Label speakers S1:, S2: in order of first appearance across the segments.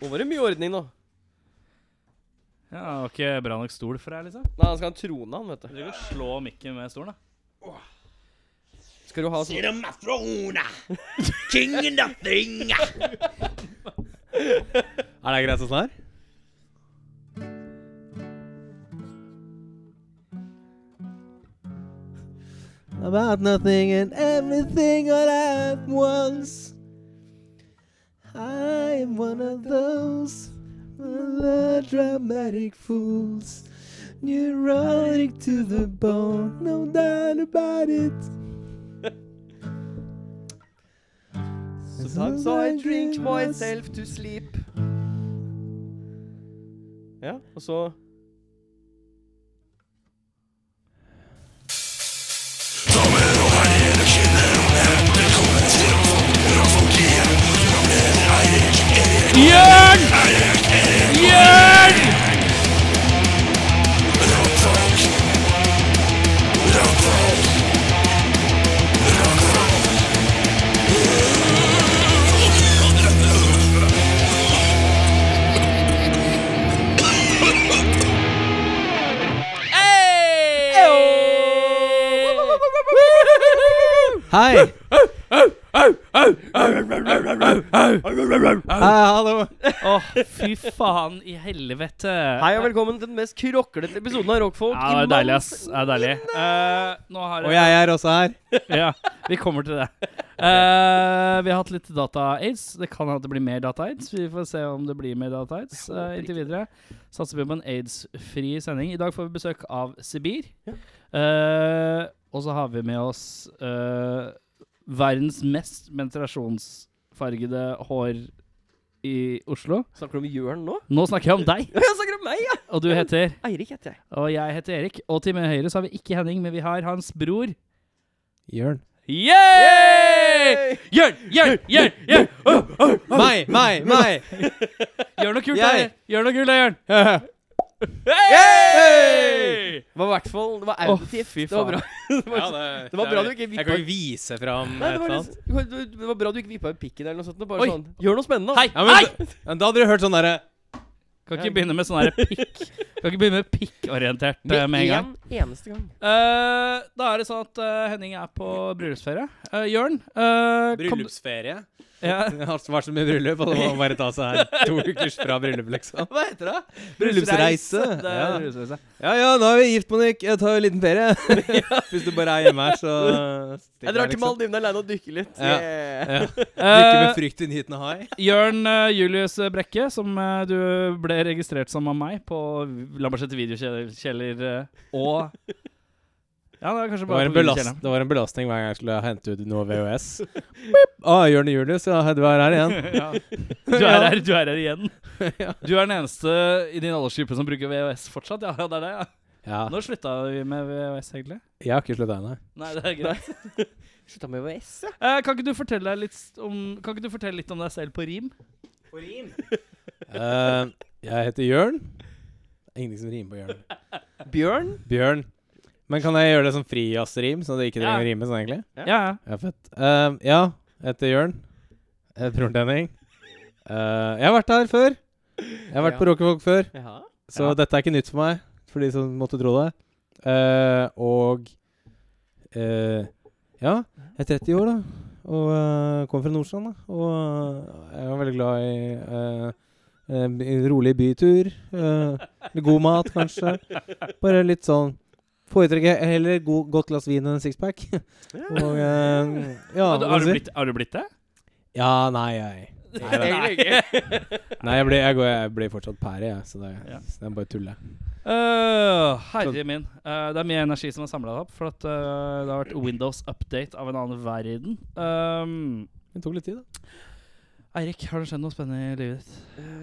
S1: Nå var det mye ordning, nå.
S2: Ja, det var ikke bra nok stol for deg, liksom.
S1: Nei, han skal ha en trone, han, vet
S2: Du
S1: du.
S2: kan slå mikken med stolen, da.
S1: Skal du ha sånn
S3: Serum Afrona. Kingen of Thinga.
S4: Er det greit sånn her? About nothing and everything all at once. I am one of those melodramatic fools. Neurotic to the bone, no doubt about it.
S1: Sometimes I drink myself to sleep. Ja, og så
S2: Jørn! Jørn!
S4: Hei! Hei, hallo.
S2: Åh, fy faen i helvete.
S1: Hei og velkommen til den mest kroklete episoden av Rockfolk.
S2: Ja, det er deilig, ass. Det er deilig. Eh, nå har
S4: Og jeg er også her.
S2: ja, vi kommer til det. Eh, vi har hatt litt data-aids. Det kan at det blir mer data-aids. Vi får se om det blir mer data-aids eh, inntil videre. Satser vi på en aids-fri sending. I dag får vi besøk av Sibir. Eh, og så har vi med oss eh, verdens mest menstruasjonsfargede hår i Oslo.
S1: Snakker du om Jørn nå?
S2: Nå snakker jeg om deg,
S1: Ja, jeg snakker om meg, ja!
S2: og du heter
S1: Eirik heter jeg.
S2: Og jeg heter Erik. Og til min høyre så har vi ikke Henning, men vi har hans bror.
S4: Jørn.
S2: Yeah! Gjør, gjør, gjør, gjør!
S4: Meg, meg, meg!
S2: Gjør noe kult, da!
S4: Jeg.
S2: Gjør noe kult, da, Jørn!
S1: Hey! Det var i hvert fall Det var
S2: Å,
S1: auditivt.
S2: fy
S1: det var bra.
S2: faen.
S1: det, var, det var bra du ikke
S4: Jeg kan
S1: vippa
S4: ikke vise fram
S1: Nei,
S4: et
S1: det, var
S4: eller annet.
S1: liksom, det var- det var bra du ikke vippa i pikken eller noe sånt. og Bare
S2: Oi.
S1: sånn Gjør noe spennende. da.
S2: Hei!
S4: Ja, men, da, men da hadde du hørt sånn derre
S2: Kan ikke begynne med sånn her pikk. Kan ikke begynne med pikkorientert eh,
S1: Med
S2: med en gang.
S1: en eneste gang.
S2: Eh, da er det sånn at eh, Henning er på bryllupsferie. Eh, Jørn eh, kan du-
S4: Bryllupsferie.
S2: Ja.
S4: Det har vært så mye bryllup, og det må bare ta seg her to ukers fra bryllup, liksom.
S2: Hva heter det?
S4: Bryllupsreise.
S2: Det er
S4: Ja.
S2: bryllupsreise.
S4: ja ja, nå er vi gift, Monique. Jeg tar jo en liten ferie. Hvis du bare er hjemme her, så
S1: Jeg drar til Maldivene alene og dykker litt.
S4: Ja.
S1: Yeah.
S4: Ja. Drikke med
S2: Eh,
S4: frykt i nyhetene hai.
S2: Jørn eh, Julius Brekke, som eh, du ble registrert som av meg på Lambertseter videokjeller eh, og Ja, det er kanskje
S4: Det var,
S2: bare
S4: en
S2: på
S4: belast,
S2: videokjelleren.
S4: det var en belastning hver gang jeg skulle hente ut noe VHS. Å, ah, Jørn og Julius, ja, du er her igjen.
S2: Ja. Du er her, du er her igjen. Du er den eneste i din aldersgruppe som bruker VHS fortsatt. Ja, ja, det er det, ja.
S4: Ja,
S2: Når slutta vi med VHS, egentlig?
S4: jeg har ikke slutta ennå.
S2: Nei, det er greit.
S1: Slutta med VHS, ja.
S2: Eh, kan, ikke du fortelle deg litt om, kan ikke du fortelle litt om deg selv på rim?
S4: Eh, jeg heter Jørn. Det er Ingenting som rimer på Jørn.
S1: Bjørn.
S4: Bjørn. Men kan jeg gjøre det som frijazzrim, så det ikke trenger å
S2: Ja.
S4: rime sånn, egentlig?
S1: Ja.
S2: Ja,
S4: Ja, fett. Ehm, ja, jeg heter Jørn. Jeg heter broren til Henning. Eh, jeg har vært her før. Jeg har vært
S1: Ja.
S4: på Råkefolk før,
S1: Ja.
S4: så
S2: Ja.
S4: dette er ikke nytt for meg, for de som måtte tro det. Eh, og eh, Ja, jeg er 30 år, da. Og eh, kommer fra Nordstrand, da. Og eh, jeg er veldig glad i eh, en b- en rolig bytur. eh, litt god mat, kanskje. Bare litt sånn Foretrekker heller god, godt glass vin enn en sixpack. Og eh, ja,
S2: Har, du, har,
S4: hva
S2: du
S4: skal jeg si?
S2: blitt, har du blitt det?
S4: Ja, nei, jeg Nei, nei.
S1: Egentlig ikke.
S4: Nei, jeg blir, jeg går, jeg blir fortsatt pære, jeg. Så det,
S2: Ja.
S4: så det er bare tulle.
S2: Øh, herre min. Øh, det er mye energi som er samla opp. For at øh, det har vært Windows update av en annen verden. Ehm,
S4: Det tok litt tid, da.
S2: Eirik, har det skjedd noe spennende i livet ditt?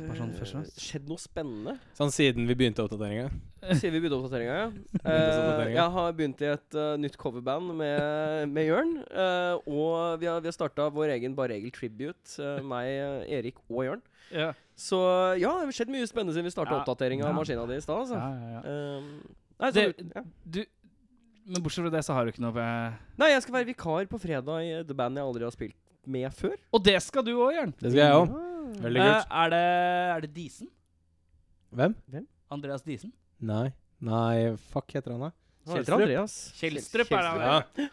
S2: Bare sånn først og fremst.
S1: Eh, Skjedd noe spennende?
S4: Sånn siden vi begynte oppdateringa.
S1: Sier vi begynte oppdateringa, ja. Eh,
S4: Oppdateringa.
S1: jeg har begynt i et eh, nytt coverband med, med Jørn. eh, og vi har, vi har starta vår egen Bare Egil Tribute. eh, meg, eh, Erik og Jørn.
S2: Ja.
S1: Så ja, det har skjedd mye spennende siden vi starta
S2: Ja.
S1: oppdateringa av
S2: Ja.
S1: maskina di i stad. Altså.
S2: Ja, ja, ja.
S1: Eh, nei, så,
S2: Det-
S1: ja.
S2: Du, men bortsett fra det, så har du ikke noe eh,
S1: nei, jeg skal være vikar på fredag i eh, The Band jeg aldri har spilt med før. Ah.
S2: Og det skal du òg, Jørn!
S4: Det skal jeg òg.
S1: Ja.
S4: Veldig
S2: Eh,
S4: kult.
S2: er, det, er det Disen?
S4: Mm. Hvem?
S2: Andreas Disen?
S4: Nei. Nei, fuck heter han da.
S1: Kjeldstrup. Andreas.
S2: Kjeldstrup er det
S4: Ja.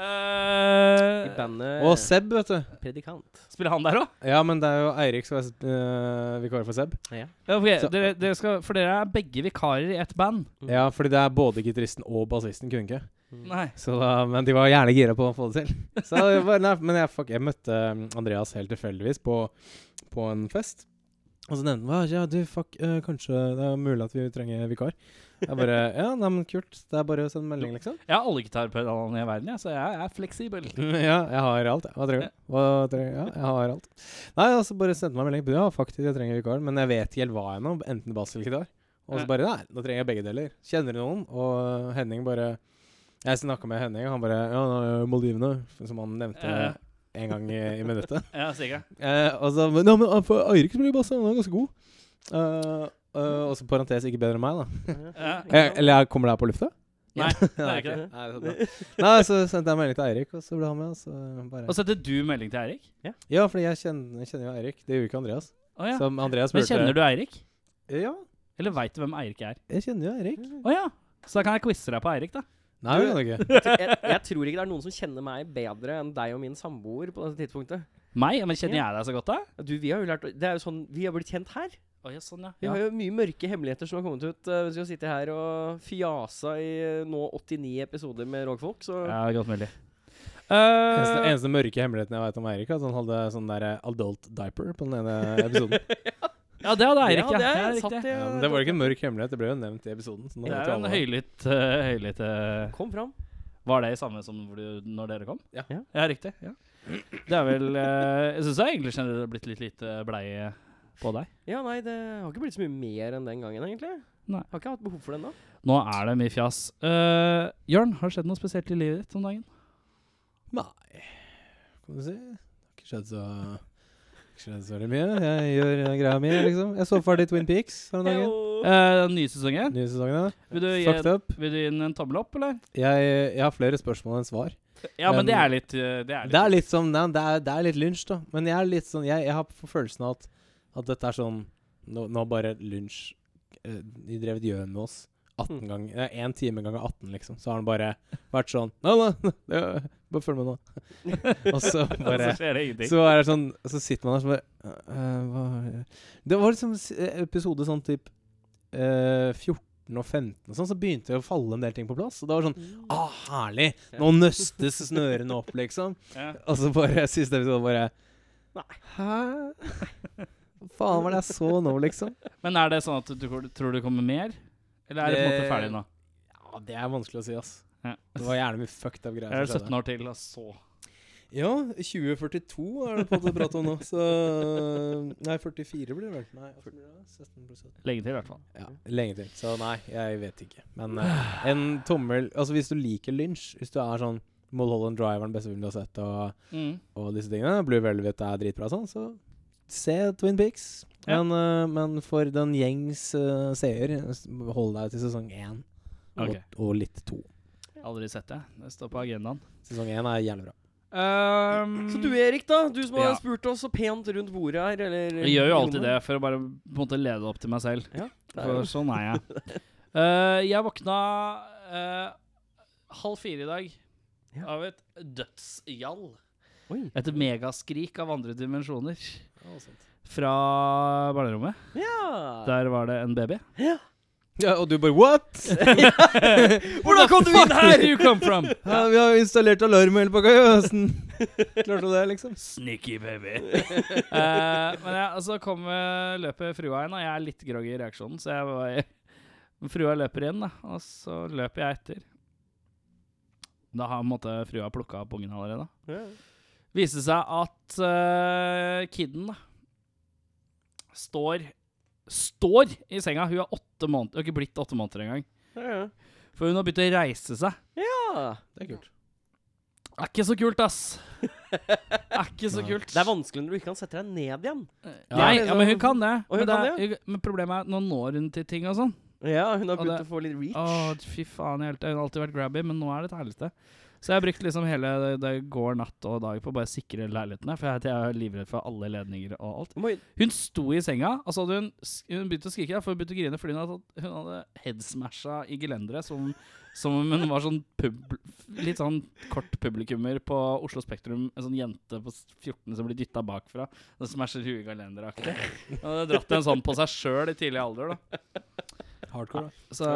S1: I
S2: han
S1: bandet
S4: Og Seb, vet du.
S1: Predikant.
S2: Spiller han der òg?
S4: Eh. Ja, men det er jo Eirik som er eh, vikar for Seb.
S2: Ja, ok,
S4: Så-
S2: dere, dere skal, for dere er begge vikarer i ett band.
S1: Mm.
S4: Ja, fordi det er både gitaristen og bassisten kunne ikke.
S2: Nei.
S4: Så da, men de var gjerne gira på å få det til. Så det var, nei, men jeg, fuck, jeg møtte um, Andreas helt tilfeldigvis på, på en fest. Og så nevnte han «Hva, ja, du, fuck, eh, kanskje det er mulig at vi trenger vikar. Jeg bare Ja, nei, men kult. Det er bare å sende melding, liksom.
S2: Jeg har alle gitarpedalene i verden, jeg, så jeg er fleksibel.
S4: Ja, jeg har alt. jeg. Hva trenger du? Hva trenger du? Ja, jeg har alt. Nei, og så bare sendte han meg en melding. Ja, faktisk, jeg trenger vikar, men jeg vet ikke helt hva ennå. Enten bass eller gitar.
S2: Ja.
S4: Og så bare Nei, da trenger jeg begge deler. Kjenner du noen? Og Henning bare Jeg snakka med Henning, og han bare Ja, nå er jeg i Maldivene, som han nevnte
S2: Ja.
S4: en gang i, i minuttet.
S2: Ja, sikkert.
S4: Eh, og så men, Ja, men han får- Eirik spiller bass, han er ganske god. Eh, eh, og så parentes ikke bedre enn meg, da.
S2: Ja.
S4: Eh, eller kommer det her på lufta?
S2: Nei, det er
S4: Nei,
S2: ikke det.
S4: ok. Nei, det er så bra. Nei, så sendte jeg melding til Eirik, og så ble han med. Og så bare
S2: Og sendte du melding til Eirik?
S4: ja, fordi jeg kjenner, jeg kjenner jo Eirik. Det gjorde ikke Andreas.
S2: Å ja.
S4: Som Andreas
S2: Men kjenner du Eirik?
S4: Ja,
S2: Eller veit du hvem Eirik er?
S4: jeg kjenner jo Eirik.
S2: Å ja. Så da kan jeg quize deg på Eirik, da.
S4: Nei,
S1: Du-
S4: det kan du ikke.
S1: Jeg, jeg tror ikke det er noen som kjenner meg bedre enn deg og min samboer på dette tidspunktet.
S2: Meg? Ja, Men kjenner jeg deg så godt, da?
S1: Du, vi har jo lært å- Det er jo sånn Vi har blitt kjent her.
S2: Å ja, sånn, ja.
S1: Vi har jo mye mørke hemmeligheter som har kommet ut. eh, Hvis vi har sittet her og fjasa i eh, nå 89 episoder med Rogfolk, så
S2: Ja, godt mulig.
S4: Eneste,
S2: Eh,
S4: eneste mørke hemmeligheten jeg vet om Eirik, er at han hadde sånn der eh, adult diaper på den ene episoden.
S2: ja, det hadde Eirik, ja.
S1: det
S2: ja.
S1: er
S2: det er
S1: satt
S2: riktig.
S1: i
S4: ja, men det var ikke en mørk hemmelighet, det ble jo nevnt i episoden. Så nå
S2: Det
S4: vet
S2: er
S4: jo
S2: en
S4: alle.
S2: høylytt eh, høylytt eh,
S1: Kom fram.
S2: Var det samme som hvor du, når dere kom?
S4: Ja.
S1: Ja.
S2: ja riktig. Ja. Det er vel eh, Jeg syns egentlig generelt det har blitt litt lite bleie på deg.
S1: Ja, nei, det har ikke blitt så mye mer enn den gangen, egentlig.
S2: Nei.
S1: Har ikke hatt behov for det ennå.
S2: Nå er det mye fjas. Eh, Jørn, har det skjedd noe spesielt i livet ditt om dagen?
S4: Nei, kan du si. Det har ikke skjedd så ikke skjedd så veldig mye. Jeg gjør eh, greia mi, liksom. Jeg så ferdig Twin Peaks her om dagen.
S2: Eh, den nye sesongen.
S4: Nye sesongen, da.
S2: Vil du, gi,
S4: Fucked up.
S2: vil du gi den en tommel opp, eller?
S4: Jeg, jeg har flere spørsmål enn svar.
S2: Ja, men
S4: Um,
S2: det er litt eh, Det er litt,
S4: Det er litt som Nei, det er, det er litt lunsj, da. Men jeg er litt sånn Jeg, jeg har på følelsen av at, at dette er sånn Nå, nå bare lunsj eh, De drev et gjøn med oss 18
S1: Mm.
S4: ganger eh, En time ganger 18, liksom. Så har han bare vært sånn Nei, nei, nei det- bare følg med nå. Og så bare
S2: Så skjer det ingenting.
S4: så er det sånn Så sitter man der så bare «Øh, øh, hva er det?» Det var liksom s- eh, episode sånn typ eh, 14 og 15 og sånn, så begynte det å falle en del ting på plass. Og det var sånn Ah, herlig! Nå nøstes snørene opp, liksom.
S2: Ja.
S4: Og så bare siste episode bare
S1: Nei.
S4: Hæ? Hva faen var det jeg så nå, liksom?
S2: Men er det sånn at du tror- tror det kommer mer? Eller er det på en måte
S4: Det-
S2: ferdig nå?
S4: Ja, Det er vanskelig å si, ass.
S2: Ja.
S4: Det var gjerne mye fucked up
S2: Jeg
S4: greier.
S2: er 17 år til, og så
S4: Ja, 2042 er det på å prate om nå, så Nei, 44 blir det vel. Nei, 17 pluss 17.
S2: Lenge til, i hvert fall.
S4: Ja, lenge til. Så nei, jeg vet ikke. Men eh, en tommel Altså, hvis du liker lynsj, hvis du er sånn Mulholland Drive er den beste filmen du har sett, og,
S2: Mm.
S4: og disse tingene, Blue Velvet er dritbra og sånn, så se Twin Peaks.
S2: Ja.
S4: Men, eh, men for den gjengs eh, seer, s- hold deg til sesong én og,
S2: Ok.
S4: og litt to.
S2: Aldri sett det. Det står på agendaen.
S4: Sesong én er jævlig bra.
S2: Mm.
S1: Så du Erik, da? Du som har
S2: Ja.
S1: spurt oss så pent rundt bordet her, eller
S2: Jeg gjør jo alltid det for å bare på en måte lede opp til meg selv.
S1: Ja, det er
S2: For
S1: jo-
S2: sånn er jeg. Eh, jeg våkna eh, halv fire i dag
S1: Ja.
S2: av et dødsgjall.
S1: Oi.
S2: Et megaskrik av andre dimensjoner fra barnerommet.
S1: Ja.
S2: Der var det en baby.
S4: Ja, og du bare What?!
S1: Hvordan kom du inn her?!
S2: you come from?
S4: Ja, vi har installert alarm og hele pakka, jo! Åssen klarte du det, liksom?
S2: Sneaky baby. Eh, men ja, altså kom, eh, løper frua inn, og jeg er litt groggy i reaksjonen, så jeg var Frua løper inn, da, og så løper jeg etter. Da har på en måte frua plukka opp ungen allerede. Viste seg at eh, kiden da, står Står i senga! Hun er åtte måneder, hun har ikke blitt åtte måneder engang.
S1: Ja.
S2: For hun har begynt å reise seg.
S1: Ja.
S4: Det er kult.
S2: Er ikke så kult, ass. Er ikke så
S4: Nei.
S2: kult.
S1: Det er vanskelig når du ikke kan sette deg ned igjen.
S2: Nei,
S4: Ja,
S1: det er
S2: ja, men hun
S1: sånn-
S2: kan det.
S1: Og hun
S2: Men, det
S1: kan
S2: er, hun- men problemet er at nå når hun til ting og sånn.
S1: Ja, hun har
S2: Og
S1: begynt
S2: det-
S1: å få litt reach.
S2: Å, fy faen. jeg er helt- Hun har alltid vært grabby, men nå er det et helvete. Så jeg har brukt liksom hele det, det går natt og dag på å bare sikre leilighetene. For jeg, jeg er livredd for alle ledninger og alt.
S1: Oi,
S2: Hun sto i senga, og så hadde hun, sk- hun begynte å skrike. da, For hun begynte å grine fordi hun hadde, hun hadde headsmasha i gelenderet som, som om hun var sånn pub, litt sånn kort publikummer på Oslo Spektrum. En sånn jente på s- 14 som blir dytta bakfra. Som smasher huet i gelenderet-aktig. Hun hadde dratt en sånn på seg sjøl i tidlig alder. da
S4: Hardcore, da.
S2: så,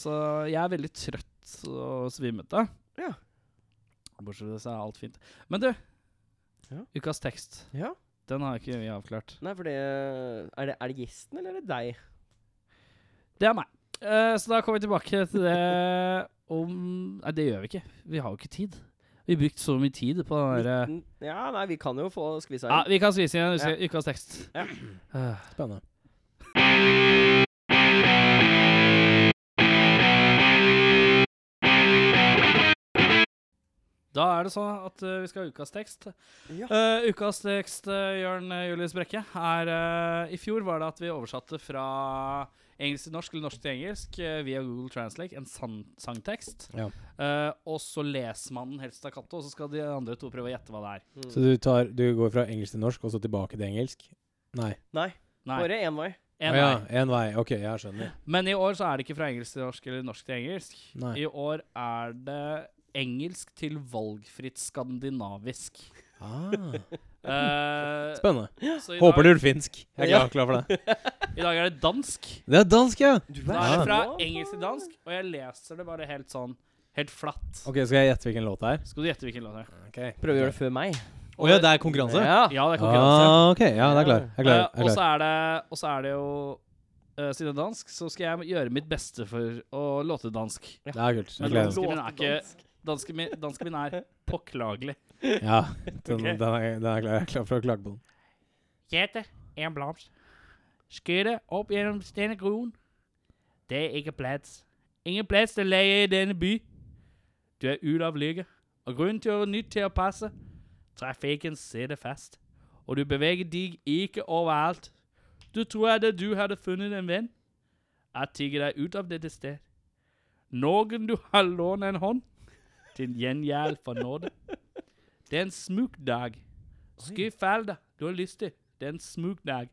S2: så jeg er veldig trøtt og svimmete.
S1: Ja.
S2: Bortsett fra det, så er alt fint. Men du,
S1: Ja.
S2: ukas tekst.
S1: Ja.
S2: Den har ikke vi avklart.
S1: Nei, for det er, det er det gjesten, eller er det deg?
S2: Det er meg. Eh, så da kommer vi tilbake til det om Nei, det gjør vi ikke. Vi har jo ikke tid. Vi har brukt så mye tid på den derre
S1: Nitten- Ja, nei, vi kan jo få skvisa
S2: ja,
S1: inn.
S2: Vi kan skvise inn en uke- ukas tekst.
S1: Ja.
S2: Eh,
S4: Spennende.
S2: Da er det sånn at eh, vi skal ha ukas tekst.
S1: Ja.
S2: Eh, ukas tekst, eh, Jørn eh, Julius Brekke, er eh, I fjor var det at vi oversatte fra engelsk til norsk eller norsk til engelsk eh, via Google Translate, en sang sangtekst.
S4: Ja.
S2: Eh, og så leser man den helt stakkato, og så skal de andre to prøve å gjette hva det er.
S1: Mm.
S4: Så du, tar, du går fra engelsk til norsk, og så tilbake til engelsk? Nei.
S1: Nei,
S2: Nei,
S1: bare én vei.
S2: en
S4: Å ja,
S2: vei.
S4: en vei. Ok, jeg skjønner.
S2: Men i år så er det ikke fra engelsk til norsk eller norsk til engelsk.
S4: Nei.
S2: I år er det engelsk til valgfritt skandinavisk.
S4: Ah,
S2: Eh,
S4: spennende.
S2: så i dag,
S4: Håper du gjør finsk. Jeg er
S1: Ja.
S4: klar, klar for det.
S2: I dag er det dansk.
S4: Det er dansk, ja!
S1: Du
S2: Da er det
S4: Ah.
S2: fra engelsk til dansk, og jeg leser det bare helt sånn Helt flatt.
S4: Ok, Skal jeg gjette hvilken låt det er?
S2: Skal du gjette hvilken låt det er?
S4: Okay.
S1: Prøv å gjøre det før meg.
S4: Å ja, det er konkurranse?
S1: Ja.
S2: Ja, det er konkurranse.
S4: Ah, ok, ja, det er klar. Jeg er klar.
S2: Eh,
S4: Jeg
S2: og
S4: er
S2: så
S4: klar.
S2: er, det- og så er det jo eh, Siden det er dansk, så skal jeg gjøre mitt beste for å låte dansk.
S4: Det er kult.
S2: Men
S4: Jeg gleder meg.
S2: dansken min er ikke Dansken min, dansken min er påklagelig.
S4: Ja, den, den, er, den er klar. Jeg er klar for å klage på den.
S2: Gjette en blomst. Skytte opp gjennom denne gruen. Det er ikke plass. Ingen plass til å leie i denne by. Du er ute av lykke, og grunnen til å nytt til å passe. Trafikken sitter fast, og du beveger deg ikke overalt. Du tror at du hadde funnet en venn. Jeg tigger deg ut av dette sted. Noen du har lånt en hånd. Din gjengjeld for nåde. Det er en smuk dag. Skyfall deg, du har lyst til. Det er en smuk dag.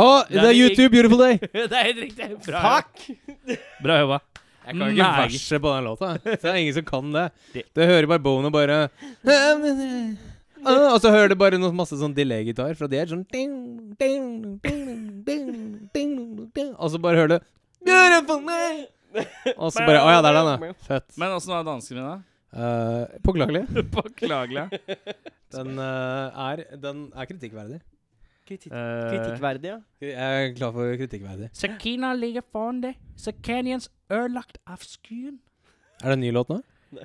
S4: Å, det er YouTube! Beautiful Day!
S2: det er helt riktig. Bra Fuck! Bra jobba.
S4: Jeg kan ikke verset på den låta. Det er ingen som kan det.
S2: Det-
S4: Du hører bare Bono bare Ah, Og så hører du bare noe masse sånn delay-gitar fra Dej. Sånn ding, ding, ding, ding, ding, ding. Og så bare hører du Beautiful Day! Og så bare Å ja, det er den, ja. Fett.
S2: Men åssen var danskene mine?
S4: Eh, Påklagelig.
S2: Påklagelig.
S4: Den, eh, er, den er kritikkverdig.
S1: Mm. Kritikk,
S4: Eh,
S2: Uh,
S1: kritikkverdig, ja.
S4: Jeg er klar for kritikkverdig.
S2: Sakina ligger foran deg, så canyons ødelagt av skyen.
S4: Er det en ny låt nå?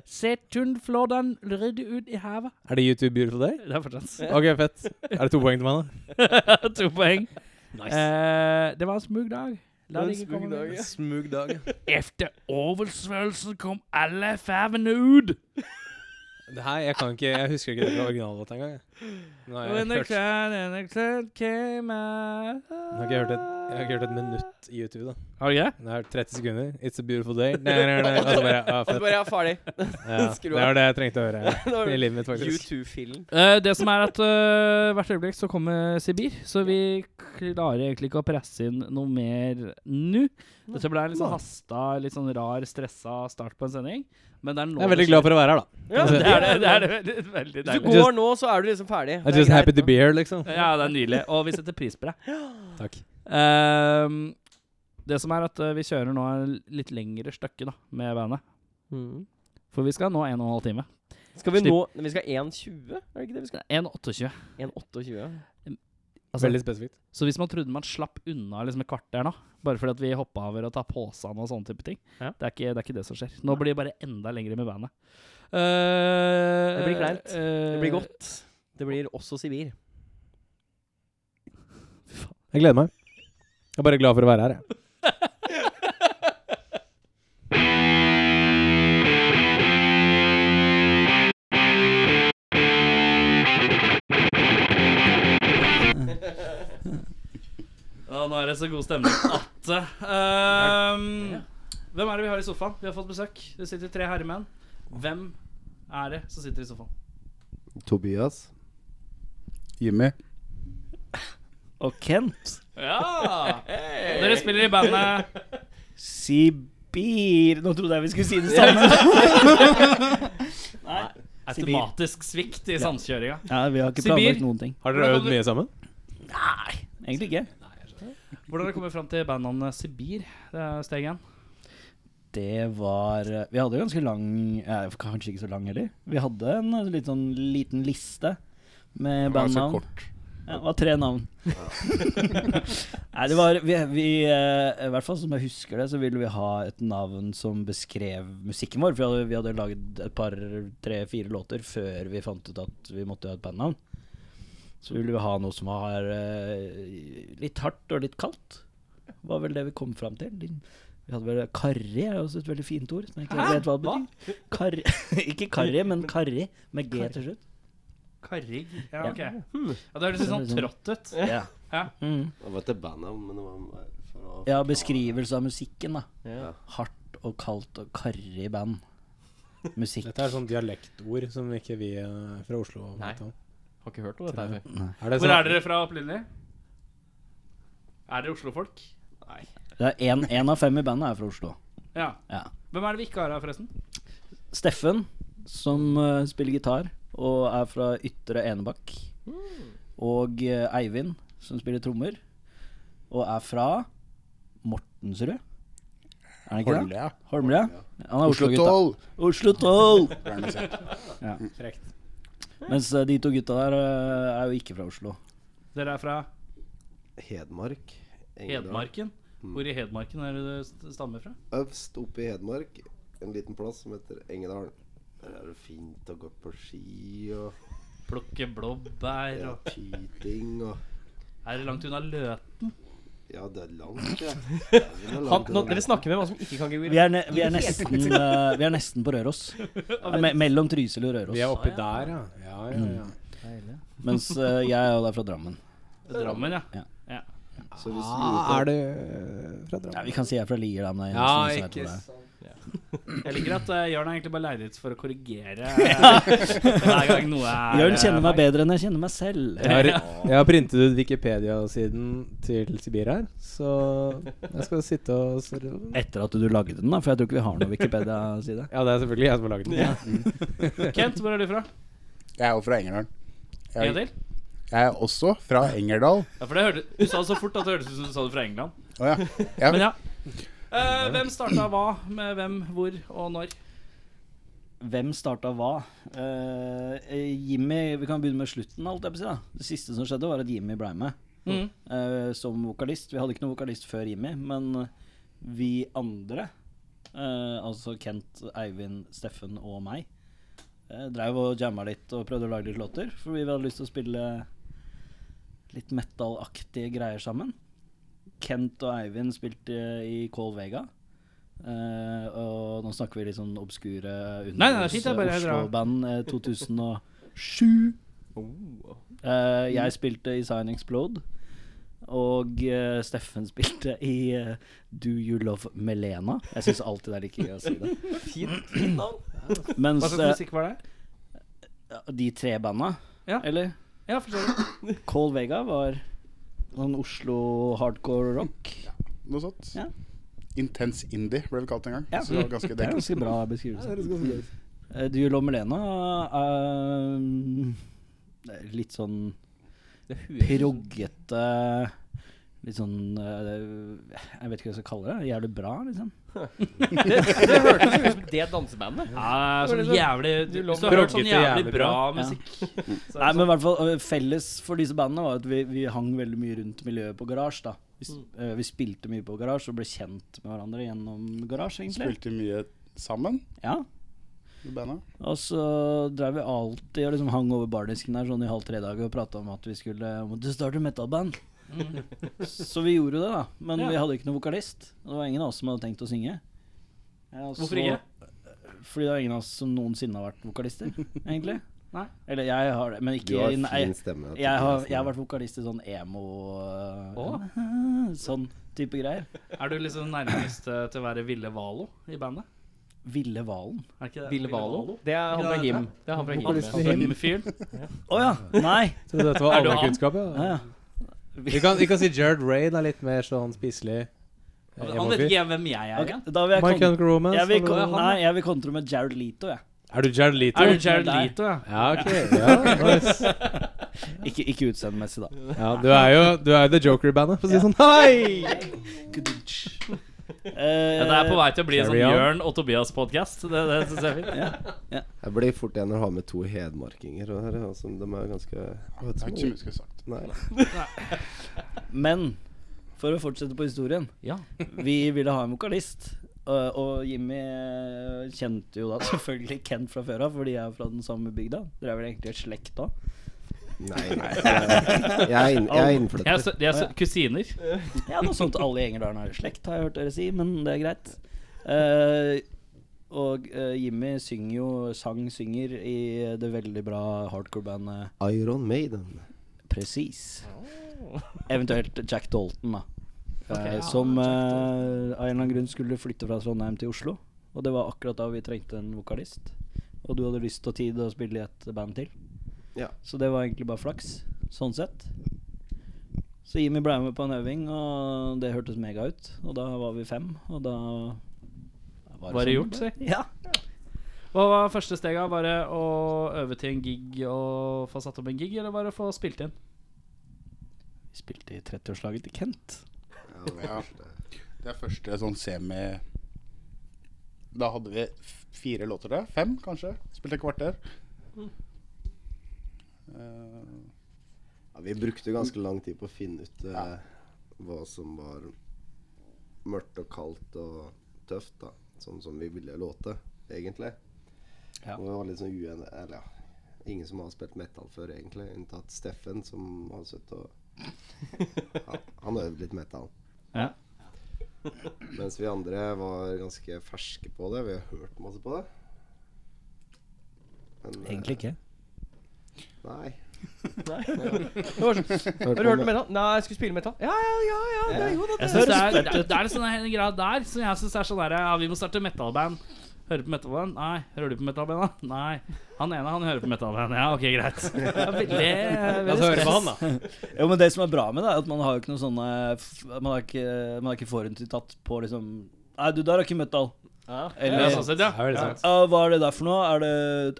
S2: Se tundflådan rydde ut i havet.
S4: Er det YouTube Beautiful Day?
S2: Det er fortsatt
S4: Ok, fett. Er det to poeng til meg, da?
S2: to poeng.
S1: Eh,
S2: Eh, det var en smug dag.
S1: Det
S2: La
S1: var
S2: det
S1: en
S2: ikke
S1: smug
S2: komme
S1: dag,
S2: mer.
S1: ja.
S4: Smug dag.
S2: Efter oversvømmelsen kom alle farvene ut.
S4: Det her, jeg kan ikke Jeg husker ikke det fra originallåta engang. jeg. Nå har jeg
S2: When the
S4: hørt Jeg
S2: cloud and the cloud came out.
S4: har ikke hørt et, jeg har ikke hørt et minutt i YouTube, da.
S2: Har du ikke det?
S4: Jeg har hørt 30 sekunder. It's a beautiful day. Nei, nei, nei. Og så bare Ja,
S1: og så
S4: fett.
S1: bare ja, farlig.
S4: Ja,
S1: skru
S4: det var det jeg trengte å høre
S1: Det var
S4: i livet mitt, faktisk.
S1: U2-filmen.
S2: Eh, det som er at eh, hvert øyeblikk så kommer Sibir, så vi klarer egentlig ikke å presse inn noe mer nå. Dette ble en litt sånn hasta, litt sånn rar, stressa start på en sending. Men det er nå altså.
S4: Jeg er veldig glad for å være her, da.
S1: Ja,
S2: det. Er, det, det er det veldig, veldig
S1: Hvis du
S2: deilig.
S1: går nå, så er du liksom ferdig.
S4: I'm just happy to be here, liksom.
S2: Ja, det er nydelig. Og vi setter pris på det.
S4: Takk.
S2: Ehm, det som er at eh, vi kjører nå en litt lengre stykke da, med bandet.
S1: Mm.
S2: For vi skal nå en og en halv time.
S1: Skal vi
S2: Slipp.
S1: nå Vi skal 1,20? Er det ikke det vi skal?
S2: 1.28.
S1: 1,28.
S2: Altså,
S4: Veldig spesifikt.
S2: Så hvis man trodde man slapp unna liksom et kvarter nå, bare fordi at vi hoppa over og tar påsene og sånne type ting,
S1: Ja.
S2: det, er ikke, det er ikke det som skjer. Nå blir det bare enda lengre med bandet. Eh,
S1: Det blir kleint.
S2: eh,
S1: Det blir godt. Det blir også Sibir.
S4: Jeg gleder meg. Jeg er bare glad for å være her, jeg.
S2: Ja, nå er det så god stemning at eh, um, Hvem er det vi har i sofaen? Vi har fått besøk. Det sitter tre herremenn. Hvem er det som sitter i sofaen?
S5: Tobias. Jimmy.
S6: Og Kent
S2: Ja! Dere spiller i bandet
S6: Sibir Nå trodde jeg vi skulle si det samme.
S2: Automatisk svikt i samkjøringa.
S6: Ja, Vi har ikke
S2: Sibir.
S6: planlagt noen ting.
S4: Har dere
S2: Hvordan
S4: øvd
S2: kan du-
S4: mye sammen?
S6: Egentlig ikke.
S2: Hvordan har dere kommet fram til bandnavnet Sibir? eh, Det er steg én.
S6: Det var eh, Vi hadde jo ganske lang eh, Kanskje ikke så lang heller. Vi hadde en eh, litt sånn liten liste med
S5: var ganske
S6: bandnavn.
S5: kort.
S6: Ja, det var tre navn. Nei, det var vi, vi, eh, I hvert fall som jeg husker det, så ville vi ha et navn som beskrev musikken vår. For vi hadde, vi hadde laget et par, tre-fire låter før vi fant ut at vi måtte ha et bandnavn. Så ville vi ha noe som var eh, litt hardt og litt kaldt. Var vel det vi kom fram til. Litt- Vi hadde vel karri, er også et veldig fint ord. Som jeg ikke vet hva det betyr. Karri. ikke karri, men karri med G til slutt.
S2: Karrig. Ja,
S6: Ja.
S2: ok. Ja, det høres litt sånn trått ut.
S6: Ja.
S2: Ja.
S6: Mm.
S5: Jeg vet det er bandnavn, men det var for å
S6: Ja, beskrivelse av musikken, da.
S1: Ja.
S6: Hardt og kaldt og karrig band. Musikk.
S4: Dette er sånn dialektord som ikke vi eh, fra Oslo
S1: Nei.
S4: vet om.
S1: Har ikke hørt om dette her før.
S4: Er det
S2: Hvor
S4: sånn-
S2: er dere fra opprinnelig? Er dere Oslo-folk?
S6: Det er en, en av fem i bandet er fra Oslo.
S2: Ja.
S6: Ja.
S2: Hvem er det vi ikke har her, forresten?
S6: Steffen, som eh, spiller gitar og er fra Ytre Enebakk. Og eh, Eivind, som spiller trommer og er fra Mortensrud. Er han ikke det?
S5: Holmlia.
S6: Holmlia? Han er
S5: Oslo
S6: Oslo-gutta.
S5: Toll!
S6: Oslo 12!
S4: Frekt.
S6: Mens eh, de to gutta der eh, er jo ikke fra Oslo.
S2: Dere er fra
S5: Hedmark. Engerdal.
S2: Hedmarken. Hvor i Hedmarken er det du st- stammer fra?
S5: Øvst oppe i Hedmark, en liten plass som heter Engedalen. Der er det fint å gå på ski og
S2: Plukke blåbær
S5: ja,
S2: og
S5: pyting og
S2: Er det langt unna Løten?
S5: Ja, det er langt, ja.
S1: Han, nå, dere snakker med hva som ikke kan geografi.
S6: Vi er, ne vi er, nesten, eh, vi er nesten på Røros. Me mellom Trysil og
S4: Vi er
S6: Røros.
S4: oppi der, ja. Ja, ja, ja.
S6: Mens eh, jeg er jo der fra Drammen.
S2: Drammen, ja.
S6: Ja.
S2: ja.
S5: Så hvis du lurer på-
S4: Ah, er det eh, fra
S6: Ja,
S4: Drammen?
S6: vi kan si jeg er fra Lier, da. Men det er
S4: Ja,
S6: eneste som vet
S4: ikke
S6: hvor det er.
S4: sant.
S2: Jeg liker at eh, Jørn er egentlig bare leid ut for å korrigere eh, hver gang noe er
S6: Jørn kjenner meg
S2: feil.
S6: bedre enn jeg kjenner meg selv. Eh,
S4: Jeg har, jeg har printet ut Wikipedia-siden til Sibir her, så jeg skal sitte og s- Ja,
S6: Etter at du lagde den, da, for jeg tror ikke vi har noen Wikipedia-side.
S4: det er selvfølgelig jeg som har lagd den.
S2: Kent, hvor er du fra?
S7: Jeg er jo fra Engerdalen.
S2: En
S7: Jeg,
S2: til?
S7: jeg er også fra Engerdal.
S2: Ja, for det hørte, Du sa det så fort at det hørtes ut som du sa det fra England.
S7: Å ja.
S2: Men ja. Eh, hvem starta hva med hvem, hvor og når?
S6: Hvem starta hva? Eh, Jimmy Vi kan begynne med slutten. Alt jeg på å si, da. Det siste som skjedde, var at Jimmy ble med
S2: Mhm.
S6: eh, som vokalist. Vi hadde ikke noen vokalist før Jimmy, men vi andre, eh, altså Kent, Eivind, Steffen og meg, eh, dreiv og jamma litt og prøvde å lage litt låter, for vi hadde lyst til å spille litt metal-aktige greier sammen. Kent og Eivind spilte i Call Vega. Eh, og nå snakker vi litt sånn obskure
S2: Nei, nei, det er fint, jeg bare- jeg drar.
S6: Oslo-band eh, 2007.
S2: Oh,
S6: Eh, jeg spilte i Sign Explode. Og eh, Steffen spilte i eh, Do You Love Melena. Jeg syns alltid det er like gøy å si det.
S1: Fint, fint navn.
S6: Mens
S2: Hva slags
S6: eh,
S2: musikk var det?
S6: de tre banda,
S2: Ja.
S6: eller
S2: Ja, forstår du.
S6: Cole Vega var sånn Oslo hardcore rock.
S7: Noe sånt.
S6: Ja.
S7: Intens indie ble det kalt en gang.
S6: Ja.
S7: Så det var ganske
S6: Det er en ganske
S7: dekket.
S6: bra beskrivelse. Eh, Do You Love Melena eh, det er litt sånn
S1: Det er huet.
S6: proggete Litt sånn eh, Jeg vet ikke hva jeg skal kalle det. Jævlig bra, liksom.
S1: Det, det hørtes jo ut som det dansebandet.
S2: Ja, sånn jævlig du, Hvis du har hørt sånn
S4: Proggete,
S2: jævlig
S4: jævlig
S2: bra
S4: bra.
S2: musikk
S6: Nei, men i hvert fall eh, Felles for disse bandene var at vi, vi hang veldig mye rundt miljøet på garasje. da vi,
S2: Mm.
S6: s- eh, vi spilte mye på garasje og ble kjent med hverandre gjennom garasje, egentlig.
S7: Spilte mye sammen
S6: Ja.
S7: i bandet.
S6: Og så drev vi alltid og liksom hang over bardisken der sånn i halv tre-dag og prata om at vi skulle eh, måtte starte metalband. så vi gjorde det, da. Men
S2: Mm. Ja.
S6: vi hadde ikke noen vokalist. Og det var ingen av oss som hadde tenkt å synge. Eh, og
S2: Hvorfor
S6: så-
S2: ikke?
S6: Fordi det er ingen av oss som noensinne har vært vokalister, egentlig.
S2: Nei.
S6: Eller jeg har det, men ikke
S5: Du har
S6: i- nei,
S5: fin stemme.
S6: jeg har, jeg har
S5: Tobias.
S6: vært vokalist i sånn emo øh,
S2: Å.
S6: Sånn type greier.
S2: Er du liksom nærmest eh, til å være Ville Valo i bandet?
S6: Ville Valen.
S2: Er ikke det
S1: Ville Valo? Det er han fra Him. Det er han fra
S4: Vokalisten
S1: Him.
S4: i Him.
S2: Him-fyren?
S6: Å ja! Nei!
S4: Trodde dette var
S2: Er du
S4: allmennkunnskap,
S6: Ja,
S4: ja.
S6: ja.
S4: Vi kan, vi kan si Jared Raid er litt mer sånn spiselig. eh,
S2: Han vet
S4: emo-fyr.
S2: ikke hvem jeg er.
S6: Ok,
S2: igjen.
S6: da vil jeg
S4: My
S6: kon-
S4: Chemical Romance.
S6: jeg vil,
S4: eller
S6: kon-
S4: noe
S6: nei, jeg vil kontre med Jared Leto, jeg.
S4: annet. Er du Jared Leto?
S2: Er du Jared Leto, ja?
S4: Ja, ok. Ja, nice.
S6: Ikke, ikke utseendemessig, da.
S4: ja, du er jo du er jo The Joker i bandet, for å si det sånn. Hei!
S6: Eh,
S2: Ja, det er på vei til å bli en sånn
S4: Carry on.
S2: Jørn og Tobias-podkast. Det, det synes jeg er fint.
S5: Jeg blir fort enig å ha med to hedmarkinger. Og her, altså, de er ganske
S7: Det er ikke mye jeg skulle sagt.
S5: Nei.
S6: Men for å fortsette på historien
S2: Ja.
S6: Vi ville ha en vokalist. Og, og Jimmy eh, kjente jo da selvfølgelig Kent fra før av, fordi jeg er fra den samme bygda. Dere er vel egentlig et slekt da?
S5: Nei, nei. Jeg, jeg er inn-
S2: Jeg
S5: jeg er
S2: er,
S5: innflytter.
S2: sø- de er sø- kusiner.
S6: Ja, noe sånt alle i Engerdalen er i slekt, har jeg hørt dere si, men det er greit. Eh, og eh, Jimmy synger jo sang synger i det veldig bra hardcore-bandet
S5: Iron Maiden.
S6: Presis. Eventuelt Jack Dalton, da. Eh,
S2: Oh. Ok, ja,
S6: som
S2: Jack
S6: eh,
S2: Dalton.
S6: av en eller annen grunn skulle flytte fra Trondheim til Oslo. Og det var akkurat da vi trengte en vokalist. Og du hadde lyst og tid til å spille i et band til.
S5: Ja.
S6: Så det var egentlig bare flaks, sånn sett. Så Jimmy ble med på en øving, og det hørtes mega ut. Og da var vi fem, og da
S2: Var det gjort, si?
S6: Ja.
S2: Hva var første stega? Var det å øve til en gig og få satt opp en gig, eller var det å få spilt inn?
S6: Vi spilte i 30-årslaget til Kent.
S7: Ja. Det er første sånn semi Da hadde vi f- fire låter der. Fem, kanskje. Spilte et kvarter. Eh,
S5: Ja, vi brukte ganske lang tid på å finne ut eh, hva som var mørkt og kaldt og tøft, da. Sånn som vi ville låte, egentlig.
S6: Ja.
S5: Og vi var litt sånn uenige Eller ja, ingen som har spilt metal før, egentlig. Unntatt Steffen, som har sittet og ja, Han øvde litt metal.
S2: Ja.
S5: Mens vi andre var ganske ferske på det. Vi har hørt masse på det. Men, eh,
S6: Egentlig ikke.
S5: Nei.
S1: Det var sånn. Har du hørt om metal? Nei, jeg skulle spille metal. Ja, ja, ja. ja, det er jo det.
S2: Jeg synes det, er, det, er- det er en sånn her greie der som jeg synes er sånn der Ja, vi må starte metalband. Hører du på metalband? Nei. Hører du på metalband, da? Nei. Han ene, han hører på metalband. Ja, ok, greit. Det er veldig,
S4: La oss
S2: veldig
S4: høre på han, da.
S6: Jo, men det som er bra med det, er at man har jo ikke noen sånne f- Man har ikke, man har ikke forutinntatt på liksom Nei, du der har ikke metal.
S2: Det
S6: Eller
S2: er sånn sett, ja.
S4: Det er veldig sant.
S6: «Ja, Hva er det der for noe? Er det,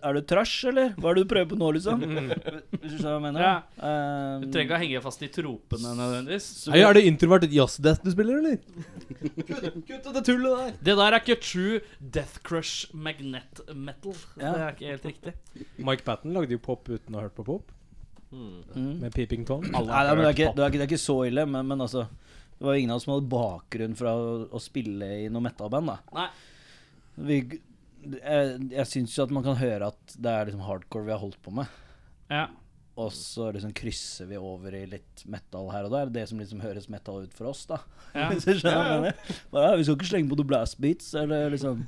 S6: er det trash, eller? Hva er det du prøver på nå, liksom? Hvis du skjønner hva jeg mener?
S2: Ja.
S6: Ehm,
S2: Du trenger ikke å henge fast i tropene nødvendigvis.
S4: Hei, er det introvert jazz-death du spiller, eller?
S2: Det der er ikke true Death Crush Magnet Metal. Det er ikke helt riktig.
S4: Mike Patten lagde jo pop uten å ha hørt på pop,
S6: mm.
S4: med Peeping Tom.
S6: Nei, nei, men det er, ikke, det, er ikke, det er ikke så ille, men, men altså Det var jo ingen av oss som hadde bakgrunn fra å, å spille i noe metal-band, da.
S2: Nei.
S6: Vi, jeg jeg syns jo at man kan høre at det er liksom hardcore vi har holdt på med.
S2: Ja.
S6: Og så liksom krysser vi over i litt metal her og der. Det som liksom høres metal ut for oss, da.
S2: Ja.
S6: Hvis du skjønner hva jeg mener. Bare, ja, vi skal ikke slenge på noen blast beats, eller liksom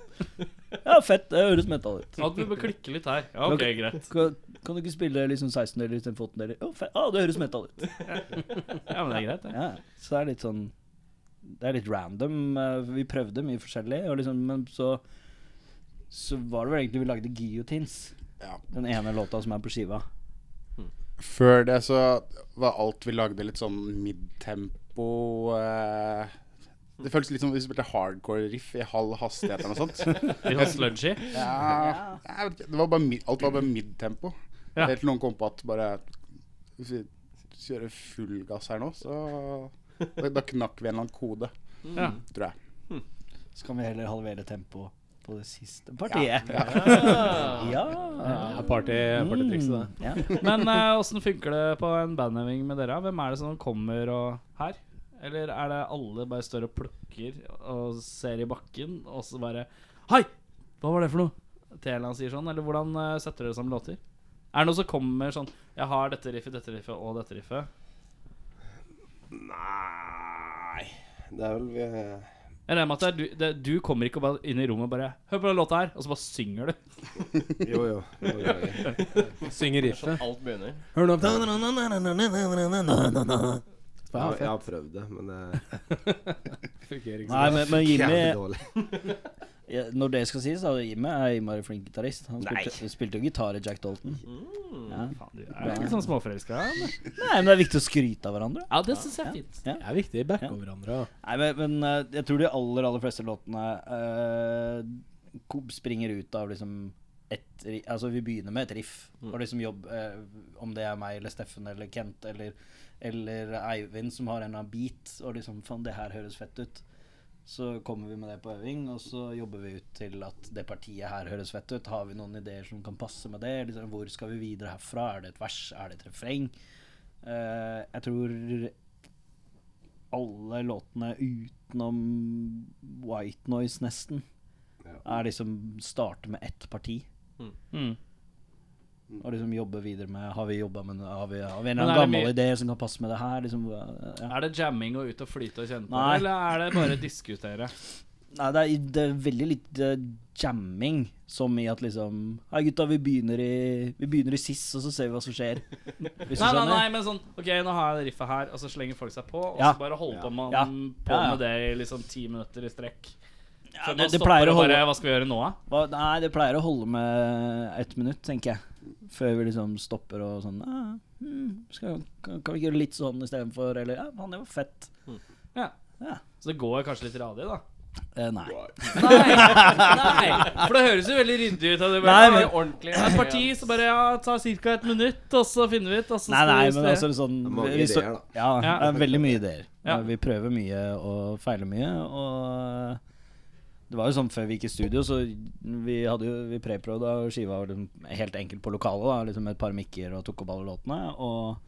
S6: Ja, fett, det høres metal ut.
S2: At vi bør klikke litt her. Ja, ok, greit.
S6: Kan, kan du ikke spille liksom 16-deler istedenfor 8-deler? Å, fett. ah, det høres metal ut.
S2: Ja, men det er greit, det.
S6: Ja, så det er litt sånn Det er litt random. eh, Vi prøvde mye forskjellig, og liksom, men så så var det vel egentlig vi lagde Guillotines.
S7: Ja.
S6: Den ene låta som er på skiva.
S7: Før det så var alt vi lagde litt sånn midtempo eh, Det føltes litt som om vi spilte hardcore riff i halv hastighet eller noe sånt.
S2: Litt sånn sludgy.
S7: Ja, jeg vet ikke, det var bare, mid- alt var bare midtempo.
S2: Ja.
S7: Helt til noen kom på at bare Hvis vi kjører full gass her nå, så Da, da knakk vi en eller annen kode,
S2: Mm. Ja.
S7: tror jeg.
S6: Så kan vi heller halvere tempoet på det siste partiet. Ja.
S4: Ja, party, partytriks, det.
S6: Mm. Ja.
S2: Men eh, åssen funker det på en bandøving med dere? Hvem er det som kommer og her? Eller er det alle bare står og plukker og ser i bakken, og så bare Hei! Hva var det for noe? Til en eller annen sier sånn. Eller hvordan eh, setter dere sammen låter? Er det noe som kommer sånn Jeg har dette riffet, dette riffet og dette riffet.
S5: Nei Det er vel vi eh,
S2: Jeg regner med at det er du, det, du kommer ikke bare inn i rommet og bare 'Hør på den låta her', og så bare synger du.
S5: Jo, jo. jo, jo, jo.
S6: Mm.
S4: Synger riffet.
S1: Alt begynner.
S4: Hør nå på den.
S5: Jeg, har- jeg har prøvd det, men eh, det
S4: Fungerer ikke
S6: Nei, men, men Jimmy
S5: dårlig.
S6: Ja, når det skal sies, da, Jimmy er innmari flink gitarist. Han
S7: Nei.
S6: spilte, spilte jo gitar i Jack Dalton. Ja.
S2: Faen, du er litt sånn småforelska. eller?
S6: Nei, men det er viktig å skryte av hverandre.
S2: Ja, det syns jeg er fint.
S4: Det er viktig. Backe over hverandre.
S6: Nei, men, men eh, jeg tror de aller, aller fleste låtene eh, ko- springer ut av liksom et, ri- altså vi begynner med et riff, og liksom jobb, eh, om det er meg eller Steffen eller Kent eller, eller Eivind som har en eller annen beat, og liksom faen, det her høres fett ut. Så kommer vi med det på øving, og så jobber vi ut til at det partiet her høres fett ut. Har vi noen ideer som kan passe med det? Liksom, hvor skal vi videre herfra? Er det et vers? Er det et refreng? Eh, jeg tror alle låtene utenom White Noise, nesten, er liksom starte med ett parti.
S2: Mm.
S6: Og liksom jobbe videre med Har vi jobba med Har vi, har vi en
S2: Men
S6: eller
S2: er det
S6: annen gammel
S2: mye-
S6: idé som kan passe med det her? Liksom, ja.
S2: Er det jamming og ut og flyte og kjenne på,
S6: Nei.
S2: eller er det bare diskutere?
S6: Nei, det er, det er veldig lite jamming, som i at liksom Hei, gutta, vi begynner i Vi begynner i SIS, og så ser vi hva som skjer. Hvis du
S2: Nei, nei, nei,
S6: skjønner?
S2: men sånn OK, nå har jeg det riffet her, og så slenger folk seg på, og
S6: Ja.
S2: så bare holder på man
S6: Ja.
S2: på
S6: Ja, ja.
S2: med det i liksom ti minutter i strekk. Ja,
S6: det- det pleier
S2: Bare,
S6: å holde-
S2: hva skal vi gjøre nå, da?
S6: Hva, nei, det pleier å holde med ett minutt, tenker jeg. Før vi liksom stopper og sånn ah, hmm, skal, kan, kan vi ikke gjøre litt sånn istedenfor? Eller ja, han det var fett.
S2: Så det går kanskje litt radig, da.
S6: Eh, nei.
S2: Nei, nei, for det høres jo veldig ryddig ut. og Det bare,
S6: Nei, men-
S2: nei, ordentlig Det er et parti som bare ja, tar ca. et minutt, og så finner vi ut. Og så
S6: Nei,
S2: skal
S6: nei,
S2: vi
S6: men
S2: justere.
S6: altså sånn
S5: er mange
S6: vi så-
S5: ideer, da.
S6: Ja,
S2: Ja.
S6: det er veldig mye ideer.
S2: Ja.
S6: Vi prøver mye og feiler mye, og det var jo sånn før vi gikk i studio, så vi hadde jo vi preprøvde, og skiva var liksom helt enkelt på lokalet, da, liksom med et par mikker og tok opp alle låtene, og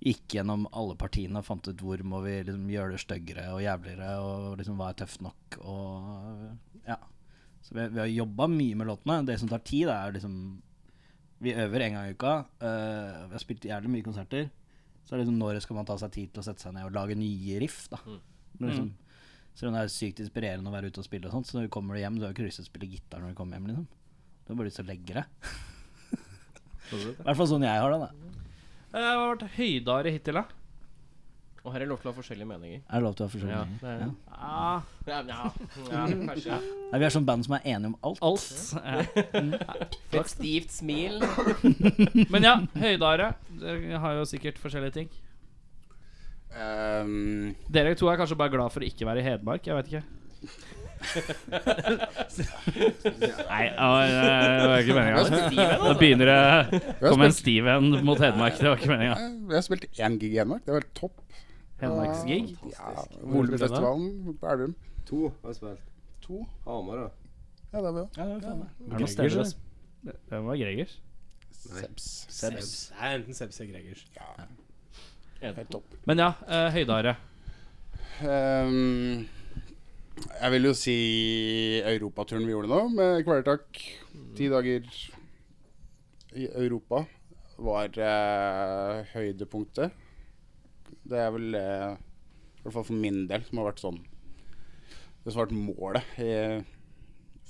S6: gikk gjennom alle partiene og fant ut hvor må vi liksom gjøre det styggere og jævligere, og liksom hva er tøft nok, og ja. Så vi, vi har jobba mye med låtene. Det som tar tid, det er liksom vi øver en gang i uka. eh, vi har spilt jævlig mye konserter. Så er det liksom, når skal man ta seg tid til å sette seg ned og lage nye riff, da? Det er Liksom,
S2: Mm.
S6: Selv om det er sykt inspirerende å være ute og spille og sånt, så når du kommer hjem, du har jo ikke lyst til å spille gitar når du kommer hjem, liksom. Du har bare lyst til å legge deg. I hvert fall sånn jeg har det, da.
S2: Eh, Hva har vært høydare hittil, da?
S1: Og her er lov til å ha forskjellige meninger.
S6: Er det lov til å ha forskjellige meninger?
S1: det er,
S2: Ja,
S1: ja, ja, ja, kanskje.
S6: Nei, Vi er sånn band som er enige om alt.
S2: alt. Ja.
S1: Et stivt smil.
S2: Men ja, høydare. Dere har jo sikkert forskjellige ting.
S7: Ehm,
S2: Dere to er kanskje bare glad for å ikke være i Hedmark. Jeg vet ikke. Nei, det var ikke meninga. Da begynner det Kom en stiv en mot Hedmark. Det var ikke meninga.
S7: eh, vi har spilt én gig i Enmark. Det var helt topp.
S2: Hedmarksgig.
S7: Ja,
S4: Hvor ble den av?
S7: Volumfestivalen på Elverum.
S5: To har jeg spilt.
S7: To?
S5: Hamar, da.
S7: Ja, det er vi òg.
S6: Ja, det er faen meg.
S2: Er det noen steder å sp- Det var Gregers.
S7: Sebs.
S6: Sebs.
S4: Det er enten Sebs eller Gregers.
S7: Helt topp.
S2: Men ja, eh, høydare.
S7: Ehm, jeg vil jo si europaturen vi gjorde nå, med Kvelertak. Ti dager i Europa var eh, høydepunktet. Det er vel eh, i hvert fall for min del som har vært sånn Det som har vært målet i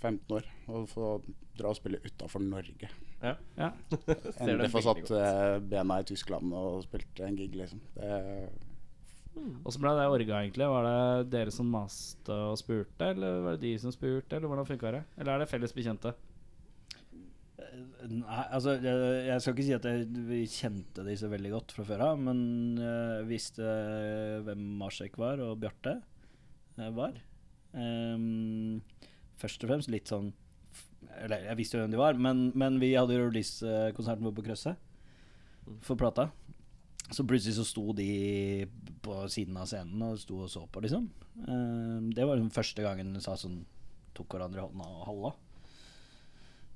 S7: 15 år. Å få dra og spille utafor Norge.
S1: Ja.
S2: Ja.
S7: Endelig få
S1: veldig
S7: satt eh, bena i Tyskland og spilt en gig, liksom. Det
S2: Åssen ble det orga, egentlig? Var det dere som maste og spurte, eller var det de som spurte, eller hvordan funka det? Eller er det felles bekjente?
S6: Nei, altså jeg, jeg skal ikke si at jeg, vi kjente de så veldig godt fra før av, men jeg visste hvem Marsek var, og Bjarte eh, var. Ehm, først og fremst litt sånn Eller jeg visste jo hvem de var, men, men vi hadde jo release-konserten vår på Krøsset for plata. Så plutselig så sto de på siden av scenen og sto og så på, liksom. Ehm, det var liksom første gangen de sa sånn Tok hverandre i hånda og halla.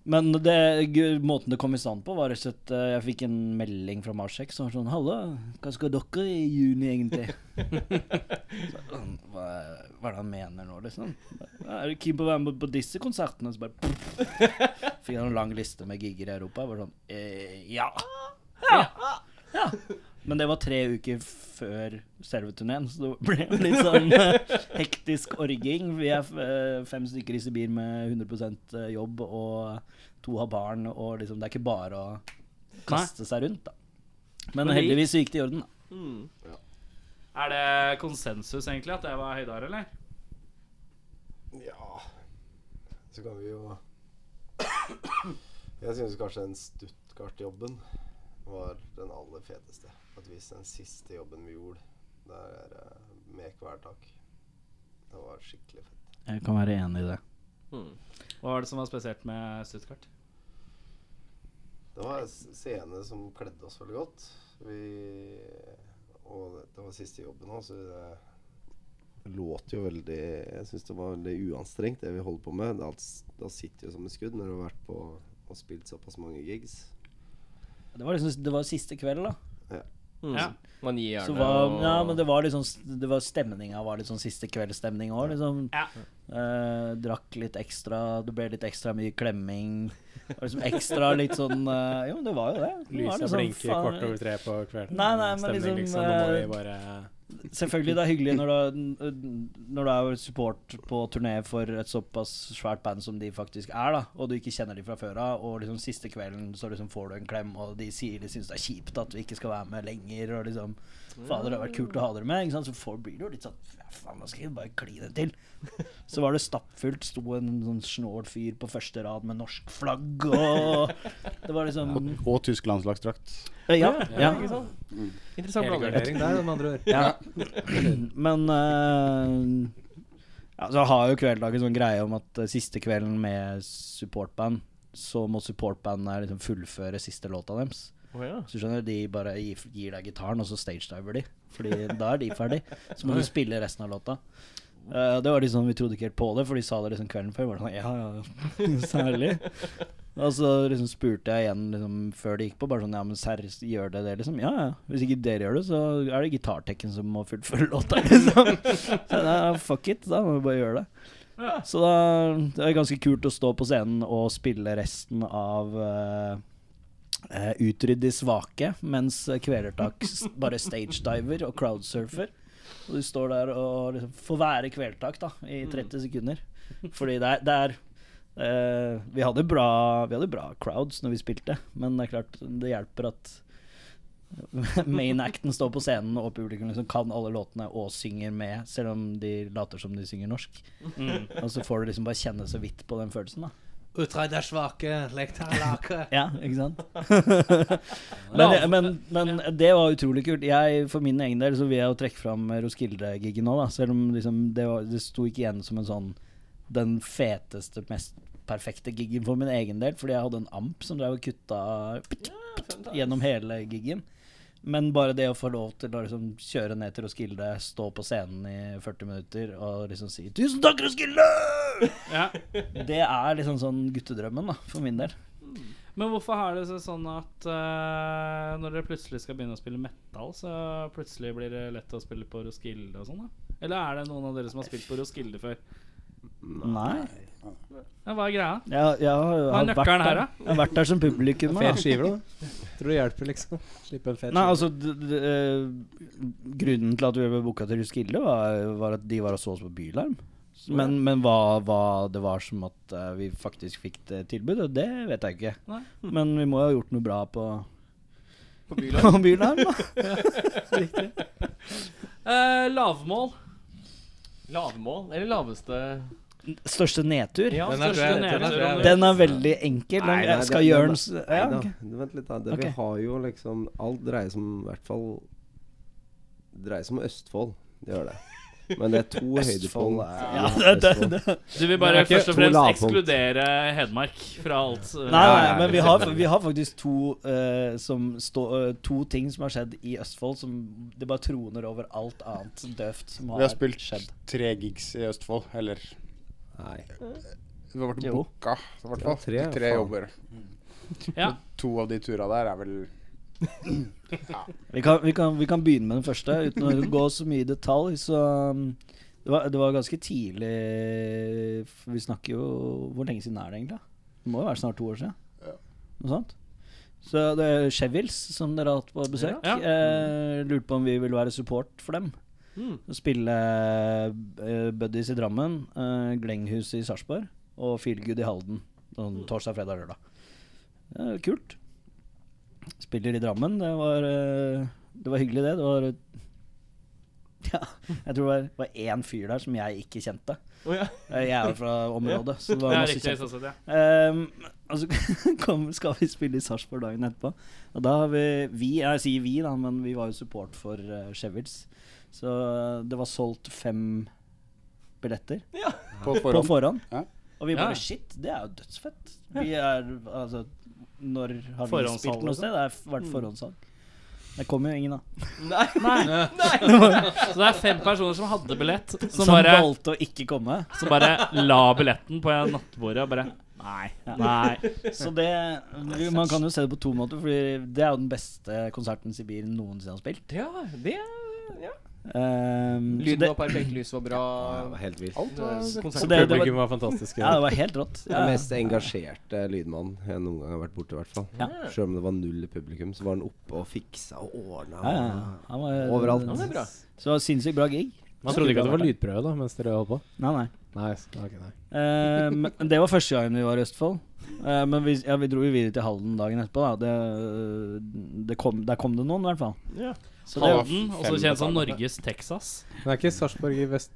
S6: Men det, gu- måten det kom i stand på, var rett og slett eh, Jeg fikk en melding fra Marsek som var sånn 'Halla, hva skal dere i juni, egentlig?' så, jeg sånn, hva, hva er det han mener nå, liksom? «Ja, 'Er du keen på å være med på disse konsertene?' Så bare Fikk han en lang liste med gigger i Europa. Jeg var sånn eh, ja. ja. Ja. Men det var tre uker før selve turneen, så det ble jo litt sånn eh, hektisk orging. Vi er eh, fem stykker i Sibir med 100 jobb, og to har barn, og liksom det er ikke bare å kaste seg rundt, da. Men
S2: Men det gikk.
S6: heldigvis så gikk det i orden, da.
S2: Er det konsensus, egentlig, at det var høydare, eller?
S5: Ja Så kan vi jo Jeg synes kanskje den Stuttgart-jobben var den aller feteste. At hvis den siste jobben vi gjorde, det er eh, med hvertak. Det var skikkelig fett.
S6: Jeg kan være enig i det.
S1: Mm.
S2: Hva var det som var spesielt med Stuttgart?
S5: Det var en s- scene som kledde oss veldig godt. Vi, og det- det var siste jobben òg, så det låt jo veldig Jeg syns det var veldig uanstrengt, det vi holder på med. Det, alt s- det sitter jo som et skudd når du har vært på og spilt såpass mange gigs.
S6: Det var liksom det var siste kveld, da.
S2: Ja.
S1: Mm. Man gir gjerne
S6: Så var,
S1: og-
S6: ja, men det var liksom Det var stemninga var litt sånn siste kveldsstemning òg, liksom.
S2: Ja.
S6: Eh, drakk litt ekstra, det ble litt ekstra mye klemming. Det var liksom ekstra litt sånn eh, Jo, men det var jo det. det var
S4: Lysa
S6: liksom,
S4: blinker
S6: faen,
S4: kvart over tre på kvelden.
S6: Nei, nei, men liksom,
S4: Nå må
S6: eh,
S4: vi bare
S6: Selvfølgelig, det er hyggelig når du, når du er support på turné for et såpass svært band som de faktisk er, da, og du ikke kjenner de fra før av, og liksom siste kvelden så liksom får du en klem, og de sier de syns det er kjipt at du ikke skal være med lenger, og liksom Fader, det har vært kult å ha dere med, ikke sant? så får, blir det jo litt sånn Ja, faen, nå skal vi bare kline til. Så var det stappfullt, sto en sånn snål fyr på første rad med norsk flagg, og det var liksom
S7: Og, og tysk landslagsdrakt.
S6: Ja, ja.
S1: Ikke sant? Interessant
S4: Hele
S1: blanding.
S4: gardering der, med andre ord.
S6: Ja. Men eh, ja, så har jo Kvelddag en sånn greie om at eh, siste kvelden med supportband, så må supportbandet liksom fullføre siste låta deres.
S1: Å, ja.
S6: Så skjønner du, De bare gir, gir deg gitaren, og så stagediver de. Fordi da er de ferdig. Så må du spille resten av låta. Eh, det var liksom, Vi trodde ikke helt på det, for de sa det liksom kvelden før. Bare sånn, ja, ja, ja, særlig Og så liksom spurte jeg igjen liksom, før de gikk på. Bare sånn, ja, men serr, gjør det det? liksom Ja, ja. Hvis ikke dere gjør det, så er det gitartekken som må fullføre låta. liksom Så ja, fuck it, da må vi bare gjøre det. Så da det var ganske kult å stå på scenen og spille resten av eh, eh, Utrydd de svake, mens Kvelertak s- bare stagediver og crowdsurfer. Og du står der og liksom får være Kvelertak da, i 30 sekunder. Fordi det er, det er eh, vi, hadde bra, vi hadde bra crowds når vi spilte, men det er klart det hjelper at main acten står på scenen, og publikum liksom kan alle låtene og synger med, selv om de later som de synger norsk.
S1: Mm.
S6: Og så får du liksom bare kjenne så vidt på den følelsen, da.
S4: Utreid er svake, lek deg lake.
S6: Ja, ikke sant? men, men, men det var utrolig kult. Jeg, For min egen del så vil jeg jo trekke fram Roskilde-giggen òg, da. Selv om liksom det, var, det sto ikke igjen som en sånn den feteste, mest perfekte giggen for min egen del, fordi jeg hadde en amp som drev og kutta gjennom hele giggen. Men bare det å få lov til å liksom kjøre ned til Roskilde, stå på scenen i 40 minutter og liksom si 'Tusen takk, Roskilde!'
S2: Ja.
S6: Det er liksom sånn guttedrømmen, da, for min del.
S2: Men hvorfor er det så sånn at eh, når dere plutselig skal begynne å spille metal, så plutselig blir det lett å spille på Roskilde og sånn? da? Eller er det noen av dere som har spilt på Roskilde før?
S6: Nei.
S2: Ja, hva er greia?
S6: Jeg, jeg har,
S2: Hva
S6: jeg
S2: er
S6: har vært
S2: nøkkelen her,
S6: der,
S2: da?
S6: jeg har vært der som publikum. Da.
S4: Fet skive, da. Tror det hjelper, liksom. Slippe en fet
S6: Nei,
S4: skive.
S6: altså d d eh, Grunnen til at vi ble booka til Roskilde, var, var at de var og så oss på Bylarm. Men, men hva, hva det var som at eh, vi faktisk fikk det tilbudet, det vet jeg ikke.
S2: Nei.
S6: Men vi må jo ha gjort noe bra på,
S7: På Bylarm.
S6: på Bylarm, da.
S2: Eh, lavmål.
S1: Lavmål? Eller laveste
S6: Største nedtur.
S1: Ja,
S4: Den er
S2: største
S4: drøy, den er
S2: nedtur,
S4: drøy.
S2: om du-
S6: Den er veldig enkel.
S5: Nei, nei,
S6: Den skal
S5: det-
S6: gjøre
S5: den-
S6: den s- ja,
S5: Nei
S6: ok.
S5: da, vent litt da. Det,
S6: Ok.
S5: Vi har jo liksom Alt dreier seg om i hvert fall Dreier seg om Østfold. Det gjør det. Men det er to
S6: Østfold
S5: høydepunkt.
S6: er-
S5: Ja,
S6: ja, det,
S5: Østfold.
S6: det, det.
S2: Du vil bare først og fremst
S5: lavpunkt.
S2: ekskludere Hedmark fra alt. eh,
S6: Nei,
S5: Ja, ja,
S6: nei,
S5: ja.
S6: men vi har, vi har faktisk to, eh, som stå, eh, to ting som har skjedd i Østfold, som det bare troner over alt annet døvt som
S7: Vi
S6: har,
S7: har spilt
S6: skjedd.
S7: tre gigs i Østfold, eller
S5: Nei.
S7: Vi har vært
S6: Jo.
S7: booka, i hvert fall.
S4: Ja, tre,
S7: Tre
S4: faen.
S7: jobber.
S2: Ja.
S7: To av de turene der er vel
S6: Vi kan, vi, kan, vi kan begynne med den første, uten å gå så mye i detalj. Så um, det var, det var ganske tidlig for Vi snakker jo Hvor lenge siden er det egentlig? da? Det må jo være snart to år siden.
S7: Ja.
S6: Noe sånt. Så det er Chevils, som dere har hatt på besøk,
S2: Ja.
S6: Eh, lurte på om vi ville være support for dem.
S1: Mm.
S6: Spille eh, Buddies i Drammen, eh, Glenghuset i Sarpsborg og Feelgood i Halden. Sånn torsdag, fredag, lørdag. Eh, kult. Spiller i Drammen. Det var, eh, det var hyggelig, det. Det var Ja, jeg tror det var, var én fyr der som jeg ikke kjente.
S1: Å, ja.
S6: Eh, Jeg er jo fra området, så det
S2: Det
S6: var
S2: er
S6: masse
S2: riktig.
S6: kjente.
S2: sånn sett, ja.
S6: Um, og så kom, skal vi spille i Sarpsborg dagen etterpå. Og da har vi, vi Jeg sier vi, da, men vi var jo support for uh, Shepherds. Så eh, det var solgt fem billetter
S7: På
S6: på
S7: forhånd.
S6: forhånd.
S7: Ja.
S6: Og vi
S2: Ja.
S6: bare Shit, det er jo dødsfett. Vi er altså Når har vi
S2: Forhåndssalg,
S6: spilt noe
S2: liksom.
S6: sted? Det har vært forhåndssalg. Det kom jo ingen, da.
S1: Nei.
S2: Så det er fem personer som hadde billett, som
S6: Som
S2: bare,
S6: valgte å ikke komme.
S2: som bare la billetten på nattbordet og bare Nei. Nei.
S6: Så det Man kan jo se det på to måter, for det er jo den beste konserten Sibir noensinne har spilt.
S1: Ja, det ja.
S6: Um, så
S1: Lyden
S6: det,
S1: var perfekt, lyset var bra.
S5: Ja, det var helt vilt.
S7: Alt var
S6: så det, det var,
S4: Publikum var fantastisk.
S6: ja, det var helt rått.
S5: Det er
S6: Ja.
S5: den mest engasjerte lydmannen jeg noen gang har vært borti, i hvert fall.
S6: Ja.
S5: Selv om det var null i publikum, så var han oppe og fiksa og ordna.
S6: Ja, ja. Han var,
S5: Overalt.
S1: Ja, det er bra.
S6: Så det var sinnssykt bra gig.
S4: Man trodde ikke at det var lydprøve da mens dere holdt på.
S6: Nei, nei.
S4: Nei, s- ok, nei.
S6: Eh, men det var første gangen vi var i Østfold. Eh, men vi, ja, vi dro jo videre til Halden dagen etterpå. Da. Det, eh, det kom, der kom det noen, i hvert fall. Så det,
S2: Halden, også kjent som Norges Texas.
S4: Men det er ikke Sarpsborg i vest...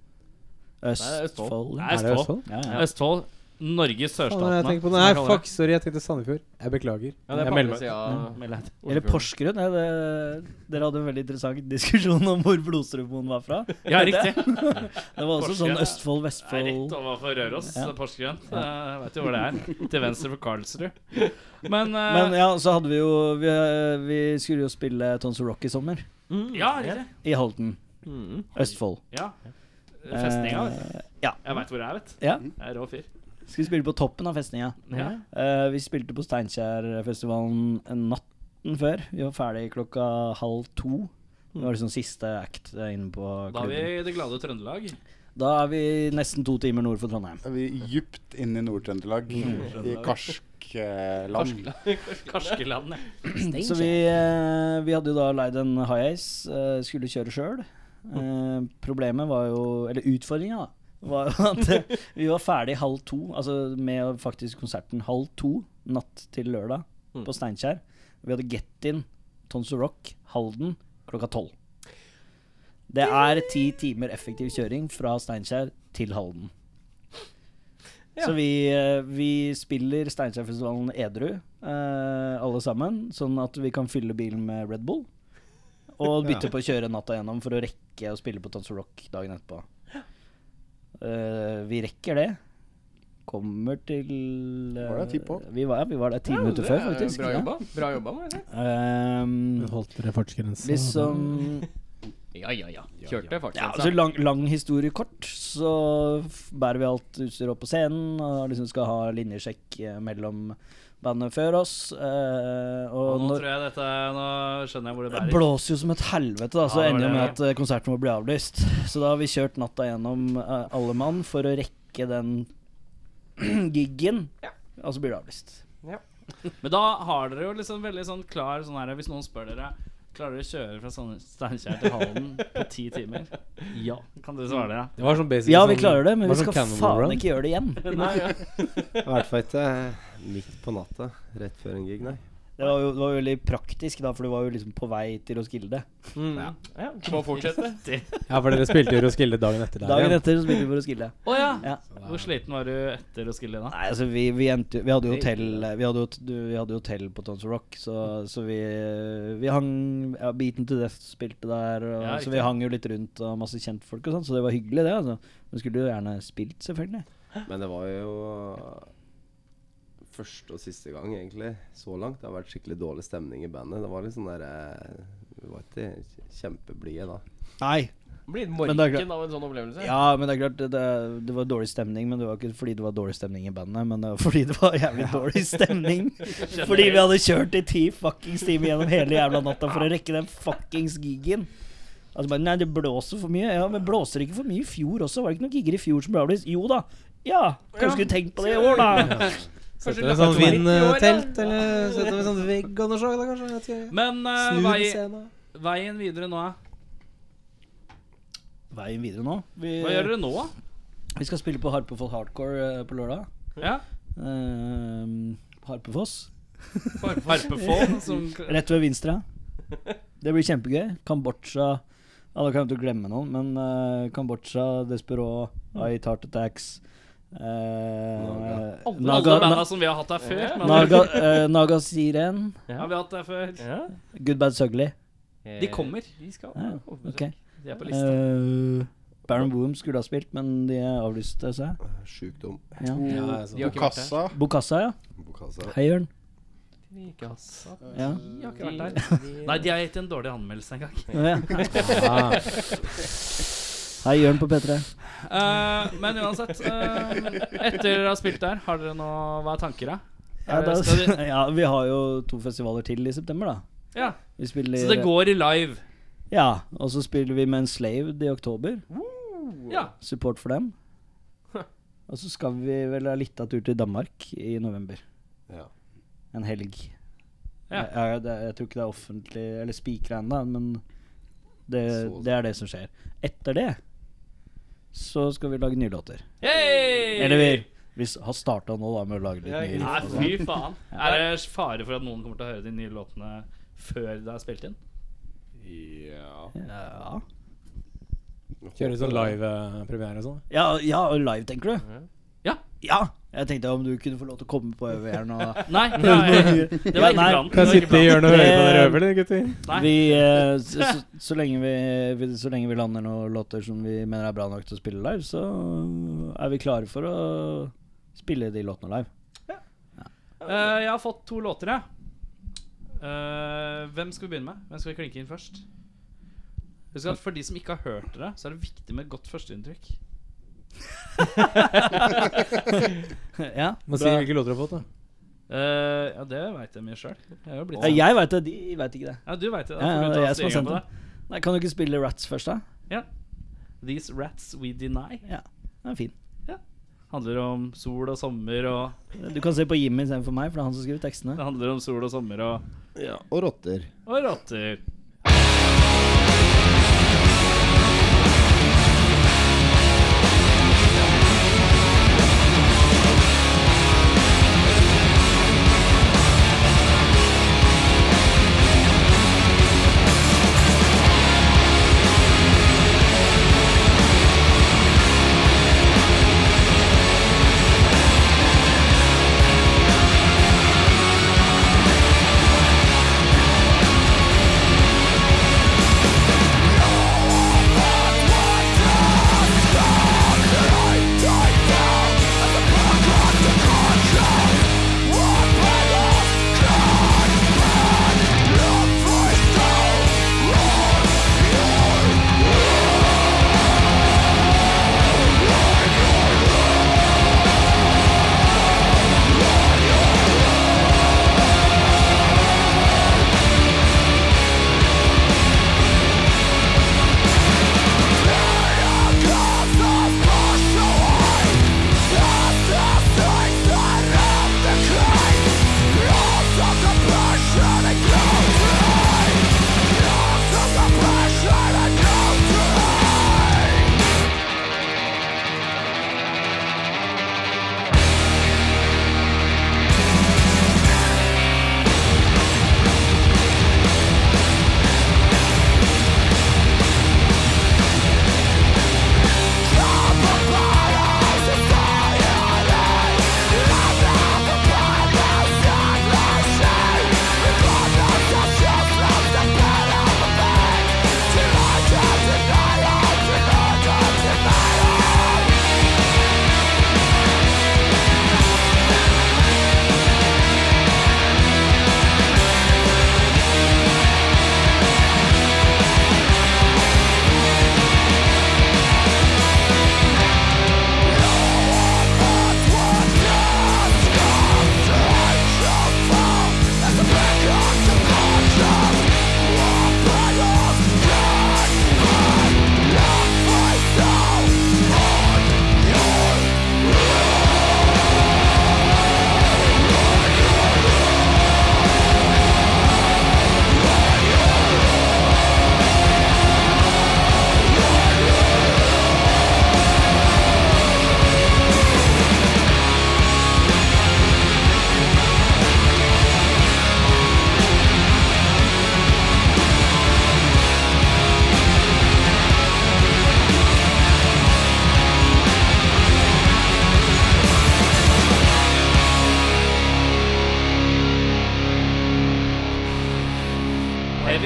S1: det er Østfold.
S6: Østfold.
S2: Nei,
S4: Er det
S2: Østfold.
S4: Østfold?
S6: Ja, ja.
S2: Østfold. Norges
S4: Faen, jeg
S2: sørstatene.
S4: tenker på
S2: som
S4: det. Nei,
S2: jeg kaller
S4: fuck, sorry, jeg tenkte Sandefjord. Jeg beklager.
S1: Ja, det er
S4: jeg
S1: på andre
S4: melder meg.
S1: sida. av
S2: det.
S6: Eller Porsgrunn. Ja, det, dere hadde en veldig interessant diskusjon om hvor blodstrupen var fra.
S2: Ja, riktig.
S6: Det var også
S2: Porsgrunn,
S6: sånn
S2: ja.
S6: Østfold,
S2: Det er rett
S6: Vestfold
S2: overfor Røros,
S6: Ja.
S2: Porsgrunn. Eh, Vet jo hvor det er. Til venstre for Karlsrud. Men, eh,
S6: Men ja, så hadde vi jo Vi, eh, vi skulle jo spille Tons of Rock i sommer.
S2: ja, riktig.
S6: I Halden.
S1: Mm.
S6: Østfold.
S2: Ja. Festninga, vet du.
S6: Eh, ja.
S2: Jeg veit hvor det er, vet du.
S6: ja.
S2: Jeg er rå fyr.
S6: Skulle spille på toppen av festninga.
S2: Ja.
S6: Eh, vi spilte på Steinkjerfestivalen natten før. Vi var ferdig klokka halv to. Det var liksom siste act eh, inne på
S2: Da er vi
S6: klubben.
S2: i det glade Trøndelag.
S6: Da er vi nesten to timer nord for Trondheim.
S7: Er vi djupt inne i Nord-Trøndelag, i eh, Karskland.
S2: Karskeland, ja.
S6: Så vi, eh, vi hadde jo da leid en high ace, eh, skulle kjøre sjøl. Eh,
S2: Mm.
S6: problemet var jo Eller utfordringa, da. Var jo at eh, vi var ferdig halv to, altså med faktisk konserten halv to natt til lørdag
S2: Mm.
S6: på Steinkjer. Vi hadde Get In, Tons of Rock, Halden klokka tolv. Det er ti timer effektiv kjøring fra Steinkjer til Halden. Så vi, eh, vi spiller Steinkjerfestivalen edru, eh, alle sammen, sånn at vi kan fylle bilen med Red Bull. Og bytte på å kjøre natta gjennom for å rekke å spille på Tons of Rock dagen etterpå. Eh, vi rekker det. Kommer til eh,
S7: Var det ti på?
S6: Vi var, ja, vi var der ti
S1: Ja,
S6: minutter
S1: det
S6: før,
S1: er
S6: faktisk.
S1: Bra
S6: ja.
S1: jobba. Bra jobba må jeg si.
S6: Ehm,
S4: Holdt dere altså? fartsgrensa?
S6: liksom
S1: Ja, ja, ja. Kjørte faktisk.
S6: ja, altså lang, lang historie kort, så f- bærer vi alt utstyret opp på scenen og liksom skal ha linjesjekk eh, mellom bandene før oss. eh,
S2: Og
S6: og
S2: nå
S6: når,
S2: tror jeg dette Nå skjønner jeg hvor det
S6: det
S2: bærer.
S6: blåser jo som et helvete, da,
S2: Ja,
S6: så
S2: det var
S6: ender det med
S2: det,
S6: at eh, konserten vår blir avlyst. Så da har vi kjørt natta gjennom eh, alle mann for å rekke den giggen,
S1: Ja.
S6: og så blir det avlyst.
S2: Men da har dere jo liksom veldig sånn klar sånn her Hvis noen spør dere Klarer dere å kjøre fra Sand- Steinkjer til Halden på ti timer? Ja. Kan dere svare det?
S4: Det var sånn basic
S6: Ja, vi
S4: sånn-
S6: klarer det, men
S4: var
S6: vi
S4: sånn
S6: skal
S4: Cannonball Run.
S6: faen ikke gjøre det igjen.
S5: I hvert fall ikke midt på natta, rett før en gig, nei.
S6: Det var jo, det var jo veldig praktisk, da, for du var jo liksom på vei til Roskilde.
S1: Ja. ja. Må fortsette.
S4: Ja, for dere spilte jo Roskilde dagen etter der
S6: Dagen
S4: igjen.
S6: etter så spilte vi på Roskilde.
S2: Å ja.
S6: Ja.
S2: Hvor sliten var du etter Roskilde da?
S6: Nei, altså vi, vi, endte, jo- vi hadde jo hotell Vi hadde jo, t- du- vi hadde jo hotell på Tons of Rock, så, så vi, vi hang ja, Beaten to Death spilte der, og,
S2: Ja,
S6: så
S2: riktig.
S6: vi hang jo litt rundt og masse kjentfolk og sånn, så det var hyggelig, det. altså Men skulle jo gjerne spilt, selvfølgelig.
S5: Men det var jo første og siste gang, egentlig, så langt. Det har vært skikkelig dårlig stemning i bandet. Det var litt sånn derre Vi var ikke kjempeblide da.
S6: Nei.
S1: Blir
S6: Men det er klart-
S1: morken av en sånn opplevelse.
S6: Ja, men det er klart, det, det, det var dårlig stemning, men det var ikke fordi det var dårlig stemning i bandet, men det var fordi det var jævlig dårlig stemning. Fordi vi hadde kjørt i ti fuckings timer gjennom hele jævla natta for å rekke den fuckings gigen. Altså bare, Nei, det blåser for mye. Ja, Men blåser det ikke for mye i fjor også? Var det ikke noen gigger i fjor som ble avlyst? Jo da. Ja,
S1: Ja.
S6: kanskje du tenkt på det i år, da.
S1: Kanskje
S4: Setter vi
S1: det
S4: sånn
S1: var midt i år, ja.
S4: vindtelt, eller setter vi sånn vegg av noe slag, da kanskje? Jeg vet ikke.
S2: Men eh,
S4: Snur
S2: vei,
S4: ved scenen.
S2: veien videre nå, eh.
S6: Veien videre nå. Vi,
S2: hva gjør dere nå?
S6: vi skal spille på Harpefoss Hardcore eh, på lørdag.
S2: Ja?
S6: Eh, Harpefoss.
S2: Harpefold som
S6: Rett ved Vinstra. Det blir kjempegøy. Kambodsja, Alle kommer til å glemme noen, men eh, Kambodsja, Desperaux, I Tart Attacks eh,
S2: Alle
S6: Mm. Naga,
S2: banda
S6: na,
S2: som vi har hatt der før. men-
S6: Naga, eh, Naga Siren,
S2: Ja, vi har hatt der før.
S6: Good Bad Sugly.
S1: Eh,
S2: De kommer. De skal
S6: Ja, ok.
S2: De er på lista.
S6: Uh, Baron Boom skulle ha spilt, men de avlyste seg.
S5: Sjukdom.
S6: Ja. altså.
S4: altså.
S1: De har ikke vært der.
S7: Kassa.
S6: Bokassa, ja.
S5: Bokasa.
S6: Hei, Jørn.
S1: De har ikke hatt-
S6: Ja.
S1: de har ikke vært der. De-
S2: Nei, de har gitt en dårlig anmeldelse en gang.
S6: Hei, Jørn på P3.
S2: Eh, men uansett, eh, etter dere har spilt der, har dere nå Hva er tanker, da?
S6: Ja,
S2: Er
S6: da,
S2: det- skal du-
S6: ja, vi har jo to festivaler til i september, da.
S2: Ja,
S6: Vi spiller
S2: Så det går i live.
S6: Ja, og så spiller vi med Enslaved i oktober.
S2: Ja.
S6: Support for dem. Og så skal vi vel ha litt av tur til Danmark i november.
S5: Ja.
S6: En helg.
S2: Ja.
S6: Jeg, jeg, det, jeg tror ikke det er offentlig eller spikra ennå, men det,
S5: Så-
S6: det er det som skjer. Etter det så skal vi lage nye låter.
S2: Hey!
S6: Eller vi, vi s- har starta nå da med å lage litt
S2: Nei,
S6: nye riff og sånn.
S2: fy faen. Er det fare for at noen kommer til å høre de nye låtene før det er spilt inn?
S7: Ja.
S6: Ja.
S4: Kjøre sånn live-premiere og sånn.
S6: Ja, ja, og live, tenker du?
S2: Ja.
S6: Ja! Jeg tenkte om du kunne få lov til å komme på øve her nå. da.
S2: Nei, det, er, det var
S6: Ja, nei.
S2: ikke planen. Det
S4: Kan
S2: var ikke
S4: jeg sitte i
S2: planen.
S4: hjørnet og høre på dere
S6: Eh,
S4: øve, eller, gutter?
S2: Nei.
S6: Vi, eh, så, så, så, lenge vi, vi, så lenge vi lander noen låter som vi mener er bra nok til å spille live, så mm, er vi klare for å spille de låtene live.
S2: Eh, jeg har fått to låter, jeg. Eh, hvem skal vi begynne med? Hvem skal vi klinke inn først? Husk at For de som ikke har hørt dere, så er det viktig med et godt førsteinntrykk.
S6: ja,
S4: Må si
S6: bra.
S4: hvilke låter du har fått, da.
S2: Eh, ja, det veit jeg mye sjøl.
S6: Ja, jeg veit det, de veit ikke det.
S2: Ja, du veit det. Da
S6: Ja,
S2: får
S6: ja,
S2: du
S6: det er
S2: ta
S6: jeg som har
S2: styringa
S6: sendt
S2: på det.
S6: Nei, Kan du ikke spille Rats først, da?
S2: These Rats We Deny
S6: Ja, den er fin.
S2: handler om sol og sommer og
S6: Du kan se på Jimmy istedenfor meg, for det er han som skriver tekstene.
S2: Det handler om sol og sommer og
S5: ja. Og rotter.
S2: Og rotter.
S8: Thank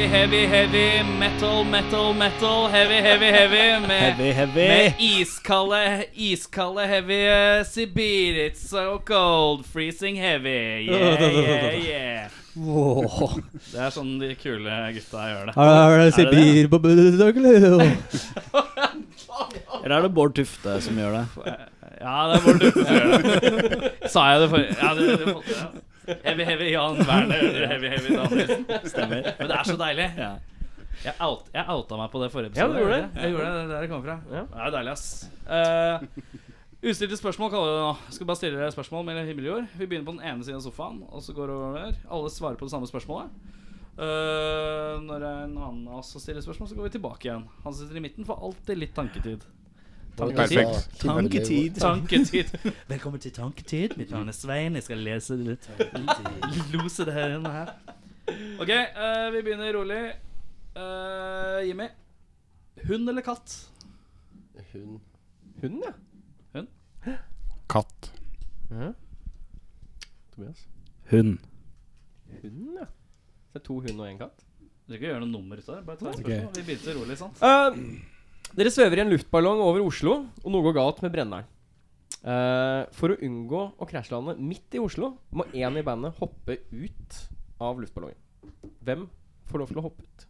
S2: heavy, heavy metal, metal, metal. Heavy, heavy, heavy. Med,
S6: Heavy, heavy.
S2: med iskalde, iskalde heavy eh, Sibir. It's so cold. Freezing heavy. Yeah, yeah, yeah.
S6: Wow.
S2: Det er sånn de kule gutta gjør det.
S4: Er det
S2: Er det det?
S4: Sibir-bobbelø?
S6: Eller er det Bård Tufte som gjør det?
S2: Ja, det er Bård Tufte som gjør det. Sa jeg det forrige? Ja, det, det, det, ja. Heavy, heavy Jan Werner. eller Heavy, heavy Danielsen.
S6: Stemmer.
S2: Men det er så deilig.
S6: Ja.
S2: Jeg, out, jeg outa meg på det forrige
S1: Ja,
S2: episode.
S1: du gjorde det.
S2: Jeg gjorde det, det er der det kommer fra.
S1: Ja.
S2: Det er deilig, ass. Eh, ustilte spørsmål kaller vi det nå. Skal bare stille dere spørsmål mellom himmel og jord. Vi begynner på den ene siden av sofaen, og så går det over. Alle svarer på det samme spørsmålet. Eh, når det er en annen av oss som stiller spørsmål, så går vi tilbake igjen. Han sitter i midten, får alltid litt tanketid.
S7: Perfekt.
S6: Tanketid.
S2: Tanketid. Velkommen til Tanketid. Mitt navn er Svein. Jeg skal lese det litt. Lose det her inne her. OK, eh, vi begynner rolig. Eh, Jimmy. Hund eller katt?
S5: Hun
S1: Hund, ja.
S7: Katt.
S1: Tobias.
S6: Hund.
S1: Hund, ja. Så det er to hund og én katt.
S2: Du kan ikke gjøre noe nummer ut av det. Bare ta et
S4: Ok.
S2: spørsmål. Vi begynte rolig, sånn. sant?
S1: Eh, dere svever i en luftballong over Oslo, og noe går galt med brenneren. Eh, for å unngå å krasjlande midt i Oslo, må én i bandet hoppe ut av luftballongen. Hvem får lov til å hoppe ut?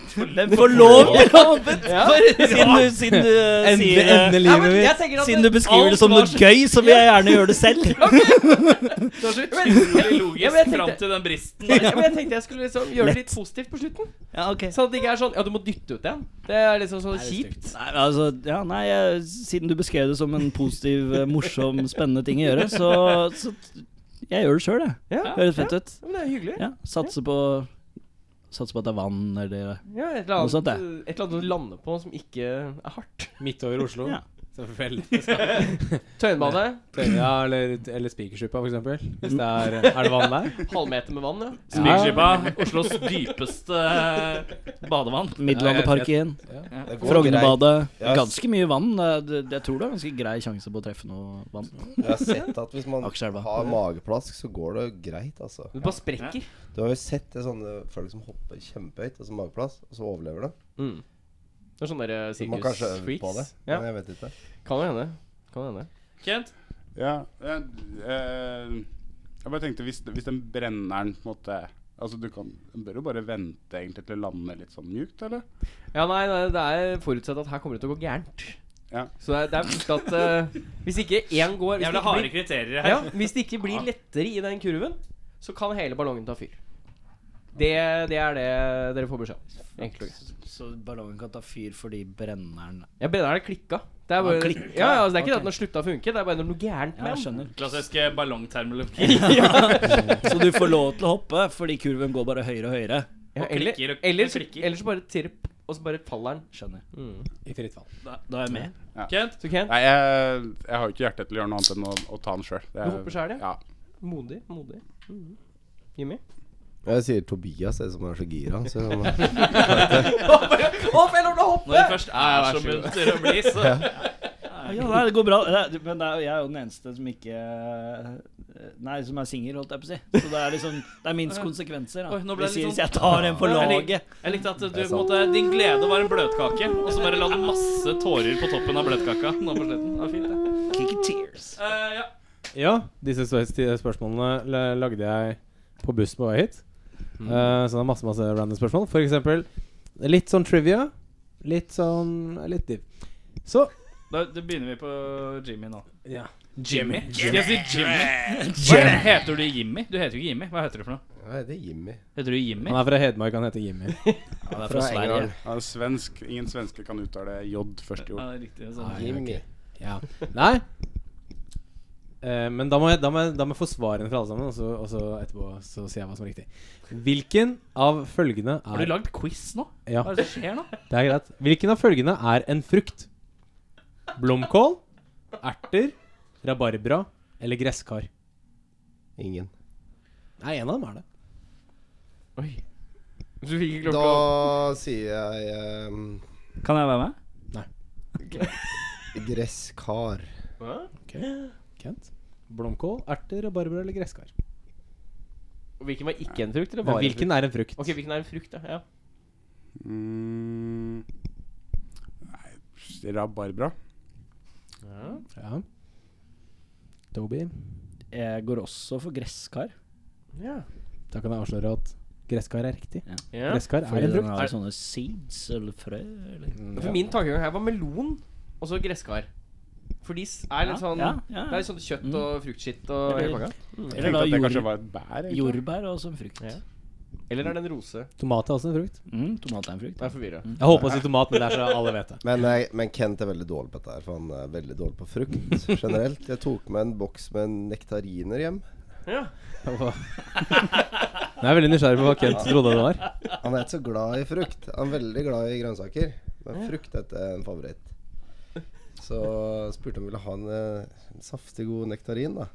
S6: Hvem får lov til å hoppe?
S1: Ja.
S6: Siden du, siden du eh, sier det-
S4: Ende livet mitt.
S6: Siden du beskriver det som noe gøy, så vil jeg gjerne gjøre det selv.
S2: Det var så utrolig
S1: Ja,
S2: logisk
S1: men jeg
S2: fram
S1: tenkte-
S2: til den bristen.
S1: Nei, men jeg tenkte jeg skulle liksom gjøre det litt positivt på slutten.
S6: Ja, ok
S1: Sånn at det ikke er sånn Ja, du må dytte ut en. Det er liksom så kjipt.
S6: Nei, men altså, ja, nei, jeg- siden du beskrev det som en positiv, eh, morsom, spennende ting å gjøre, så, så t- Jeg gjør det sjøl, jeg.
S1: Ja,
S6: Det
S1: ja,
S6: Høres fett ut.
S1: men det er hyggelig.
S6: Ja, satser på Satser på at det er vann, eller
S1: Ja, et eller
S6: Noe sånt,
S1: annet, eh,
S6: det.
S1: et eller annet du lander på som ikke er hardt.
S4: Midt over Oslo.
S6: Ja.
S4: Selvfølgelig.
S1: Tøyenbane.
S4: Ja, eller, eller Spikersuppa, for eksempel. Hvis det er Er det vann der?
S1: Halvmeter med vann, ja.
S2: Spikerslipa, Oslos dypeste eh, badevann.
S6: Middelandeparken,
S5: Det går greit.
S6: Frognerbadet.
S5: Ja.
S6: Ganske mye vann. eh, det- Jeg tror det er ganske grei sjanse på å treffe noe vann.
S5: Jeg har sett at hvis man
S6: Aksjeelva.
S5: har mageplask, så går det greit, altså.
S1: Du bare sprekker.
S5: Du har jo sett det sånne folk som hopper kjempehøyt, altså mageplask, og så overlever det.
S1: Mm. Det er sånne der
S5: Du må kanskje øve på det,
S1: sirkus-freaks. Ja,
S5: men jeg vet ikke.
S1: kan jo hende. Kan jo hende.
S2: Kent?
S7: Ja. Jeg, eh, jeg bare tenkte, hvis, hvis den brenneren på en måte Altså, du kan Den bør jo bare vente egentlig til det lander litt sånn mjukt, eller?
S1: Ja, nei, nei, det er forutsatt at her kommer det til å gå gærent.
S7: Ja.
S1: Så det er, det er viktig at eh, Hvis ikke én går hvis
S2: Jævla
S1: det,
S2: harde
S1: ikke blir,
S2: kriterier
S1: ja,
S2: her.
S1: hvis det ikke blir lettere i den kurven, så kan hele ballongen ta fyr. Det, det er det dere får beskjed om. Enkelt og greit.
S6: Så ballongen kan ta fyr fordi brenneren
S1: Jeg brenner det klikka. Det er, bare,
S6: Ah, klikka.
S1: Ja, ja, altså, det er ikke det
S6: Ok.
S1: at den har slutta å funke, det er bare når noe gærent
S6: Ja, jeg
S1: med den.
S6: skjønner.
S2: Klassisk eh, ballongtermologi.
S6: Så du får lov til å hoppe fordi kurven går bare høyere og høyere.
S1: Ja,
S2: Og
S1: eller,
S2: klikker og-
S1: eller,
S2: og klikker.
S1: eller så bare tirp, og så bare faller den.
S6: Skjønner.
S4: I fritt fall.
S6: Da, da er jeg med.
S2: Kent?
S1: Så Kent,
S7: Nei, jeg, jeg har jo ikke hjerte til å gjøre noe annet enn å, å ta den sjøl.
S1: Du hopper selv,
S7: ja?
S1: modig, modig. Mhm. Jimmy?
S5: Jeg sier Tobias, jeg som er så gira. Så
S1: Å, for jeg lar deg
S2: Når det
S1: hoppe!
S2: først er så munter å bli, så
S6: Ja, nei, det går bra. Det er- Men det er, jo- jeg er jo den eneste som ikke eh, Nei, som er singel, holdt jeg på å si. Så det er liksom Det er minst konsekvenser. Da.
S2: Oi, nå ble
S6: Hvis
S2: det litt
S6: hvis
S2: sånn-
S6: jeg tar en på
S2: Ja, jeg
S6: laget
S2: Jeg likte at du, på en måte, din glede var en bløtkake, og så bare la du masse tårer på toppen av bløtkaka. Nå på slutten. Det var fint, det.
S6: Kick tears.
S2: Eh, ja.
S4: Ja, disse spør- sti- spørsmålene la- lagde jeg på bussen på vei hit. Eh, så det er masse masse random spørsmål. For eksempel litt sånn trivia. Litt sånn Litt div. Så
S2: Da, da begynner vi på Jimmy nå.
S4: Ja.
S2: Jimmy? Skal jeg si Jimmy? Hva er- heter du Jimmy? Du heter jo ikke Jimmy. Hva heter du for noe?
S5: Hva heter Jimmy?
S2: Heter du Jimmy?
S4: Han er fra Hedmark, han heter Jimmy.
S6: Han er fra Sverige.
S7: Ja, en svensk, ingen svenske kan uttale J første
S2: Ja,
S7: ord.
S2: det er riktig. Sånn.
S5: Jimmy.
S4: Ja. Nei. Eh, men da må, jeg, da, må jeg, da må jeg få svarene fra alle sammen, og så, og så etterpå så sier jeg hva som er riktig. Hvilken av følgende
S2: Har du
S4: er
S2: lagd quiz nå?
S4: Ja,
S2: Hva er det som skjer nå?
S4: det er greit. Hvilken av følgende er en frukt? Blomkål, erter, rabarbra eller gresskar?
S5: Ingen.
S4: Nei, en av dem er det.
S1: Oi. Du fikk ikke klokka
S5: Da sier jeg ehm,
S2: Kan jeg være med?
S5: gresskar.
S1: Hva?
S4: Kent. Blomkål, erter, rabarbra eller gresskar?
S1: Og Hvilken var ikke en frukt, eller
S4: Men
S1: var en
S4: hvilken er en frukt?
S1: frukt? Ok, hvilken er en frukt, da? Ja.
S7: Mm. Nei, Rabarbra.
S4: Ja. Toby.
S6: Jeg går også for gresskar.
S1: Ja.
S4: Da kan jeg avsløre at gresskar er riktig.
S1: Ja.
S4: Gresskar er
S6: Fordi
S4: en
S6: den
S4: frukt.
S6: har sånne seeds eller frø eller
S1: For min tankegang her var melon og så gresskar. For de s- er litt
S6: Ja,
S1: sånn
S6: ja, ja.
S1: Det er litt sånn kjøtt
S6: Mm.
S1: og fruktskitt og
S6: Eller-
S1: hele pakka.
S7: Jeg
S6: Mm. Eller
S7: tenkte
S6: da
S7: at det kanskje
S6: jord,
S7: var et bær. egentlig.
S6: jordbær og som frukt.
S1: Ja. Eller er det en rose?
S4: Tomat er også en frukt.
S6: Mm, tomat er en frukt.
S1: Jeg er forvirra.
S4: Jeg håper å si tomat, men det er så alle vet det.
S5: Men, eh, men Kent er veldig dårlig på dette her, for han er veldig dårlig på frukt generelt. Jeg tok med en boks med nektariner hjem.
S1: Ja.
S4: Nå er jeg veldig nysgjerrig på hva Kent trodde det var.
S5: Han er ikke så glad i frukt. Han er veldig glad i grønnsaker, men frukt er ikke en favoritt. Så spurte han om han ville ha en, eh, en saftig, god nektarin, da.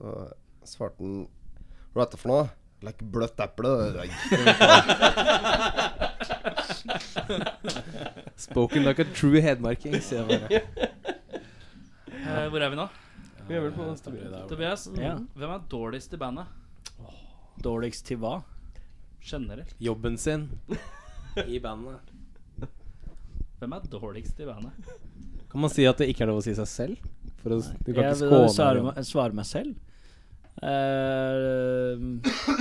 S5: Og svarte han Hva er dette for noe? Like bløtt eple? det er-
S4: Spoken like a true hedmarking, sier jeg bare.
S2: Eh, hvor er vi nå?
S1: Vi er vel på
S2: Tobias, mm,
S6: Ja.
S2: hvem er dårligst i bandet?
S6: Dårligst til hva?
S2: Generelt.
S4: Jobben sin. I bandet.
S2: Hvem er dårligst i bandet?
S4: Kan man si at det ikke er lov å si seg selv? For å, du kan
S6: Jeg
S4: ikke
S6: vil
S4: skåne
S6: svare,
S4: eller-
S6: meg- svare meg selv. Eh,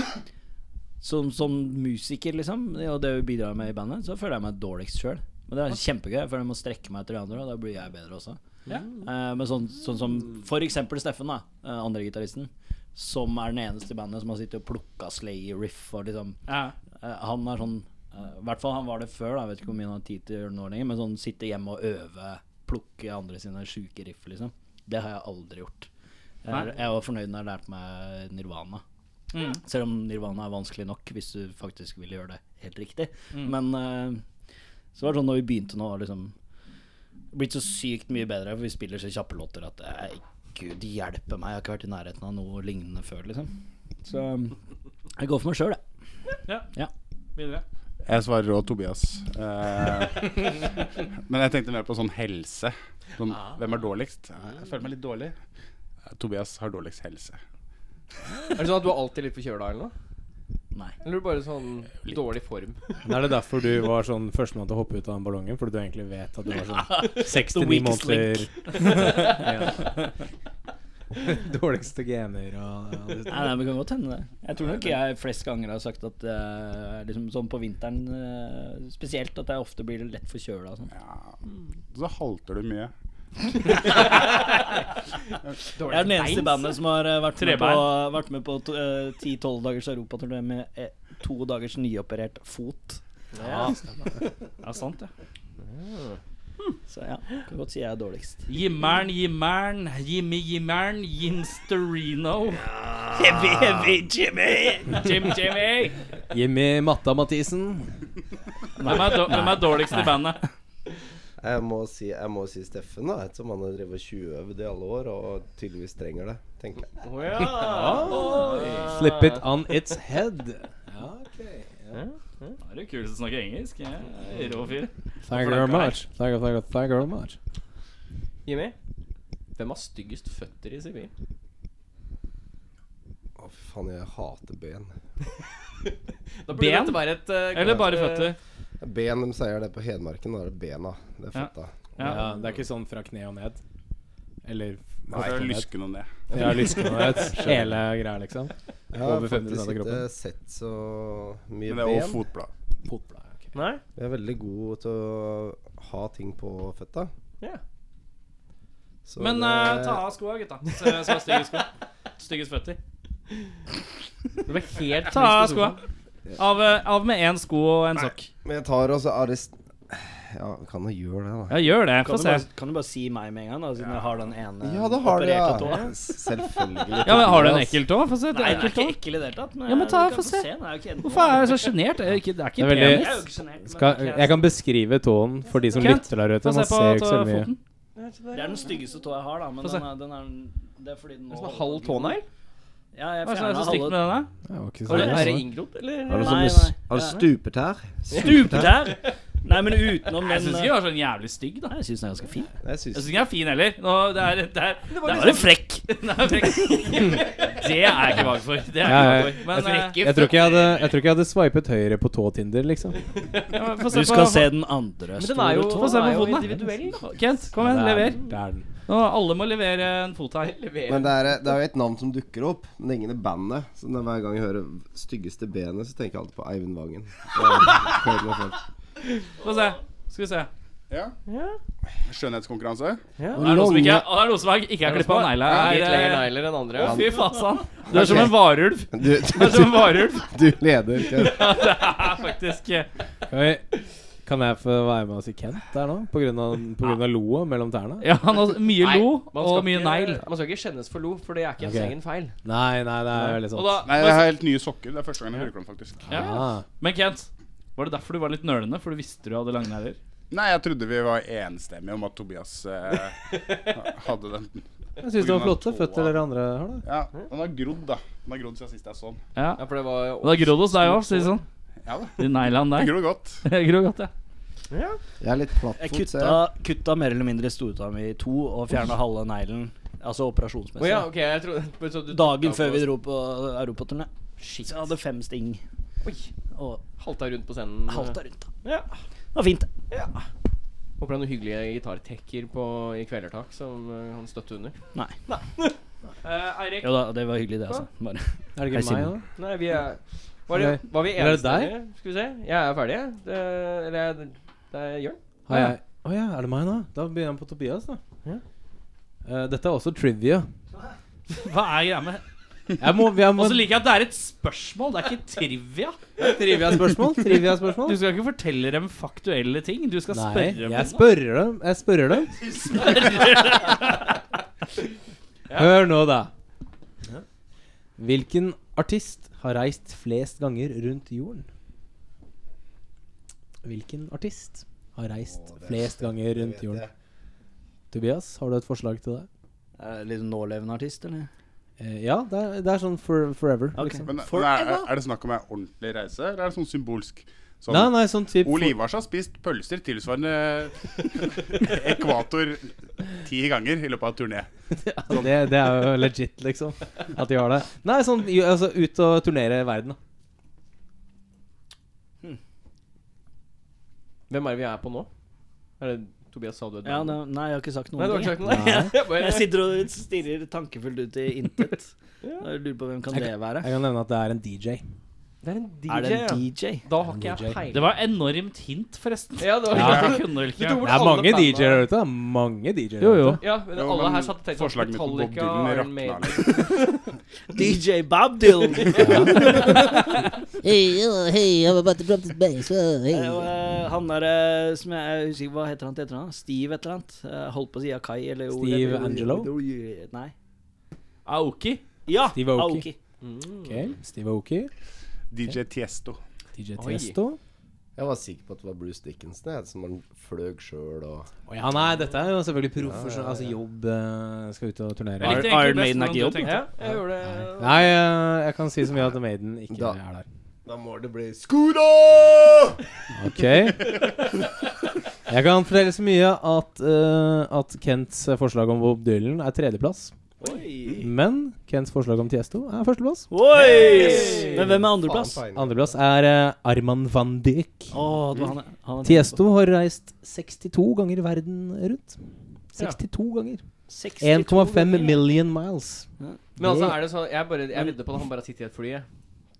S6: som, som musiker, liksom, og det bidrar jeg med i bandet, så føler jeg meg dårligst sjøl. Men det er kjempegøy, for jeg må strekke meg etter de andre, og da blir jeg bedre også.
S2: Ja.
S6: Eh, men sånn, sånn som for eksempel Steffen, da, eh, andre gitaristen, som er den eneste i bandet som har sittet og plukka Slay-riff og liksom
S2: Ja.
S6: Eh, Han er sånn eh, I hvert fall han var det før, da. Jeg vet ikke hvor mye han har tid til å gjøre det nå lenger. Men sånn sitte hjemme og øve, plukke andre sine sjuke riff, liksom. Det har jeg aldri gjort. Jeg,
S2: Nei.
S6: er- jeg var fornøyd når jeg lærte meg nirvana.
S2: Mm.
S6: Selv om nirvana er vanskelig nok hvis du faktisk vil gjøre det helt riktig.
S2: Mm.
S6: Men eh, så var det sånn når vi begynte nå, var det liksom blitt så sykt mye bedre, for vi spiller så kjappe låter at eh, gud hjelpe meg, jeg har ikke vært i nærheten av noe lignende før, liksom. Så eh, jeg går for meg sjøl, jeg.
S2: Videre.
S7: Jeg svarer òg Tobias. Eh, men jeg tenkte mer på sånn helse. Sånn, Hvem er dårligst? Eh, Jeg føler meg litt dårlig. Eh, Tobias har dårligst helse.
S1: Er det sånn at du er alltid litt forkjøla eller noe?
S6: Nei.
S1: Eller er du bare sånn dårlig form?
S4: Men Er det derfor du var sånn førstemann til å hoppe ut av den ballongen? Fordi du egentlig vet at du var sånn seks til ni
S6: weakest
S4: måneder Ja. Dårligste gener og og det-
S6: Nei, nei, men det kan godt hende det. Jeg tror nok jeg flest ganger har sagt at eh, liksom sånn på vinteren eh, spesielt, at jeg ofte blir lett forkjøla og sånn.
S7: Ja. Så halter du mye.
S6: Jeg er den eneste i bandet som har eh, vært, med på,
S2: Trebein.
S6: vært med på to- eh, 10-12 dagers europaturné med eh, to dagers nyoperert fot.
S2: Ja, ja sant, ja.
S6: Så ja, kan godt si jeg er dårligst.
S2: Jimmern, Jimmern, Jimmy Jimmern, Jinsterino.
S6: Heavy, heavy Jimmy!
S2: Jim Jimmy!
S4: Jimmy Matta Mathisen.
S2: Hvem er, då- hvem er dårligst i bandet?
S5: Jeg må si, jeg må si Steffen, da, ettersom han har drevet 20-øvd i alle år og tydeligvis trenger det, tenker jeg.
S1: Å ja.
S4: Flip it on its head. Ja, ok
S2: Da er det kul som snakker engelsk. Ja. Rå fyr.
S4: Thank you very much. Thank you, thank you, thank you very much.
S1: Jimmy, hvem har styggest føtter i sivil?
S5: Å, fy faen, jeg hater ben.
S1: Da burde
S2: Ben?
S1: dette være et eh,
S2: Eller bare
S1: ganske-
S2: føtter.
S5: Ben, de sier det på Hedmarken, da er det bena. Det er
S2: Ja.
S5: fetta.
S2: Ja.
S4: Ja, det er ikke sånn fra kne og ned. Eller
S7: Nei, jeg lysker noe ned.
S4: Ja, lysken og ned. Hele greia, liksom.
S5: Jeg har
S4: Over 500
S5: faktisk
S4: av
S5: ikke
S4: kroppen.
S5: sett så mye
S7: Men det er òg
S5: ben.
S7: fotblad.
S4: Fotblad. ok.
S1: Nei?
S5: Jeg er veldig god til å ha ting på føtta.
S1: Ja.
S5: Så
S2: Men
S5: det-
S2: eh, ta av skoa, gutta. Så jeg skal ha stygge sko. Stygge føtter.
S1: Du ble helt
S2: Ta av skoa. Av, eh, av med én sko og en sokk.
S5: Men jeg tar også arrest... Ja, vi kan jo gjøre det, da.
S2: Ja, gjør det. Få
S6: Kan du,
S2: se.
S6: bare, kan du bare si meg med en gang, da, siden jeg har den ene
S5: Ja, det har du,
S6: opererte
S5: ja.
S6: tåa?
S5: Selvfølgelig.
S2: Ja, men Har du en
S5: Tobias.
S2: ekkel tå? Få se. Det
S6: Nei,
S2: er
S6: den er
S2: ekkelt
S6: ikke
S2: tå.
S6: ekkel i det hele tatt. men
S2: Ja, men
S6: jeg-
S2: ta- få
S6: du kan
S2: se.
S6: Den er jo ikke enten-
S2: Hvorfor er jeg så sjenert? Det er ikke, det er ikke
S4: Det er veldig-
S6: Jeg er jo
S2: penis.
S6: ikke sjenert, men
S4: Skal,
S6: ok,
S4: jeg kan beskrive tåen for de som
S2: Kent,
S4: lytter der ute.
S2: Få
S4: Man
S2: se på
S4: ser jo ikke så
S2: tå-
S4: mye.
S2: foten.
S6: Det er den styggeste tåa jeg har, da. Men
S2: Få se.
S6: den er, den er, det er fordi den nå
S1: Sånn halv tånegl?
S6: Ja, jeg
S2: Hva er det som er
S6: fjerna
S2: så stygt med
S6: halve
S2: denne?
S4: Det var ikke så
S1: Er det
S4: mye. altså.
S1: inngrodd, eller?
S5: Har du
S6: Nei,
S5: sånne
S6: nei.
S5: s- har du stupetær?
S6: Stupetær! Nei, men
S2: Jeg
S6: utenom
S2: syns
S6: den
S2: ikke den var sånn jævlig stygg, da.
S6: Nei, jeg syns den er ganske fin.
S5: Jeg
S2: Jeg syns
S5: syns
S2: ikke den er fin heller. Nå, det er, det er, det
S6: Da
S2: er,
S6: er du frekk!
S2: Nei, frekk. Det er jeg ikke vag for. Det er
S4: Ja, ja,
S2: jeg
S4: ja.
S2: ikke vag for. Men eh,
S4: Jeg tror ikke jeg hadde, jeg tror ikke jeg hadde swipet høyre på tå-Tinder, liksom.
S2: ja, men få
S6: eh, Du
S2: se
S6: skal
S2: på-
S6: se den andre
S1: Men den er jo,
S6: store tå.
S2: Få se
S1: den
S2: på
S1: er jo
S2: foten, da.
S1: individuell, da.
S2: Kent, kom igjen,
S6: Der,
S2: lever.
S6: der.
S2: Nå, alle må levere en fot her.
S1: Leverer.
S5: Men det er, eh, det er jo et navn som dukker opp, men det er ingen i bandet. Så når hver gang jeg hører 'Styggeste benet', så tenker jeg alltid på Eivind Vangen. Det er- det er folk.
S2: Få se. Skal vi se.
S7: Ja. Skjønnhetskonkurranse.
S2: Det er noe som ikke, og det er, noe som er, ikke er klippa av negla.
S1: Litt
S2: er,
S1: lengre
S2: eh,
S1: negler enn andre.
S2: Fy fasan. Du er som en varulv.
S5: Du,
S2: Du er som en
S5: du,
S2: varulv.
S5: du, du leder. Kent.
S2: Ja, det er faktisk eh,
S4: Kan, vi, kan jeg få være med og si Kent der nå? På grunn av, på grunn av loa mellom tærne?
S2: Ja, han har mye lo
S1: man
S2: og
S1: skal
S2: mye
S1: ikke-
S2: negl.
S1: Man skal ikke skjennes for lo, for det er ikke ens
S4: Ok.
S1: egen feil.
S4: Nei, nei, det er veldig
S2: Og
S4: sant.
S2: da,
S7: Nei, jeg har helt nye sokker. Det er første gang jeg bruker dem, faktisk.
S2: ja.
S4: Ah.
S2: Men Kent, var det derfor du var litt nølende? For du visste du hadde lange negler?
S7: Nei, jeg trodde vi var enstemmige om at Tobias eh, hadde den.
S4: Jeg syns det var flotte føtter dere andre har, da.
S7: Ja, den har grodd, da. Den har grodd siden sist jeg så den.
S2: Ja.
S1: Ja, for det var
S2: Og det er grodd hos deg òg, si det sånn.
S7: Ja da.
S2: De neglene
S7: Den
S2: der.
S7: gror godt.
S2: Grå godt, ja.
S5: Jeg er litt
S6: Jeg
S5: plattfot, ser
S6: kutta,
S5: jeg.
S6: kutta mer eller mindre stortåa mi i to og fjerna halve neglen. Altså
S1: Å
S6: operasjonsmessig.
S1: ja, ok, jeg trodde men så du
S6: Dagen
S1: tok
S6: før
S1: av
S6: vi
S1: på-
S6: dro på europaturné. Så
S1: Shit.
S6: jeg hadde fem sting
S1: Oi.
S6: og
S1: Halta rundt på scenen.
S6: halta rundt.
S1: Ja.
S6: Det var fint.
S1: Håper det er noen hyggelige gitartekker på- i Kvelertak som eh, han støtte under.
S6: Nei.
S1: Eirik.
S6: Jo da, det var hyggelig, det, altså. Bare.
S4: Er det
S6: Hei,
S4: ikke meg,
S6: Simen.
S4: da?
S1: Nei, vi er Var, det,
S4: Ok.
S1: var vi
S4: Er det
S1: eneste? Skal vi se. Jeg er ferdig, jeg. Det- Eller jeg- det er Jørn.
S4: Har jeg Å ja, er det meg nå? Da begynner jeg på Tobias, da. Eh, dette er også trivia.
S2: Hva er greia med
S4: Jeg må, jeg må
S2: Og så liker jeg at det er et spørsmål, det er ikke trivia.
S4: Trivia-spørsmål?
S2: Du
S4: Trivia-spørsmål?
S2: skal ikke fortelle dem faktuelle ting, du skal
S4: Nei,
S2: spørre dem.
S4: jeg spør dem. Jeg spør dem. Hør nå, da. Hvilken artist har reist flest ganger rundt jorden? Hvilken artist har reist
S5: Å, det er-
S4: flest ganger
S5: Det
S4: rundt
S5: vet
S4: jorden?
S5: jeg.
S4: Tobias, har du et forslag til det?
S6: Er det litt nålevende artist, eller?
S4: Eh, ja, det er, det er sånn for, forever.
S6: Ok.
S4: Liksom.
S7: Men, men er, er det snakk om ei ordentlig reise, eller er det sånn symbolsk? Sånn,
S4: Nei, nei, sånn typ
S7: Ole Ivars har spist pølser tilsvarende ekvator ti ganger i løpet av turné.
S4: for- det, det er jo legit, liksom. At de har det. Nei, sånn jo, altså, ut og turnere i verden, da.
S1: Hvem er det vi er på nå? Er det Tobias sa du et
S6: Ja,
S1: navn?
S6: det, nei, jeg har ikke sagt
S1: Nei,
S6: noen
S1: du har ikke
S6: ting.
S1: sagt noe? Nei. Jeg bare-
S6: Jeg sitter og stirrer tankefullt ut i intet. Jeg lurer på hvem kan det være.
S4: Jeg kan nevne at det er en DJ.
S1: Det er en DJ.
S6: Er det en
S1: ja.
S6: DJ?
S1: Da har ikke jeg
S4: DJ.
S1: peiling.
S2: Det var enormt hint, forresten.
S1: Ja, det var
S2: Ja. Jeg kunne
S1: Du
S2: vel
S1: tok bort
S2: ikke
S4: Det er
S1: alle
S4: mange
S1: bandene.
S4: DJ-er der ute. Det er mange DJ-er
S2: Jo, jo.
S1: Ja, men
S7: Jo,
S1: alle
S7: men
S1: her satt og tenkte sånn
S7: forslaget mitt om Bob
S1: Metallica,
S7: Dylan
S1: Iron
S7: rakna
S1: Maiden
S7: litt.
S6: DJ Bob Dylan!
S8: Hey, oh, hey, I'm about to drop this bass. Oh,
S6: Det
S8: hey.
S6: er jo, eh, han derre som jeg, jeg husker ikke hva heter han til etternavn? Steve et eller annet? Eh, holdt på å si Akai eller Ole-
S4: Steve
S6: Ole-
S4: Angelo?
S6: Ole- Nei.
S2: Aoki.
S6: Ja!
S4: Steve Aoki.
S6: Aoki.
S4: Ok, Steve Aoki,
S7: DJ Tiesto.
S4: DJ
S1: Oi.
S4: Tiesto.
S5: Jeg var sikker på at det var Bruce Dickinson, jeg, som han fløg sjøl og
S4: Å ja, nei, dette er jo selvfølgelig profesjonell Altså jobb. eh, skal ut og turnere.
S2: Jeg likte
S6: Iron
S2: egentlig best
S6: Maiden er
S2: hvordan
S6: ikke
S2: du
S6: jobb.
S2: tenkte.
S1: Ja, jeg gjorde det.
S4: Nei, eh, jeg kan si så mye at Maiden ikke
S5: Da.
S4: er der.
S5: Da må det bli Skoda!
S4: Ok. Jeg kan fortelle så mye at, eh, at Kents forslag om Bob Dylan er tredjeplass.
S6: Oi!
S4: Men Kents forslag om Tiesto er førsteplass.
S6: Oi! Men hvem er andreplass? Å,
S4: Andreplass er eh, Arman van Dijk.
S6: det var han, jeg- han jeg tenkte
S4: Tiesto har reist 62 ganger verden rundt. 62 ganger. 1,5
S6: på. 62
S4: million miles.
S1: Men altså, er det sånn Jeg bare Jeg redder på at han bare sitter i et fly. jeg.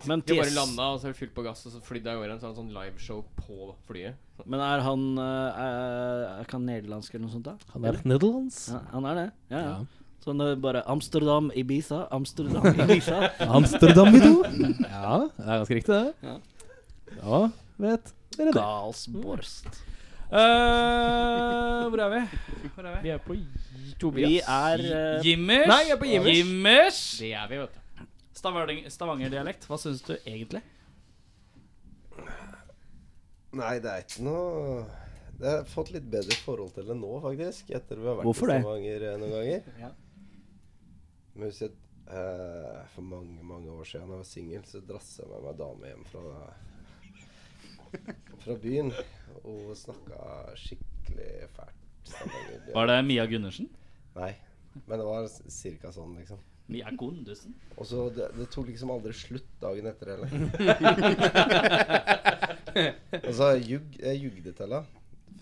S6: Men,
S1: De bare
S6: Ties-
S1: landa, og så har de fylt på gass, og så flydde av gårde. Så hadde han sånn liveshow på flyet.
S6: men er han eh, Er han nederlandsk eller noe sånt? da?
S4: Han er Netherlands.
S6: Ja, han er det? Ja, ja.
S4: Ja.
S6: Sånn eh, bare Amsterdam, Ibiza, Amsterdam, Ibiza.
S4: Amsterdam i do. Ja, det er ganske riktig, det.
S6: Ja.
S4: Ja, vet dere det.
S6: Galsborst.
S2: Eh, hvor er vi? Hvor er vi?
S1: Vi er på
S6: Vi er eh,
S2: Jimmers.
S1: Nei, jeg er på Jimmers.
S2: Jimmers.
S1: Det er vi, vet du.
S2: Stavanger- Stavanger-dialekt. Hva syns du egentlig?
S5: Nei, det er ikke noe Jeg har fått litt bedre forhold til det nå, faktisk. Etter vi har vært
S6: Hvorfor
S5: i
S6: det?
S5: Stavanger eh, noen ganger.
S6: Ja.
S5: Men husker jeg, eh, for mange mange år siden da jeg var singel, så drassa jeg med meg dame hjem fra fra byen og snakka skikkelig fælt. stavanger.
S2: Var det Mia Gundersen?
S5: Nei. Men det var cirka sånn, liksom.
S2: Mia Gundersen?
S5: Og så det, det tok liksom aldri slutt dagen etter heller. og så ljug, jeg jugde til henne.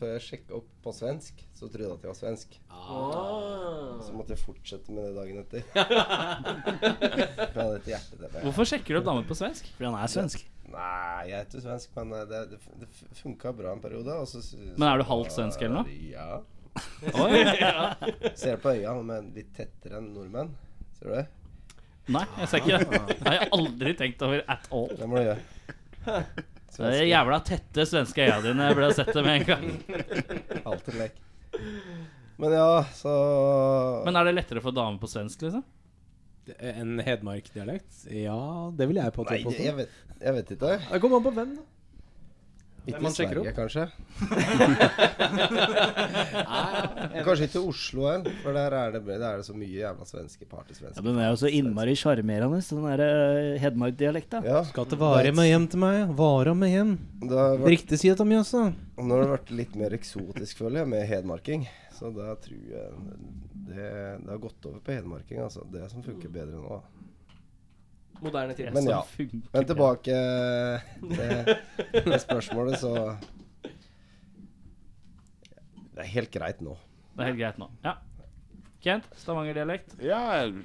S5: Før jeg sjekka opp på svensk, så trodde jeg at jeg var svensk. Så måtte jeg fortsette med det dagen etter. For jeg hadde et hjerte til det.
S2: Hvorfor sjekker du opp damer på svensk?
S6: Fordi han er svensk.
S5: Nei, jeg er ikke svensk, men eh, det, det, det f- funka bra en periode. Og så,
S2: Men er du halvt svensk eller noe?
S5: Ja.
S2: Oi.
S5: Ser på øya, men litt tettere enn nordmenn. Ser du det?
S2: Nei, jeg ser ikke det. Det har jeg aldri tenkt over at all.
S5: Det må du gjøre.
S2: Det er jævla tette svenske øya dine. Jeg ble sett det med en gang.
S5: Alltid lek. Men ja, så
S2: Men er det lettere for damer på svensk, liksom?
S4: En hedmarkdialekt? Ja, det vil jeg på
S5: Nei, det- jeg vet, jeg vet ikke.
S4: Det kommer an på hvem, da.
S5: Ikke i
S1: man sjekker
S5: Sverige, kanskje. kanskje ikke i Oslo heller, for der er det, der er det så mye jævla svenske
S6: Ja,
S5: partysvensker.
S6: Den er jo så innmari sjarmerende, den eh, der Hedmark-dialekta.
S5: Ja,
S4: Skal til Vare med hjem til meg. Vare med hjem.
S5: da ble-
S4: Riktig side av Mjøsa.
S5: nå har det vært litt mer eksotisk, føler jeg, med hedmarking. Så da tror jeg det, det har gått over på hedmarking, altså. Det som funker bedre nå. da.
S1: Moderne tid.
S2: Det
S5: Men
S2: som
S5: ja.
S2: funker
S5: Men
S2: bra.
S5: tilbake til til spørsmålet, så Det er helt greit nå.
S2: Det er helt greit nå. Ja. Kent, Stavanger-dialekt.
S7: Ja, jeg jeg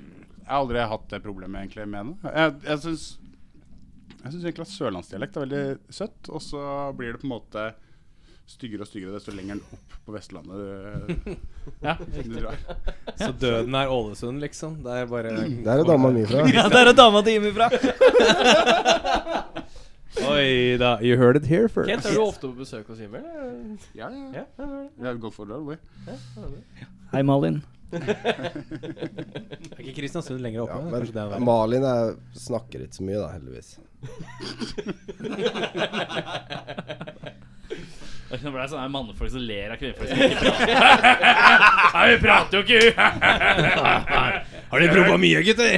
S7: har aldri hatt det problemet egentlig med det. Jeg, jeg syns jeg synes egentlig at sørlandsdialekt er veldig søtt, og så blir det på en måte styggere og styggere desto lenger opp på Vestlandet du,
S2: Ja,
S7: du drar.
S4: Så døden er Ålesund, liksom. Det er bare
S5: Der Mm, er dama mi fra.
S6: Ja, der er dama til Jimmy fra!
S4: Oi da. You heard it here first.
S1: Kent, er du ofte på besøk hos Himmel?
S7: Ja, ja.
S1: Ja, det er det.
S7: Vi har gått for det, eller?
S6: Hei, Malin.
S4: Er ikke Kristiansund lenger
S5: Ja,
S4: oppe? Kanskje det er
S5: men
S4: verre.
S5: Malin er, snakker ikke så mye, da, heldigvis.
S2: Det ble sånn her mannfolk som ler av kvinnfolk som ikke prater. Nei, vi prater jo ikke!
S4: Har de proba mye, gutter?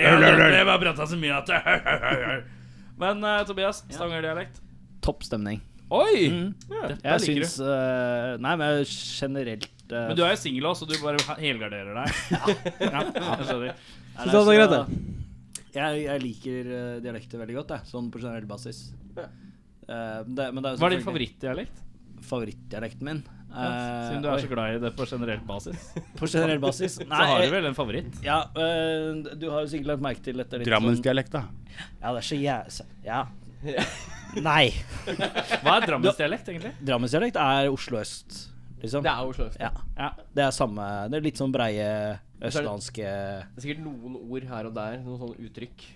S2: Jeg bare prata så mye at Men eh, Tobias, Stavanger-dialekt.
S6: Topp stemning.
S2: Oi!
S6: Mm.
S2: Dette
S6: Jeg
S2: liker
S6: syns
S2: du.
S6: eh, Nei, men generelt eh,
S2: Men du er jo singel også, så du bare ha- helgarderer deg. Ja, jeg skjønner.
S6: nei,
S4: Synes du det er
S6: så-
S4: greit,
S6: Jeg, jeg liker eh, dialekter veldig godt, jeg. Sånn på generell basis. Eh, det, men det er jo
S2: Hva er din
S6: selvfølgelig-
S2: favorittdialekt?
S6: favorittdialekten min?
S2: Ja,
S6: Eh,
S2: Siden du er så
S6: oi,
S2: glad i det på generell basis,
S6: på generell basis?
S2: så har
S6: jeg-
S2: du vel en favoritt?
S6: Ja, eh, du har jo sikkert lagt merke til dette litt sånn-
S7: Drammensdialekt, da.
S6: Ja, det er så jæs... Ja. Nei.
S2: Hva er Drammensdialekt, egentlig?
S6: Drammensdialekt er Oslo øst, liksom.
S1: Det er Oslo øst.
S6: Ja.
S2: Ja.
S6: Det er samme Det er litt sånn breie
S1: er det-
S6: østlandske Ja,
S1: Det er sikkert noen ord her og der, noen sånne uttrykk.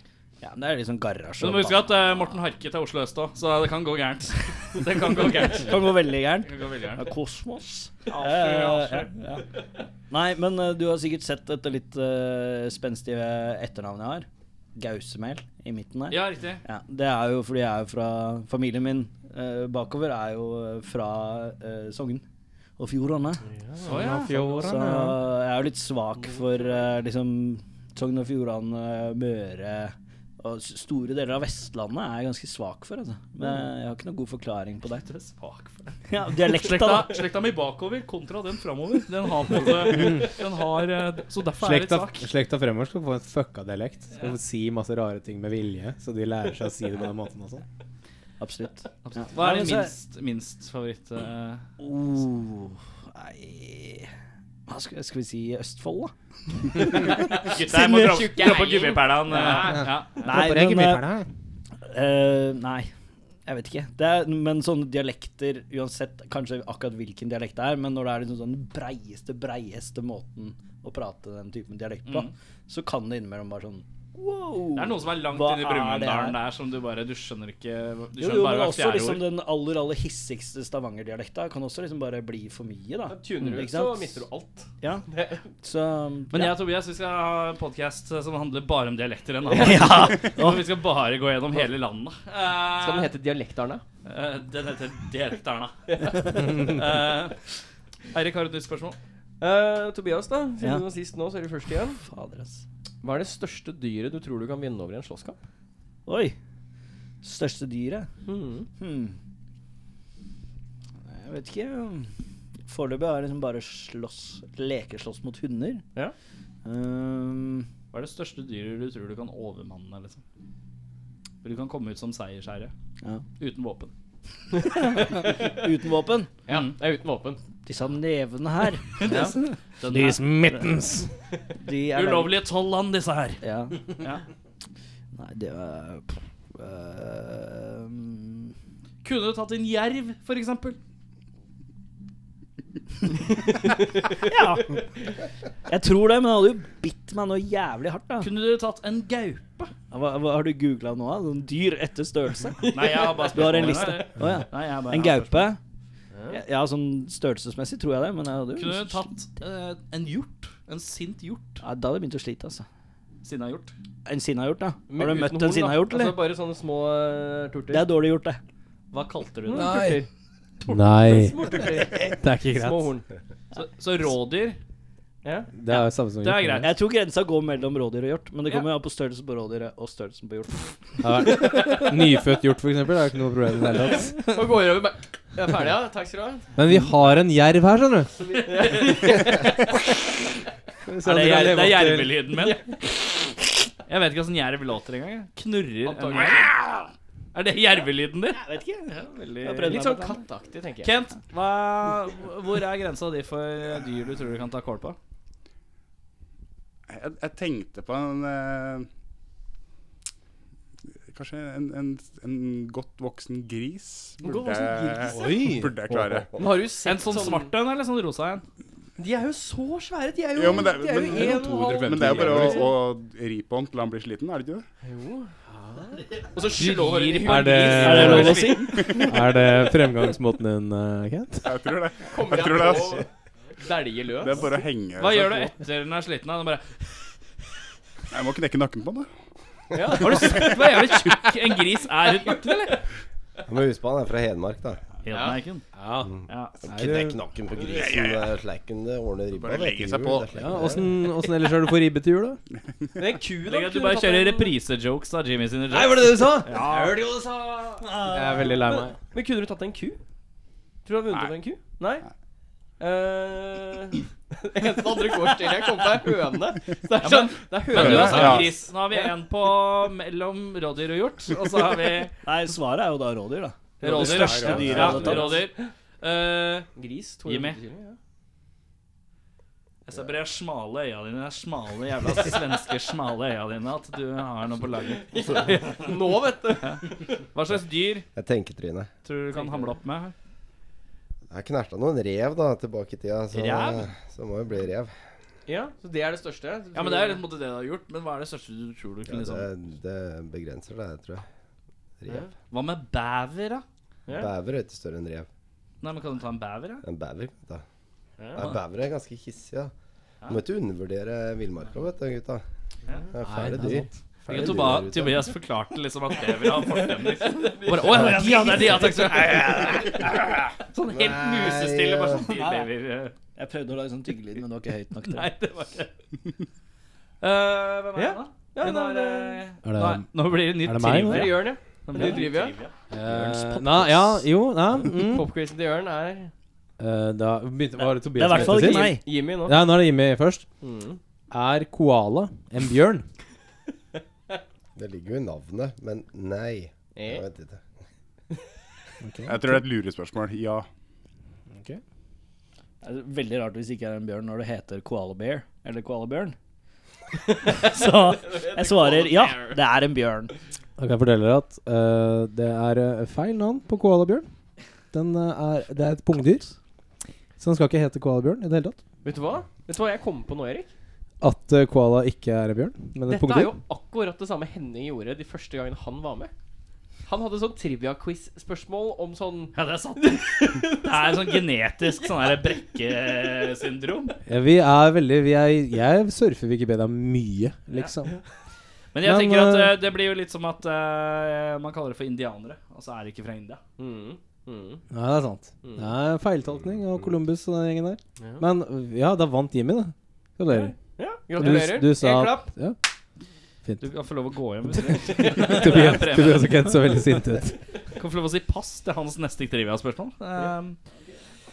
S6: men det er litt sånn garasje.
S2: Men du må huske at eh, Morten Harket er Oslo øst òg, så det kan gå gærent. Det kan gå gærent.
S6: Det kan gå veldig
S2: Det
S6: gærent.
S2: kan gå veldig
S6: Ja,
S2: gærent.
S6: kosmos.
S2: Avslør,
S6: Eh,
S2: avslør.
S6: ja, ja. Nei, men eh, du har sikkert sett dette litt eh, spenstige etternavnet jeg har. Gausemel i midten her.
S2: Ja, riktig.
S6: Ja, det er jo fordi jeg er fra Familien min eh, bakover er jo eh, fra eh, Sogn og Fjordane.
S2: Så ja.
S4: altså.
S6: Så jeg er jo litt svak for eh, liksom Sogn og Fjordane, Møre og s- store deler av Vestlandet er jeg ganske svak for, altså. Men jeg har ikke noen god forklaring på det.
S2: Du er svak for det.
S6: Ja, dialekta,
S2: Slekta,
S6: da.
S2: slekta mi bakover kontra den framover. Den har på en måte Den har eh, Så derfor er jeg litt
S4: Slekta,
S2: svak.
S4: slekta fremover skal få en fucka dialekt. Skal få si masse rare ting med vilje, så de lærer seg å si det på den måten sånn. også.
S6: Absolutt.
S2: Absolutt. Hva er din minst, minst favoritt eh,
S6: Oh, nei Hva skal, skal vi si Østfold, da?
S2: Gutta, jeg må dra dra på gummipælene. eh, Ja.
S6: Nei,
S4: Håper jeg ikke
S6: men,
S4: blir ferdig her.
S6: eh, nei, jeg vet ikke. Det er, men sånne dialekter, uansett kanskje akkurat hvilken dialekt det er, men når det er liksom sånn den breieste, breieste måten å prate den typen dialekt på, så kan det innimellom bare sånn wow.
S2: Det er noen som er langt
S6: Hva
S2: inn i
S6: er det her?
S2: Brumunddalen der som du bare Du skjønner ikke Du
S6: jo,
S2: skjønner
S6: jo,
S2: bare
S6: men
S2: hvert
S6: også
S2: fjerde
S6: liksom
S2: ord.
S6: den aller aller hissigste stavangerdialekta kan også liksom bare bli for mye, da.
S1: Da Tuner du
S6: Ikke
S1: ut, så
S6: sant?
S1: mister du alt.
S6: Ja. Så
S2: Men
S6: ja.
S2: jeg og Tobias vi skal ha en podkast som handler bare om dialekter. En annen.
S6: Ja.
S2: Og vi skal bare gå gjennom hele landet.
S1: Skal den hete Dialektarne?
S2: Eh, den heter Dialekterna. uh, Eirik har et nytt spørsmål.
S1: Eh, Tobias, da. Siden
S6: Ja.
S1: du var sist nå, så er du først igjen.
S6: Fader, ass.
S1: Hva er det største dyret du tror du kan vinne over i en slåsskamp?
S6: Oi. Største dyret? Hmm. Jeg vet ikke. Foreløpig har jeg liksom bare slåss, lekeslåss mot hunder.
S1: Ja.
S6: Ehm,
S2: Hva er det største dyret du tror du kan overmanne? Liksom? For Du kan komme ut som seierskjære
S6: Ja.
S2: uten våpen. Mm.
S6: uten våpen.
S1: Ja, det er uten våpen.
S6: Disse nevene her,
S2: Den
S4: These mittens!
S6: de
S2: er
S6: er
S2: ulovlige tolv land, disse her.
S6: Ja.
S2: Ja.
S6: Nei, det var pff, ehm,
S2: Kunne du tatt en jerv, for eksempel?
S6: Ja. Jeg tror det, men han hadde jo bitt meg noe jævlig hardt, da.
S2: Kunne du tatt en gaupe?
S6: Hva, hva har du googla nå, da? Sånn dyr etter størrelse?
S2: Nei, jeg har bare
S6: Du har en
S2: spørsmål.
S6: liste. Å ja.
S2: Nei, jeg bare
S6: En gaupe? Ja, sånn størrelsesmessig tror jeg det, men jeg hadde jo
S2: Kunne du tatt eh, en hjort? En sint hjort?
S6: ja, Da hadde jeg begynt å slite, altså.
S2: Sinna hjort?
S6: En sinnahjort, da?
S1: Men
S6: Har du
S1: uten
S6: møtt
S1: horn,
S6: en
S1: da.
S6: sinnahjort, eller?
S1: Altså bare sånne små eh, turter.
S6: Det er dårlig gjort, det.
S2: Hva kalte du det?
S1: Turter.
S4: Nei,
S1: Små turter.
S4: det er ikke
S1: Små
S4: greit.
S1: horn.
S2: Så, så rådyr?
S1: Ja.
S4: Det er samme som
S2: Det er
S4: hjort.
S2: greit.
S6: Jeg tror grensa går mellom rådyr og hjort, men det kommer jo an på størrelsen på rådyret og størrelsen på hjort.
S4: Ja. Nyfødt hjort, for eksempel, er jo ikke noe problem i det hele tatt.
S1: Og går over med Jeg er ferdig, ja. Takk skal du ha.
S4: Men vi har en jerv her, skjønner du.
S2: Er det, jer det er jervelyden min? Jeg vet ikke hvordan jerv låter engang. jeg. Knurrer en jerv. Er det jervelyden din?
S6: Jeg vet ikke. Jeg prøvde
S1: Litt
S6: meg
S1: sånn
S6: på den.
S1: kattaktig, tenker jeg.
S2: Kent, hva, hvor er grensa di for dyr du tror du kan ta kål på?
S7: Jeg, jeg tenkte på en eh, Kanskje en, en, en godt voksen gris
S1: godt voksen
S7: jeg- burde jeg klare.
S1: Men har du sett
S2: En sånn svart en, eller sånn rosa en?
S1: De er jo så svære. De er jo,
S7: Jo, men det,
S1: de er jo
S7: men,
S1: en og en halv
S7: men det er jo bare å, å ri på den til han blir sliten, er det ikke det?
S1: Og så slår de
S4: Er det,
S2: Er det lov å
S4: si? Er det fremgangsmåten din, eh, Kent?
S7: Jeg tror det.
S1: Kommer
S7: Jeg tror det,
S1: jeg på Dælje
S7: Det er
S1: løs.
S7: bare å henge
S2: Hva
S7: seg
S2: gjør du
S7: på.
S2: etter den er sliten? da? Den bare
S7: Jeg må knekke nakken på den, da.
S1: Ja.
S2: Har du sett hvor jævlig tjukk en gris er uten nakken, eller?
S5: Du må huske på han er fra Hedmark, da.
S2: Hedmarkneiken.
S4: Ja.
S2: Ja.
S5: Knekk nakken på grisen. det er Sleiken, det ordner ribba.
S7: Bare
S5: vet
S7: legge
S5: du,
S7: seg
S5: jul,
S7: på.
S5: det er sleiken.
S4: Ja, åssen åssen ellers er du for ribbe til jul, da?
S1: Men en ku, da?
S2: Tenk at du
S1: kunne
S2: bare
S1: tatt
S2: kjører
S1: en-
S2: reprise-jokes av Jimmy sine jokes.
S4: var det det du sa?
S1: Hørte jo det sa
S4: Jeg er veldig lei meg.
S1: Men kunne du tatt en ku? Tror du du hadde vunnet over en ku? Nei? Eh, Det eneste andre gårdsdyret jeg kom på, er høne. Så det er sånn Det er
S2: Men du
S1: høne.
S2: har sagt
S7: Ja.
S2: gris. Nå har vi en på mellom rådyr og hjort, og så har vi
S6: Nei, svaret er jo da rådyr, da.
S2: rådyr.
S6: største dyret
S2: ja,
S6: jeg hadde tatt.
S2: rådyr. Eh,
S1: Gris. to
S2: Jimmy.
S1: hundre kilo, ja.
S2: jeg ser på de smale øya dine, de smale jævla svenske smale øya dine, at du har noe på lager.
S1: Nå, vet du.
S2: Hva slags dyr
S5: Jeg tenker, Trine.
S2: tror du du kan hamle opp med? her?
S5: Jeg knerta noen rev da tilbake i tida, så,
S2: Rev?
S5: så må jo bli rev.
S1: Ja, så det er det største?
S2: Ja, men Det er litt mot det du har gjort, men hva er det største du tror du
S5: Ja,
S2: kunne liksom
S5: det, det begrenser det, tror jeg. Rev.
S2: Hva med bæver, da?
S1: Ja.
S5: Bæver er ikke større enn rev.
S2: Nei, men Kan du ta en bæver? da?
S5: En bæver da.
S1: Ja.
S5: Nei, bæver er ganske hissige. Ja. Må ikke undervurdere villmarka, vet du, gutta. Det er fæle
S4: det er
S5: dyr.
S2: Jeg
S5: Fæle dyr
S2: tror bare
S5: der ute.
S2: Tobias forklarte liksom at det vil ha fortemmer. Bare, «Å, ja, de, ja, det er de, ja, takk skal du ha.» Sånn helt musestille, bare sånn de lever eh,
S6: Jeg prøvde å lage sånn tyggelyd, men det var ikke høyt nok. til
S2: Nei, det var ikke Eh, Hvem er det,
S1: Ja.
S2: da?
S1: Ja,
S2: Hun
S1: nei,
S2: er, eh,
S4: Er det-
S2: nei, nå blir det nytt
S4: er det meg,
S1: Det
S2: trivia.
S1: er Jørn, ja.
S2: Nå
S1: Ny
S2: blir det nytt
S1: trivia.
S2: trivia.
S4: Eh, Nei, ja, jo, ja. Mm.
S1: Popquizen til Jørn er
S4: Eh, da begynte Var det
S6: Det er i
S4: Tobias
S6: hvert fall
S4: som het
S6: ikke
S4: det sist?
S6: meg.
S1: Jimmy nå.
S4: Ja, nå er det Jimmy først.
S1: Mm.
S4: Er koala en bjørn?
S5: Det ligger jo i navnet, men nei.
S1: Eh.
S5: Jeg vet ikke.
S7: Jeg tror det er et lurespørsmål. Ja.
S6: Det er veldig rart hvis det ikke er en bjørn når det heter koala bear eller koalabjørn. Så jeg svarer ja, det er en bjørn.
S4: Da kan jeg fortelle dere at eh, det er eh, feil navn på koalabjørn. Den eh, er, det er et pungdyr. Så den skal ikke hete koalabjørn i det hele tatt.
S1: Eh, Vet du hva? Vet du hva jeg kom på nå, Erik?
S4: At eh, koala ikke er en bjørn, men et
S1: Dette er
S4: pungdyr.
S1: jo akkurat det samme Henning gjorde de første gangene han var med. Han hadde sånn trivia-quiz-spørsmål om sånn
S2: Ja, det er sant. Det er sånn genetisk sånn her brekkesyndrom.
S4: Ja, vi er veldig vi er, Jeg surfer Wikipedia mye, liksom.
S2: Men jeg
S4: Men,
S2: tenker at
S4: eh,
S2: eh, det blir jo litt som at eh, man kaller det for indianere, og så er det ikke fra India.
S1: mm, mm.
S4: Nei, det er sant. Det er feiltolkning av Columbus og den gjengen der.
S1: Ja.
S4: Men ja, da vant Jimmy, da. Gratulerer.
S1: Ja,
S4: Du,
S1: gratulerer.
S4: du sa
S1: En klapp.
S4: at ja.
S2: Du kan få lov å gå hjem. Hvis du vil.
S4: Tobias, Tobias og Kent så veldig sinte ut.
S2: Kan få lov å si pass til hans neste trivia-spørsmål. Um,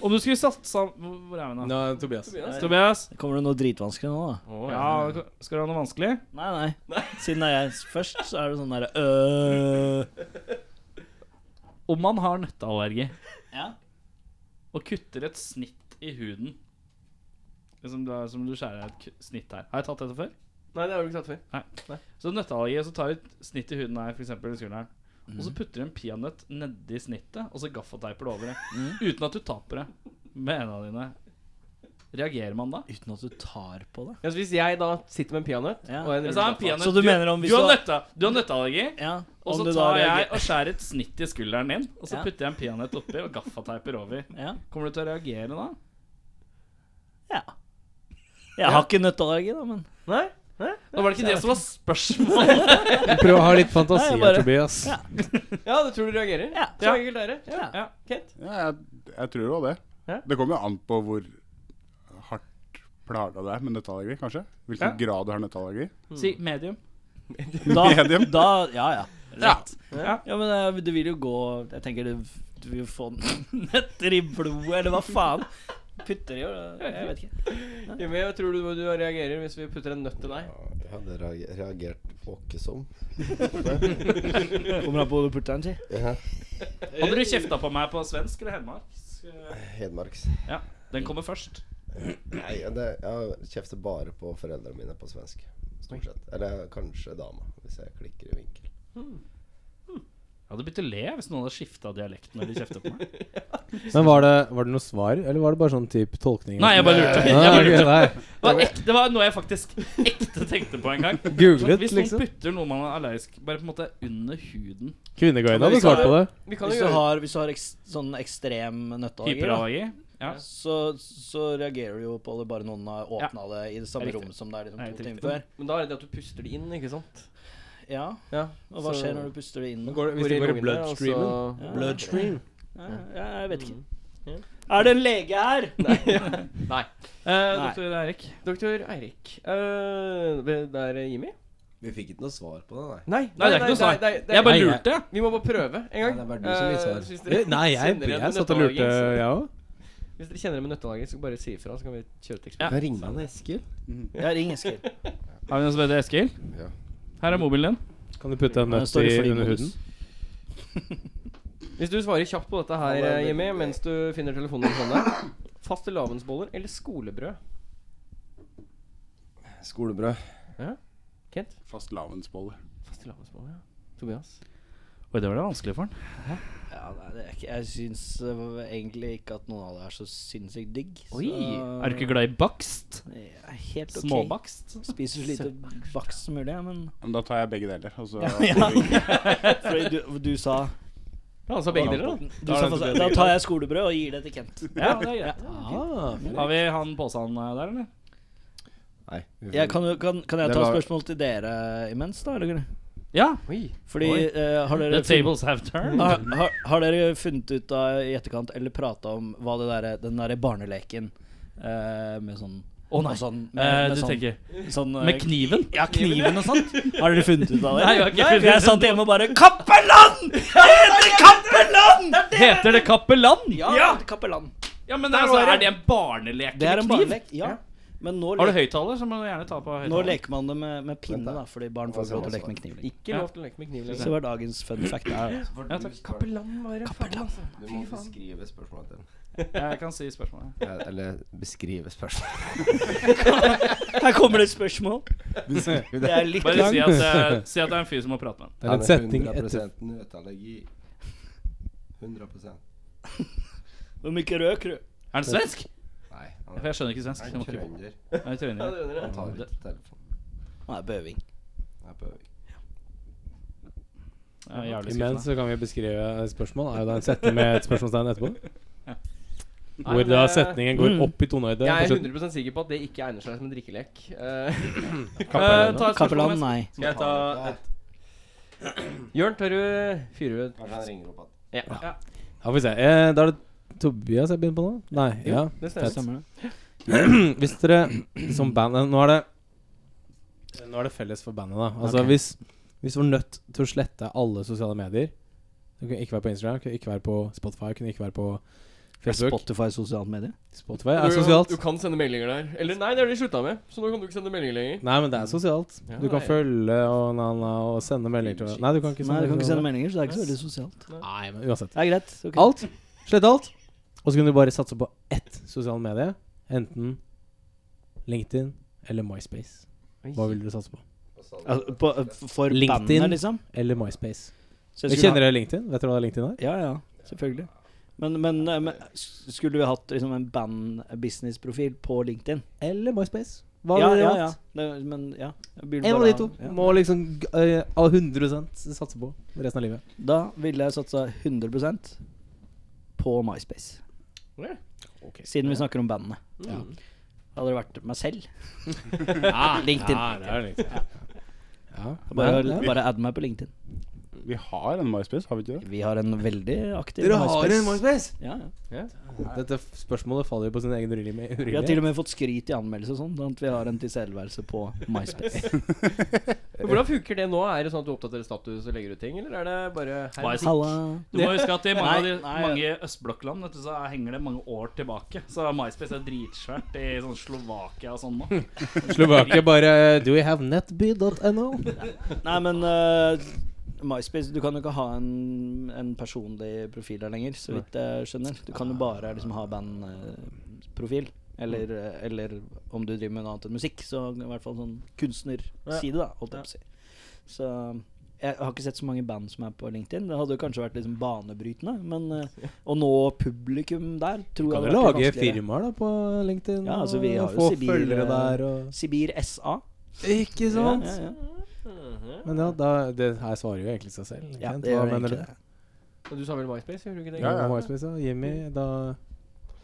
S2: Om du skulle satsa Hvor er vi nå?
S4: Nei, Tobias.
S2: Tobias?
S6: Kommer det noe dritvanskelig nå, da?
S2: Ja, skal du ha noe vanskelig?
S6: Nei, nei. Siden det er jeg først, så er det sånn derre øh.
S2: Om man har nøtteallergi
S6: Ja.
S2: og kutter et snitt i huden Liksom du, har- som du skjærer et ku- snitt her. Har jeg tatt dette før?
S1: Nei, det har du ikke tatt før.
S2: Så nøtteallergi, så tar du et snitt i huden her, f.eks. i skulderen. Og
S6: Mhm.
S2: så putter du en peanøtt nedi snittet, og så gaffateiper du over det.
S6: Mhm.
S2: Uten at du taper det med en av dine. Reagerer man da?
S6: Uten at du tar på
S1: Ja,
S6: det.
S1: så Altså, hvis jeg da sitter med en peanøtt
S6: Ja.
S1: og en
S2: Jeg sa en
S1: rullegaffel-
S2: peanøtt.
S6: Så du mener om hvis
S2: du har
S6: du-
S2: nøtta, du har nøtteallergi,
S6: Ja.
S2: og
S6: om
S2: så
S6: du da
S2: tar jeg
S6: reagerer-
S2: og skjærer et snitt i skulderen din, og så
S6: Ja.
S2: putter jeg en peanøtt oppi og gaffateiper over.
S6: Ja.
S2: Kommer du til å reagere da?
S6: ja. Jeg har ikke nøtteallergi, da, men
S1: Nei?
S2: Da var det ikke det som var spørsmålet.
S4: Prøv å ha litt fantasi
S6: Nei, jeg
S4: her,
S6: bare-
S4: Tobias.
S1: Ja, du tror du reagerer?
S6: Ja.
S1: Så enkelt er det. Ja.
S2: Ja.
S1: Kent?
S7: Ja, jeg, jeg tror òg det.
S1: Ja.
S7: Det kommer jo an på hvor hardt plaga du er med nøtteallergi, kanskje. Hvilken grad du har nøtteallergi.
S2: Si medium.
S6: da,
S7: Medium.
S6: da Ja, ja. Rett.
S1: Ja.
S6: Ja, men eh, du vil jo gå Jeg tenker du, du vil jo få nøtter i blodet, eller hva faen? Putter i jo Jeg vet ikke.
S1: Jimmy, hva tror du du reagerer hvis vi putter en nøtt til deg?
S5: Jeg hadde reager- reagert åkesom.
S6: Kommer an på hvor du putter den, si.
S2: Hadde du kjefta på meg på svensk eller hedmark?
S5: Hedmarks.
S2: Ja, den kommer først.
S5: Nei, det, jeg kjefter bare på foreldrene mine på svensk. Stort sett. Eller kanskje dama, hvis jeg klikker i vinkel.
S2: Jeg hadde begynt å le hvis noen hadde skifta dialekt når de kjefta på meg.
S4: Men var det, var det noe svar, eller var det bare sånn type tolkning?
S2: Nei, jeg bare lurte. Jeg
S4: Nei,
S2: bare
S4: ok,
S2: lurte.
S4: nei.
S2: Det, var ekte, det var noe jeg faktisk ekte tenkte på en gang.
S4: Googlet,
S2: Hvis noen
S4: liksom.
S2: putter noe man er allergisk Bare på en måte under huden.
S4: Kvinneguiden hadde svart på det.
S1: Vi kan jo
S6: Hvis du
S1: gjøre
S6: har, hvis du har eks, sånn ekstrem nøtteallergi, da,
S2: Hyperallergi. Ja.
S6: så, så reagerer du jo på det bare noen har åpna det i det samme
S2: Det er riktig.
S6: rommet som det er liksom
S2: Nei,
S6: to
S2: det er
S6: timer før.
S1: Men da er det det at du puster det inn, ikke sant?
S6: Ja,
S1: Ja.
S6: Og hva
S1: så-
S6: skjer når du puster det inn? da?
S4: Hvis det går i
S1: lungene, og
S4: bloodstreamen.
S1: så-
S6: Ja.
S4: Bloodstream.
S6: Ja, ja, jeg vet ikke.
S1: Ja.
S6: Er det en lege her?
S1: Nei.
S2: Eh,
S6: Nei.
S2: Doktor Eirik.
S1: Doktor Eirik. eh, det er Jimmy?
S5: Vi fikk ikke noe svar på det, nei.
S1: Nei,
S2: Nei, det er ikke noe svar. Jeg bare
S4: Nei, jeg-
S2: lurte.
S1: Vi må bare prøve en gang.
S5: Nei, det er bare du som vil svare.
S1: Eh, hvis dere
S4: Nei, jeg,
S1: kjenner
S4: jeg,
S1: en med
S4: satt og
S1: nøtteallergi,
S4: lurte,
S1: så-
S4: jeg òg.
S1: Hvis dere kjenner en med nøtteallergi, så bare si ifra, så kan vi kjøre et
S2: Ja.
S1: eksperiment.
S5: Kan jeg ringe han Eskil?
S6: Ja, ring Eskil.
S2: Har vi noen som heter Eskil?
S5: Ja.
S2: Her er mobilen din.
S4: Kan du putte en
S6: Den
S4: nøtt
S6: står i
S4: i
S6: flymodus.
S4: under huden?
S1: Hvis du svarer kjapt på dette her,
S5: Ja, det er
S1: eh, Jimmy,
S5: veldig-
S1: mens du finner telefonen din sånn der Fastelavnsboller eller skolebrød?
S5: Skolebrød.
S1: Kent?
S7: Fastelavnsbolle.
S1: Fastelavnsboller, ja. Tobias?
S2: Oi, det var det vanskelig for han.
S6: Ja, nei, det er ikke, jeg syns eh, egentlig ikke at noen av det er så sinnssykt digg.
S2: Oi, Er du ikke glad i bakst?
S6: glad? Helt ok.
S2: Småbakst?
S6: Spiser så lite bakst som mulig, jeg, men
S7: Men da tar jeg begge deler. Og så
S6: Fordi du, du sa
S1: Ja, han
S2: altså
S1: sa begge deler, da.
S6: Du sa fast, Da tar jeg skolebrød og gir det til Kent.
S2: Ja, det er greit.
S4: Ah,
S2: Har vi han påsen eh, der, eller?
S5: Nei. vi får-
S6: Jeg kan, jo- kan, kan jeg
S5: Det
S6: ta
S5: var-
S6: spørsmål til dere imens, da? Eller?
S2: Ja.
S1: Oi.
S6: Fordi eh, har, dere
S2: The tables have turned.
S6: har, har, har dere funnet ut av i etterkant, eller prata om, hva det derre- den derre barneleken eh, med sånn
S2: Å nei.
S6: med sånn, med,
S2: Eh,
S6: med
S2: du
S6: sånn,
S2: tenker
S6: sånn, eh,
S2: Med kniven?
S6: Ja, kniven og sånt. Har dere funnet ut av det?
S2: Nei, jeg har ikke funnet
S6: for jeg
S2: ut.
S6: satt hjemme og bare Kappeland! Det heter Kappeland!
S2: Heter det Kappeland?
S6: Ja, Kappeland.
S2: Ja, men altså,
S6: var det.
S2: er det en barnelek?
S6: Det er en
S2: med kniv?
S6: barnelek. Ja. Men nå,
S2: Har du
S6: le
S2: høyttaler, så må du gjerne ta på
S6: nå
S2: høyttaler.
S6: leker man det med, med pinne,
S5: Vent da.
S6: da, fordi barn får ikke lov til å leke med kniv lenger.
S1: Ikke lov til å leke med kniv
S6: Så
S1: lenger.
S6: det var dagens fun fact. altså. Der.
S2: Ja, takk.
S1: Kapellan var det. Kapellan.
S5: Du må beskrive spørsmålet til
S2: Jeg kan si spørsmålet.
S5: ham. Eller beskrive spørsmålet.
S6: Her kommer det et spørsmål.
S5: Beskrive
S6: Det er litt
S2: Bare si
S6: langt.
S2: at, eh, si at det er en fyr som må prate med ham.
S4: det er en setning etter
S5: 100 nøtallergi. 100
S6: Hvor mye rød krø?
S2: Er han svensk?
S5: Nei,
S2: For
S5: han
S2: jeg skjønner ikke svensk.
S5: er
S2: Jeg må ikke-
S5: trønder.
S2: Jeg er trønder.
S5: Han tar ikke telefonen.
S6: Han er bøving.
S5: Han er på Gjøvik.
S2: Ja, jævlig
S4: Imens
S2: skuffende.
S4: så kan vi beskrive spørsmål. Er jo da en setning med et spørsmålstegn etterpå?
S1: Nei,
S4: Hvor
S1: men,
S4: da
S1: eh,
S4: setningen går
S2: Mm.
S4: opp i tonehøyde.
S1: Jeg er
S4: på slutten.
S1: 100 sikker på at det ikke egner seg som en drikkelek. Eh, eh,
S4: Kappeland,
S1: ta et spørsmål.
S6: Kappeland, nei.
S1: Skal jeg ta et Jørn, tar du Fyrud?
S5: Kanskje han ringer opp igjen.
S1: Ja. ja.
S4: Ja, får vi se. Eh, da er det Tobias jeg begynner på nå? Nei. Ja. Mm,
S1: Det stemmer.
S4: Hvis dere som band eh, Nå er det eh, Nå er det felles for bandet, da. Altså hvis, hvis du var nødt til å slette alle sosiale medier Det kunne ikke være på Instagram, kunne ikke være på Spotify, kunne ikke være på
S6: Er
S4: Facebook.
S6: Spotify sosialt medie?
S4: Spotify er
S1: Du,
S4: sosialt.
S1: du kan sende meldinger der. Eller nei, det har de slutta med, så nå kan du ikke sende meldinger lenger.
S4: Nei, men det er sosialt.
S1: Ja,
S4: Du kan
S1: nei.
S4: følge og, na, na, og sende meldinger til Nei, du kan ikke
S6: Nei,
S4: sende,
S6: du kan ikke sende meldinger, så det er ikke så veldig sosialt.
S4: Nei, men uansett.
S6: Det er greit. ok.
S4: Alt. Slett alt. Og så kan du bare satse på ett sosialt medie. Enten LinkedIn eller MySpace. Hva vil dere satse på?
S6: Altså, på, for
S4: LinkedIn.
S6: bandene, liksom?
S4: Eller MySpace.
S6: Så jeg
S4: Jeg
S6: skulle
S4: kjenner dere LinkedIn? Vet dere hva LinkedIn er?
S6: ha- Ja, ja. Selvfølgelig. Men, men, eh, men s- skulle vi hatt liksom, en band-business-profil på LinkedIn?
S4: Eller MySpace. Hva
S6: ja,
S4: ville dere
S6: ja,
S4: hatt?
S6: ja. Det, men ja. jeg
S4: En
S6: vil
S4: av
S6: bare
S4: de to
S6: ha- ja.
S4: må liksom eh, av 100 satse på resten av livet.
S6: Da ville jeg satsa 100 på MySpace.
S1: Ja.
S6: Siden vi snakker om bandene.
S1: Ja.
S6: Hadde det vært meg selv LinkedIn.
S4: Ja,
S6: Bare,
S4: ja.
S6: bare add meg på LinkedIn.
S7: Vi har en MySpace, har vi ikke det?
S6: Vi har en veldig aktiv
S4: Dere har en MySpace!
S6: Ja, ja.
S4: Dette f- spørsmålet faller jo på sin egen urim-
S6: Vi har
S4: urimelighet.
S6: til og med fått skryt i anmeldelse og sånn. sånn At vi har en tilstedeværelse på MySpace.
S1: Men Hvordan funker det nå? Er det sånn at du oppdaterer status og legger ut ting, eller er det bare hei,
S2: Hva er
S1: musikk?
S6: Halla.
S2: Du må huske at i mange, av de,
S6: Nei, nei.
S2: mange østblokkland vet du, så henger det mange år tilbake. Så MySpace er dritsvært i sånn Slovakia og sånn nå.
S4: Slovakia bare eh, Do you have netby.no?
S6: Nei, men eh, MySpace Du kan jo ikke ha en, en personlig profil der lenger, så vidt jeg skjønner. Du kan jo bare liksom ha bandprofil. Eller, eller om du driver med noe annet enn musikk, så i hvert fall sånn kunstnerside, da. Holdt jeg på å si. Så jeg har ikke sett så mange band som er på LinkedIn. Det hadde jo kanskje vært liksom banebrytende, men eh, å nå publikum der tror
S4: Kan
S6: jeg
S4: du
S6: hadde vært litt
S4: lage
S6: vanskeligere.
S4: firmaer da på LinkedIn?
S6: Ja, altså, vi
S4: og
S6: har jo
S4: få
S6: Sibir,
S4: følgere
S6: eh,
S4: der og
S6: Sibir SA.
S4: Ikke sant?
S6: Ja, ja,
S4: Men ja, da, det her svarer jo egentlig seg selv.
S6: ja. ja,
S4: Kent.
S6: det
S4: Hva
S6: gjør
S4: mener
S6: egentlig
S4: du?
S6: det.
S1: Og Du sa vel MySpace, gjorde du ikke det?
S7: Ja, ja.
S4: MySpace, ja. Jimmy, da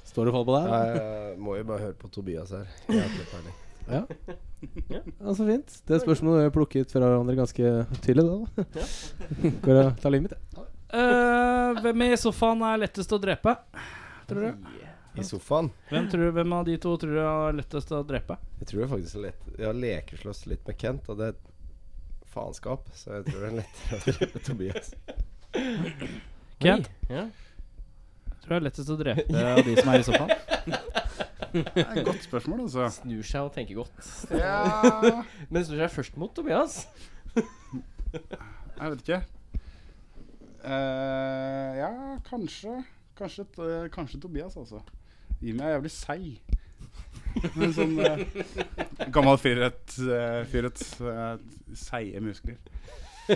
S4: står det og faller på deg. da.
S5: Jeg må jo bare høre på Tobias her. Jeg har ikke peiling.
S4: Ja, så fint. Det spørsmålet er plukket fra hverandre ganske tydelig, da. Går og tar livet mitt, jeg.
S2: Eh, hvem i sofaen er lettest å drepe? Tror du?
S5: I sofaen.
S2: Hvem, tror, hvem av de to tror du er lettest å drepe?
S5: Jeg tror det faktisk er lett Jeg har lekeslåss litt med Kent, og det er faenskap. Så jeg tror det er lettere å drepe Tobias.
S2: Kent?
S1: ja.
S2: Tror du er lettest å drepe av de som er i sofaen?
S7: Det er et godt spørsmål, altså.
S1: Snur seg og tenker godt.
S7: Ja,
S1: Men snur seg først mot Tobias.
S7: jeg vet ikke. Eh, ja, kanskje. Kanskje, t- kanskje Tobias, altså. Jimmy er jævlig seig. Men sånn eh, gammel frirett, uh, frirett eh, seige muskler.
S2: Ja,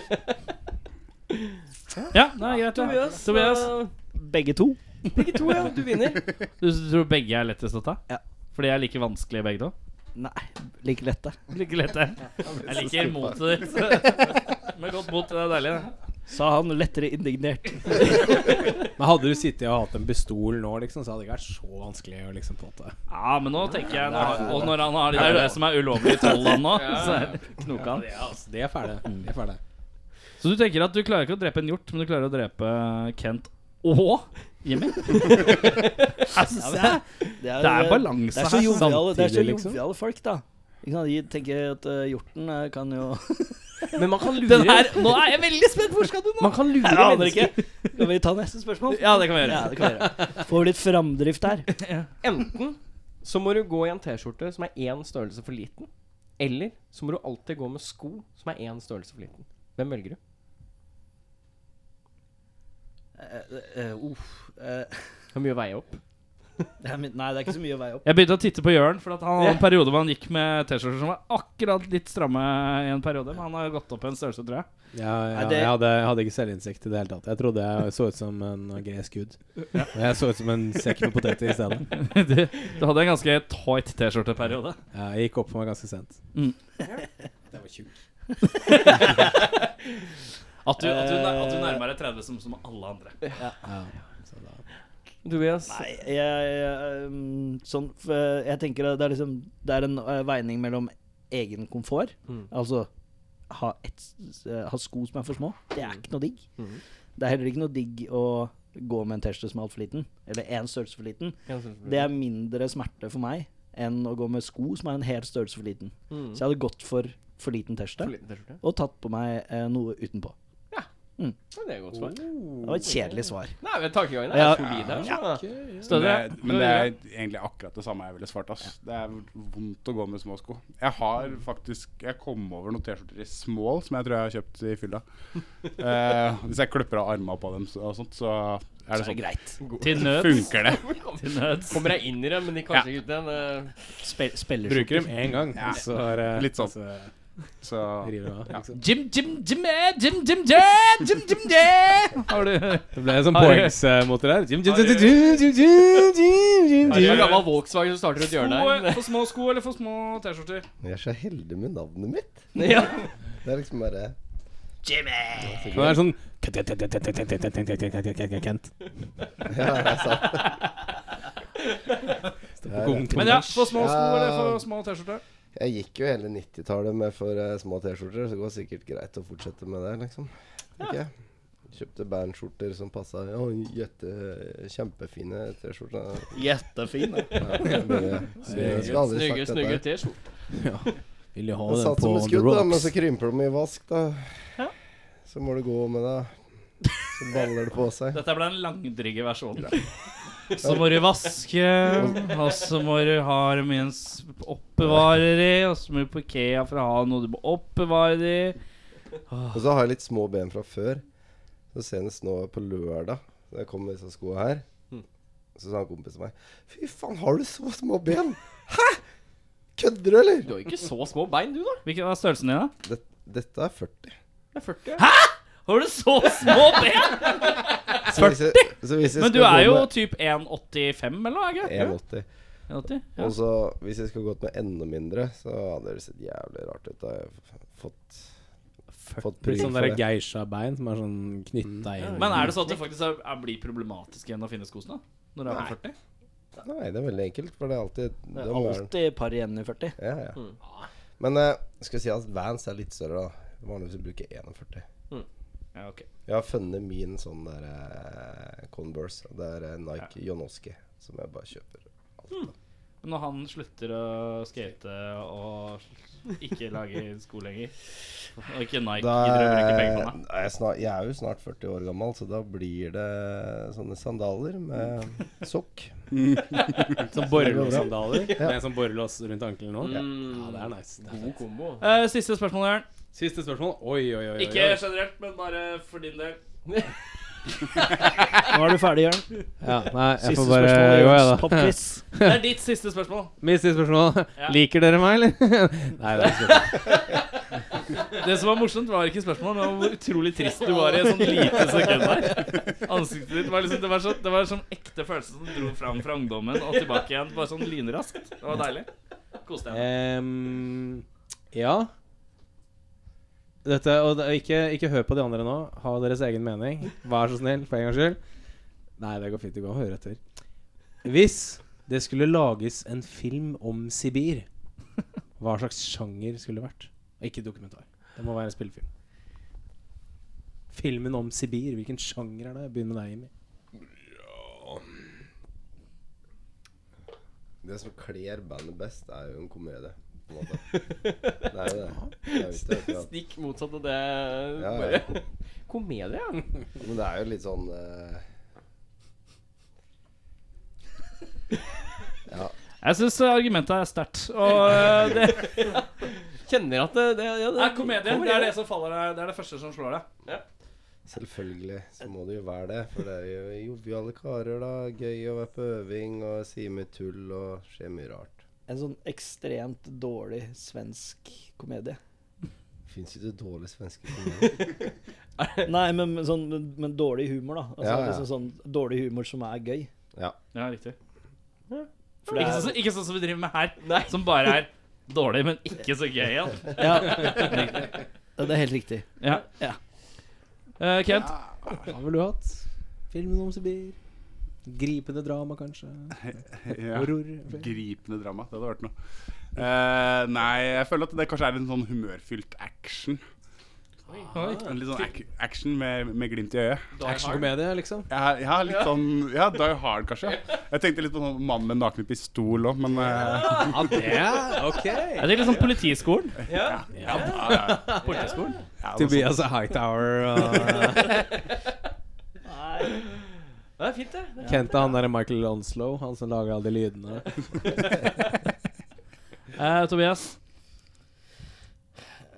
S2: det er greit. Ja. Tobias, eh,
S6: Begge to.
S1: Begge to, ja. Du vinner.
S2: du tror begge er lettest å ta?
S6: Ja.
S2: For de er like vanskelige begge to?
S6: Nei, like lette.
S2: Like lette. Jeg liker motet ditt. Med godt mot. Det er deilig, det.
S6: Sa han lettere indignert.
S4: Men hadde du sittet og hatt en pistol nå, liksom, så hadde det ikke vært så vanskelig å liksom få til.
S2: Ja, men nå tenker jeg nå, Og når han har de der som er ulovlige i tolvland nå, så er det knoka han.
S4: Altså, det er ferdig.
S6: Mm.
S4: Det er ferdig.
S2: Så du tenker at du klarer ikke å drepe en hjort, men du klarer å drepe Kent og Jimmy? Jeg synes det, Altså, det er balanse
S6: Det er så
S2: her.
S6: joviale, det er så
S4: samtidig, liksom.
S6: joviale folk, da. Ikke sant? De tenker at eh, hjorten eh, kan jo
S1: Men man kan lure
S2: Den her, nå er jeg veldig spent! Hvor skal du nå?
S1: Man kan lure
S6: Jeg aner
S1: mennesker.
S6: ikke. Kan vi ta neste spørsmål?
S2: Ja, det kan vi gjøre.
S6: Ja, det kan vi gjøre. Får vi litt framdrift her.
S1: Enten så må du gå i en T-skjorte som er én størrelse for liten, eller så må du alltid gå med sko som er én størrelse for liten. Hvem velger du?
S6: Eh, eh, uff, eh,
S1: Hvor mye veier opp?
S6: det er min- nei, det er ikke så mye å veie opp.
S2: Jeg begynte å titte på Jørn, for at han hadde en periode hvor han gikk med T-skjorter som var akkurat litt stramme i en periode, men han har jo gått opp en størrelse, tror jeg.
S4: Ja, ja,
S6: Nei, det-
S4: jeg, hadde, jeg hadde ikke selvinnsikt i det hele tatt. Jeg trodde jeg så ut som en gresk gud. Og jeg så ut som en sekk med poteter i stedet.
S2: Du, du hadde en ganske tight T-skjorte-periode.
S4: Ja, Jeg gikk opp for meg ganske sent.
S2: At, du- at, du nær- at du nærmer deg 30 som, som alle andre.
S1: Tobias?
S6: Nei, jeg, jeg, um, sånn, f- eh, jeg tenker at det er liksom Det er en eh, veining mellom egen komfort,
S1: Mm.
S6: altså ha, et, s- eh, ha sko som er for små. Det er ikke noe digg.
S1: Mhm.
S6: Det er heller ikke noe digg å gå med en T-skjorte som er altfor liten, eller én størrelse for liten.
S1: En størrelse for
S6: Det
S1: liten.
S6: er mindre smerte for meg enn å gå med sko som er en hel størrelse for liten.
S1: Mm.
S6: Så jeg hadde gått for for liten T-skjorte
S1: For liten T-skjorte.
S6: og tatt på meg eh, noe utenpå.
S1: Ja, det er et godt svar.
S6: Det var et kjedelig svar.
S1: Nei, men tankegangen er
S6: Ja.
S1: solid her. Så.
S7: Men det,
S2: Stødre?
S7: men det er egentlig akkurat det samme jeg ville svart. Ass. Det er vondt å gå med små sko. Jeg har faktisk Jeg kom over noen T-skjorter i small som jeg tror jeg har kjøpt i fylla. Eh, hvis jeg klipper av armene på dem så- og sånt, så er det
S6: Så er det
S7: sånn.
S6: greit.
S2: Til nøds.
S7: Funker det?
S2: Til nøds.
S1: Kommer jeg inn i det, men de kanskje ikke ut igjen. eh,
S6: Spe spiller
S4: Bruker dem én gang,
S7: Ja.
S4: så er det
S7: Litt sånn.
S4: så
S7: Så
S4: river de av. liksom.
S2: Jim, Jim, Jim, eh, Jim, Jim, yeah, Jim, Jim, yeah. Har du
S4: Det ble en sånn
S2: Har du-
S4: poengsmotor her. Jim, jim,
S1: Har
S4: jim,
S1: du-
S4: jim, jim, jim, jim, jim,
S1: Det er en
S4: jim.
S1: gammel Volkswagen som starter rundt hjørnet her.
S2: for små sko eller for små T-skjorter?
S5: Jeg er så heldig med navnet mitt.
S2: Ja.
S5: Det er liksom bare
S4: Det er sånn Kent.
S5: Ja, det er sant.
S2: Men ja, for små sko eller for små T-skjorter?
S5: Jeg gikk jo hele 90-tallet med for eh, små T-skjorter, så det går sikkert greit å fortsette med det, liksom. Tenker jeg. Kjøpte bandskjorter som passa. Ja, jette, kjempefine T-skjorter.
S6: Jettefin. da.
S5: Ja, jeg bare- jeg skulle aldri
S1: Snygge,
S5: sagt dette.
S1: snygge
S5: her.
S1: T-skjorter.
S4: Vil de ha
S5: Jeg satt som et skudd, da, men så krymper de i vask, da. Så må du gå med det. Så baller det på seg.
S2: Dette ble den langdrygge versjonen. Så må du vaske, og så må du ha dem i en s- oppbevarer i, og så må du på Ikea for å ha noe du må oppbevare det i.
S5: Og så har jeg litt små ben fra før. Så senest nå på lørdag, da jeg kom med disse skoa her, så sa en kompis til meg Fy faen, har du så små ben? Hæ? Kødder du, eller?
S1: Du har jo ikke så små bein, du, da.
S2: Hvilken var størrelsen din, da?
S5: Det, dette er 40.
S1: Det er 40.
S2: Har du så små ben?!
S5: Så hvis jeg, så hvis jeg
S2: Men du
S5: skal
S2: er
S5: gå
S2: jo
S5: med
S2: typ 1,85 eller noe? er du ikke?
S5: 1,80.
S2: 1,80? Ja.
S5: Og så hvis jeg skulle gått med enda mindre, så hadde det sett jævlig rart ut. Da har jeg f- fått, fått
S4: Litt
S5: pris
S4: sånn
S5: for
S4: der
S5: det.
S4: geisha-bein som er sånn knytta inn.
S2: Men er det sånn at det faktisk er, er, blir problematisk igjen å finne skosene? Når du er på 40?
S5: Nei, det er veldig enkelt, for det er alltid
S6: Det
S5: det
S6: er
S5: må være-
S6: alltid par igjen i 40.
S5: Ja, ja.
S2: Mm.
S5: Men eh, skal jeg si at Vans er litt større, da. Vanligvis bruker jeg 41.
S2: Ja, ok.
S5: Jeg har funnet min sånn der eh, Converse. og Det er eh, Nike John Oski, som jeg bare kjøper.
S2: Men når han slutter å skate og ikke lage sko lenger, og ikke Nike
S5: Da
S2: gidder å bruke penger på
S5: er,
S2: han, da?
S5: er jeg, snar- jeg er jo snart 40 år gammel, så da blir det sånne sandaler med sokk.
S4: Sånn borrelåssandaler med en sånn borrelås rundt ankelen nå. Ja,
S2: Mm.
S4: det er nice. Det er
S1: God
S4: fett.
S1: kombo.
S2: Eh, siste spørsmål, Jørn.
S4: Siste spørsmål. Oi, oi, oi. oi,
S2: Ikke
S4: oi.
S2: generelt, men bare for din del.
S6: Nå er du ferdig, Jørn.
S4: Ja, nei, jeg
S6: Siste
S4: får bare
S6: spørsmål i
S4: gå,
S6: Jørns
S4: jeg, da.
S6: popquiz.
S2: Det er ditt siste spørsmål.
S4: Mitt siste spørsmål.
S2: Ja.
S4: Liker dere meg, eller? Nei, det er ikke spørsmål.
S2: Det som var morsomt, var ikke spørsmålet, men hvor utrolig trist du var i et sånt lite sekund der. Ansiktet ditt var liksom Det var sånn, det var sånn ekte følelse som dro fram fra ungdommen og tilbake igjen. Bare sånn lynraskt. Det var deilig. Kos deg.
S4: Ehm, ja. Dette, og det, ikke, ikke hør på de andre nå. Ha deres egen mening. Vær så snill, for en gangs skyld. Nei, det går fint. Du kan høre etter. Hvis det skulle lages en film om Sibir, hva slags sjanger skulle det vært? Og Ikke dokumentar. Det må være en spillefilm. Filmen om Sibir, hvilken sjanger er det? Begynn med deg, Jimmy.
S5: Det som kler bandet best, er jo en komedie. På en måte. Det er jo det. det, er jo ikke akkurat-
S1: Stikk motsatt av det.
S5: Ja, ja.
S1: Bare komedie, ja.
S5: Men det er jo litt sånn eh,
S2: Jeg syns argumentet er sterkt. Og eh, det
S1: Kjenner at det, det, ja, det
S2: er komedie. Det er det som faller deg. Det er det første som slår deg.
S5: Selvfølgelig så må det jo være det. For det er jo joviale karer, da. Gøy å være på øving og si mye tull og skje mye rart.
S6: En sånn ekstremt dårlig svensk komedie.
S5: Fins ikke dårlige svenske komedier.
S6: Nei, men, men sånn, men, men dårlig humor, da. Altså,
S5: Ja, ja.
S6: Liksom sånn Dårlig humor som er gøy.
S2: Ja, riktig.
S6: For det
S2: Ikke,
S6: er,
S2: sånn, som- ikke sånn som vi driver med her, som bare er dårlig, men ikke så gøy igjen.
S6: ja, det er helt riktig.
S2: Ja. Eh, Kent,
S4: Hva ville du hatt? Filmen om Sibir? Gripende drama, kanskje?
S7: Ja.
S4: Horror?
S7: Gripende drama. Det hadde vært noe. Eh, nei, jeg føler at det kanskje er en sånn humørfylt action. En Litt sånn ac action med, med glimt i øyet.
S4: Actionkomedie, liksom.
S7: Jeg har, jeg har litt sånn Ja, Die Hard, kanskje. Jeg tenkte litt på sånn mann med nakne pistol òg, men eh,
S4: Ja, det er ok.
S2: Jeg tenker sånn Politiskolen.
S7: ja, da-
S2: Politiskolen.
S7: ja, noe sånt.
S4: Tobias Hightower og eh,
S1: Det er fint, det. det.
S4: Kent og han der Michael Onslow, han som lager alle de lydene.
S2: Eh, Tobias?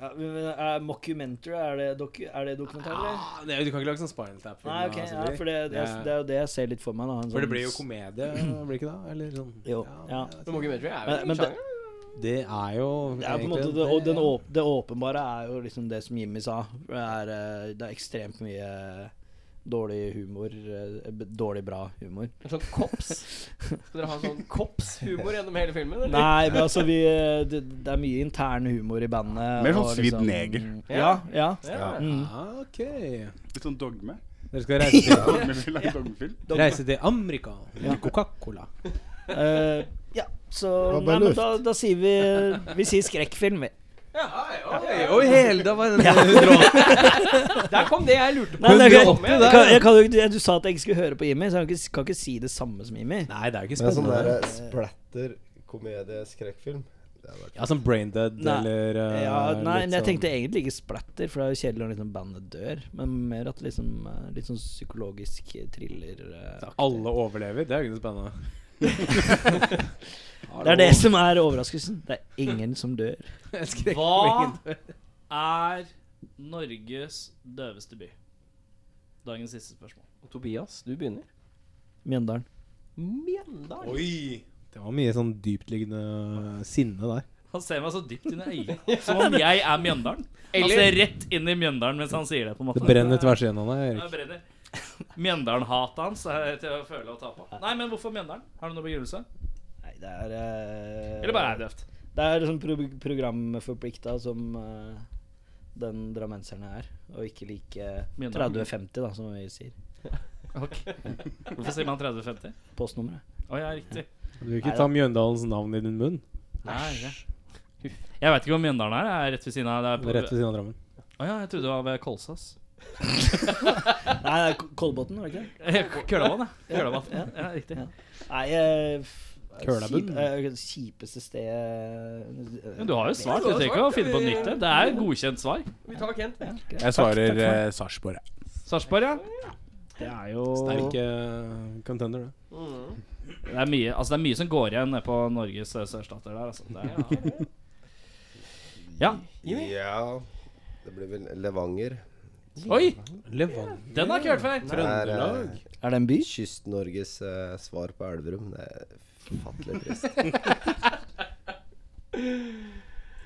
S6: Ja, men, men, er mockumentary, er det, doku, er det dokumentar, eller?
S4: Ah, det, du kan ikke lage sånn Spinal Tap-film.
S6: Nei, ok, ja, for det, det, er,
S4: Ja.
S6: det er jo det jeg ser litt for meg. Da, en
S4: For det
S6: sånn-
S4: blir jo komedie, blir det ikke det? Eller sånn
S6: Jo, ja.
S1: Men Mockumentary er
S6: Men-
S1: vel
S6: men
S1: en
S6: det-
S1: sjanger?
S4: Det er jo
S6: Det er på en måte det, og den åp, det åpenbare er jo liksom det som Jimmy sa. Det er, eh, det er ekstremt mye dårlig humor. eh, b- Dårlig bra humor.
S1: En sånn kops? Skal dere ha en sånn kopshumor gjennom hele filmen? eller?
S6: Nei, men altså vi, eh, det, det er mye intern humor i bandet.
S7: Mer sånn
S6: og
S7: svidd neger.
S6: Ja. ja.
S1: Ja.
S6: Mm.
S4: Ah, ok.
S7: Litt sånn dogme.
S4: Dere skal reise til,
S7: Dogmefilm er dogmefilm.
S4: reise til Amerika. Ja. Coca-Cola.
S6: Eh, ja, så
S5: var
S6: Nei,
S5: bare
S6: men
S5: luft.
S6: da, da sier vi Vi sier skrekkfilm, vi.
S4: Oi, hele, da var den 180.
S1: Der kom det jeg lurte på.
S6: Nei, det er
S1: Kom
S6: ikke-
S1: igjen.
S6: jeg kan, jeg kan, jo ikke- du sa at jeg ikke skulle høre på Jimmy, så jeg kan ikke, kan ikke si det samme som Jimmy.
S4: Nei, det er jo ikke
S5: Men sånn
S4: spennende.
S5: der splatter komedie-skrekkfilm Det hadde vært
S4: Ja, sånn Braindead
S6: Nei.
S4: eller eh,
S6: Ja, nei,
S4: litt
S6: men jeg
S4: sånn-
S6: tenkte egentlig ikke splatter, for det er jo kjedelig når liksom bandet dør. Men mer at liksom eh, litt sånn psykologisk eh, thriller eh,
S4: Alle overlever, det er jo ikke noe spennende.
S6: Det er det som er overraskelsen. Det er ingen som dør.
S2: Hva er Norges døveste by? Dagens siste spørsmål.
S1: Tobias, du begynner.
S6: Mjøndalen.
S1: Mjøndalen.
S4: Det var mye sånn dyptliggende sinne der.
S2: Han ser meg så dypt inn i øyet, som om jeg er Mjøndalen. Han
S1: Eller-
S2: ser rett inn i Mjøndalen mens han sier det. på en måte
S4: Det brenner tvers igjennom deg,
S2: Ja, det
S4: Erik.
S2: brenner. Mjøndalen-hatet hans er til å føle og ta på. Nei, men hvorfor Mjøndalen? Har du noen begrunnelse?
S6: Nei, det er eh,
S2: Eller bare er det døvt?
S6: Det er liksom pro programforplikta som eh, den drammenserne er, og ikke like
S2: Mjøndalen.
S6: 30-50, da, som vi sier.
S2: Hvorfor sier man 30-50?
S6: Postnummeret.
S2: Å ja, riktig.
S4: Du vil ikke ta Mjøndalens navn i din munn.
S2: Nei, ja. Jeg veit ikke hvor Mjøndalen er. Jeg er rett ved siden av. Det er
S4: Eller
S2: på,
S4: Rett ved siden av Drammen.
S2: Å ja, jeg trodde det var ved Kolsås.
S6: Nei, det er K- Kolbotn, var det ikke det?
S2: Kølavann, ja. Kølavann. Ja, ja, riktig.
S6: Nei eh, f-
S4: Kølabunn.
S6: kjip- eh, Kjipeste eh, stedet
S2: Men du har jo svart. Du trenger ikke å finne på et nytt. det. Det er godkjent svar.
S1: Vi tar Kent. vi.
S7: Jeg svarer eh, Sarpsborg. jeg.
S2: Sarpsborg, ja. Det er jo
S4: Sterk eh, contender, det.
S2: Det er mye, altså det er mye som går igjen nede på Norges eh, sørstater der. Altså. Det er, ja.
S5: gøy. Ja, det blir vel Levanger.
S2: Oi!
S4: Levanger
S2: Den har jeg ikke hørt før.
S5: Det er eh,
S6: Er det en by?
S5: Kyst-Norges eh, svar på Elverum. Det er forfattelig trist.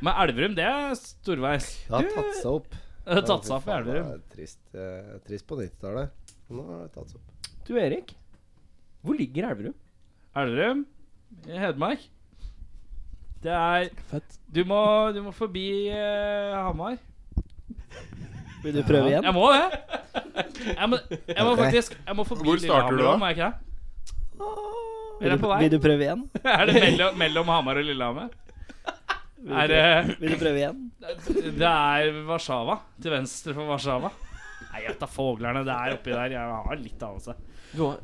S2: Men Elverum, det er storveis.
S5: Det har tatt seg opp.
S2: Det har tatt seg opp i
S5: Fy faen, det
S2: Elverum.
S5: er Trist, eh, trist på 90-tallet. Nå har det tatt seg opp.
S1: Du Erik, hvor ligger Elverum?
S2: Elverum i Hedmark. Det er
S4: Fett.
S2: Du må, du må forbi eh, Hamar.
S6: Vil du prøve igjen?
S2: Jeg må det. Jeg må, jeg må faktisk jeg må forbi
S7: Hvor starter du da?
S2: Lillehammer, må jeg ikke det?
S6: Vil
S2: er på
S6: du,
S2: vei.
S6: vil du prøve igjen?
S2: Er det mellom, mellom Hamar og Lillehammer? Er det
S6: Vil du prøve igjen?
S2: Det er Warszawa. Til venstre for Warszawa. Nei, jeg tar fuglene. Det er oppi der. Jeg har litt anelse.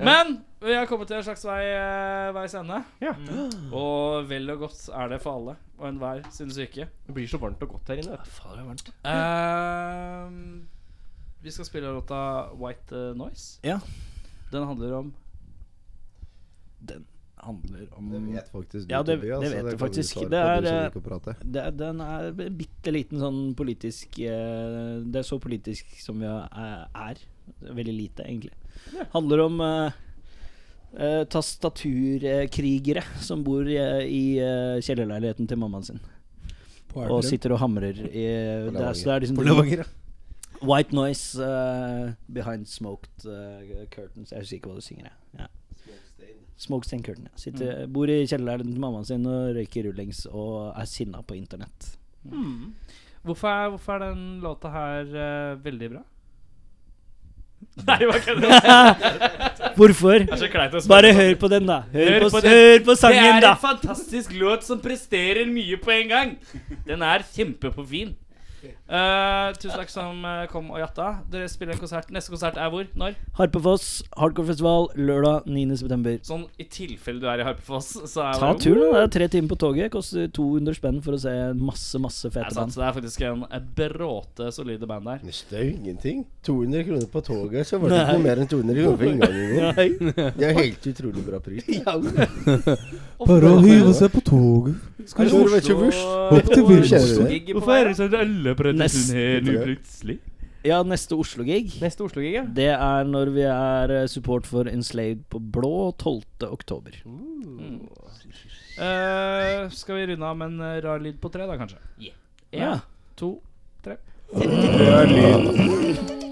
S2: Men vi har kommet til en slags vei, eh, veis ende. Mm. Og vel og godt er det for alle og enhver sin syke.
S1: Det blir så varmt og godt her inne. vet du.
S2: Ehm, vi skal spille låta White eh, Noise.
S9: Ja.
S2: Den handler om
S9: handler
S5: Det
S9: om
S5: vet faktisk du,
S6: Ja, det-
S5: Tobias.
S6: det
S5: så
S6: vet jeg
S5: kan du
S6: faktisk.
S5: svare
S6: Det er,
S5: på, du som
S6: eh,
S5: liker å prate.
S6: Det, den er en bitte liten sånn politisk eh, Det er så politisk som vi er. er. Veldig lite, egentlig. Handler om eh, eh, tastaturkrigere som bor eh, i eh, kjellerleiligheten til mammaen sin.
S4: på
S6: Og
S4: Elverum.
S6: sitter og hamrer i
S5: På
S6: det er, så det er liksom
S4: På Levanger, ja.
S6: White noise eh, behind smoked eh, curtains. Jeg husker ikke hva du synger, jeg. Ja. Smokestain curtain. Ja. Sitter,
S4: Mm.
S6: Bor i kjellerleiligheten til mammaen sin og røyker rullings og er sinna på internett.
S1: Hmm.
S2: Hvorfor er, hvorfor er den låta her eh, veldig bra? Nei, hva kødder du?
S6: Hvorfor?
S2: Det er så kleint å spørre.
S1: sånn.
S6: Bare hør på den, da. Hør,
S2: Hør
S6: på,
S2: på den.
S6: hør på
S2: det
S6: sangen,
S2: er
S6: da.
S2: en fantastisk låt som presterer mye på en gang. Den er kjempepåfin. Eh, Eh, tusen takk som eh, kom og jatta. Dere spiller en konsert. Neste konsert er hvor? Når?
S6: Harpefoss hardcorefestival lørdag 9.9.
S2: Sånn i tilfelle du er i Harpefoss, så er
S6: Ta
S2: det-
S6: turen, da. Det er tre timer på toget. Koster 200 spenn for å se masse, masse
S2: Det er
S6: fete
S2: sant,
S6: band.
S2: så det er faktisk en en bråte solide band der.
S5: Det er jo ingenting. 200 kroner på toget, så var det ikke noe mer enn 200 kroner på inngangen. vår. Det er helt utrolig bra pris.
S4: Bare å hive seg på toget.
S5: Jeg tror det var ikke vurs.
S4: Hopp til
S5: Hvorfor
S4: Virgin.
S5: kjører vi det?
S1: Hvorfor er det
S2: sånn at alle prøver
S6: Nest-
S5: nå
S2: plutselig?
S6: Ja, neste Oslo-gig.
S1: Neste Oslo-gig, ja.
S6: Det er når vi er eh, support for Enslaved på Blå 12. oktober.
S2: Eh, skal vi runde av med en eh, rar lyd på tre, da, kanskje? En,
S6: Ja.
S2: to
S10: Rør lyd.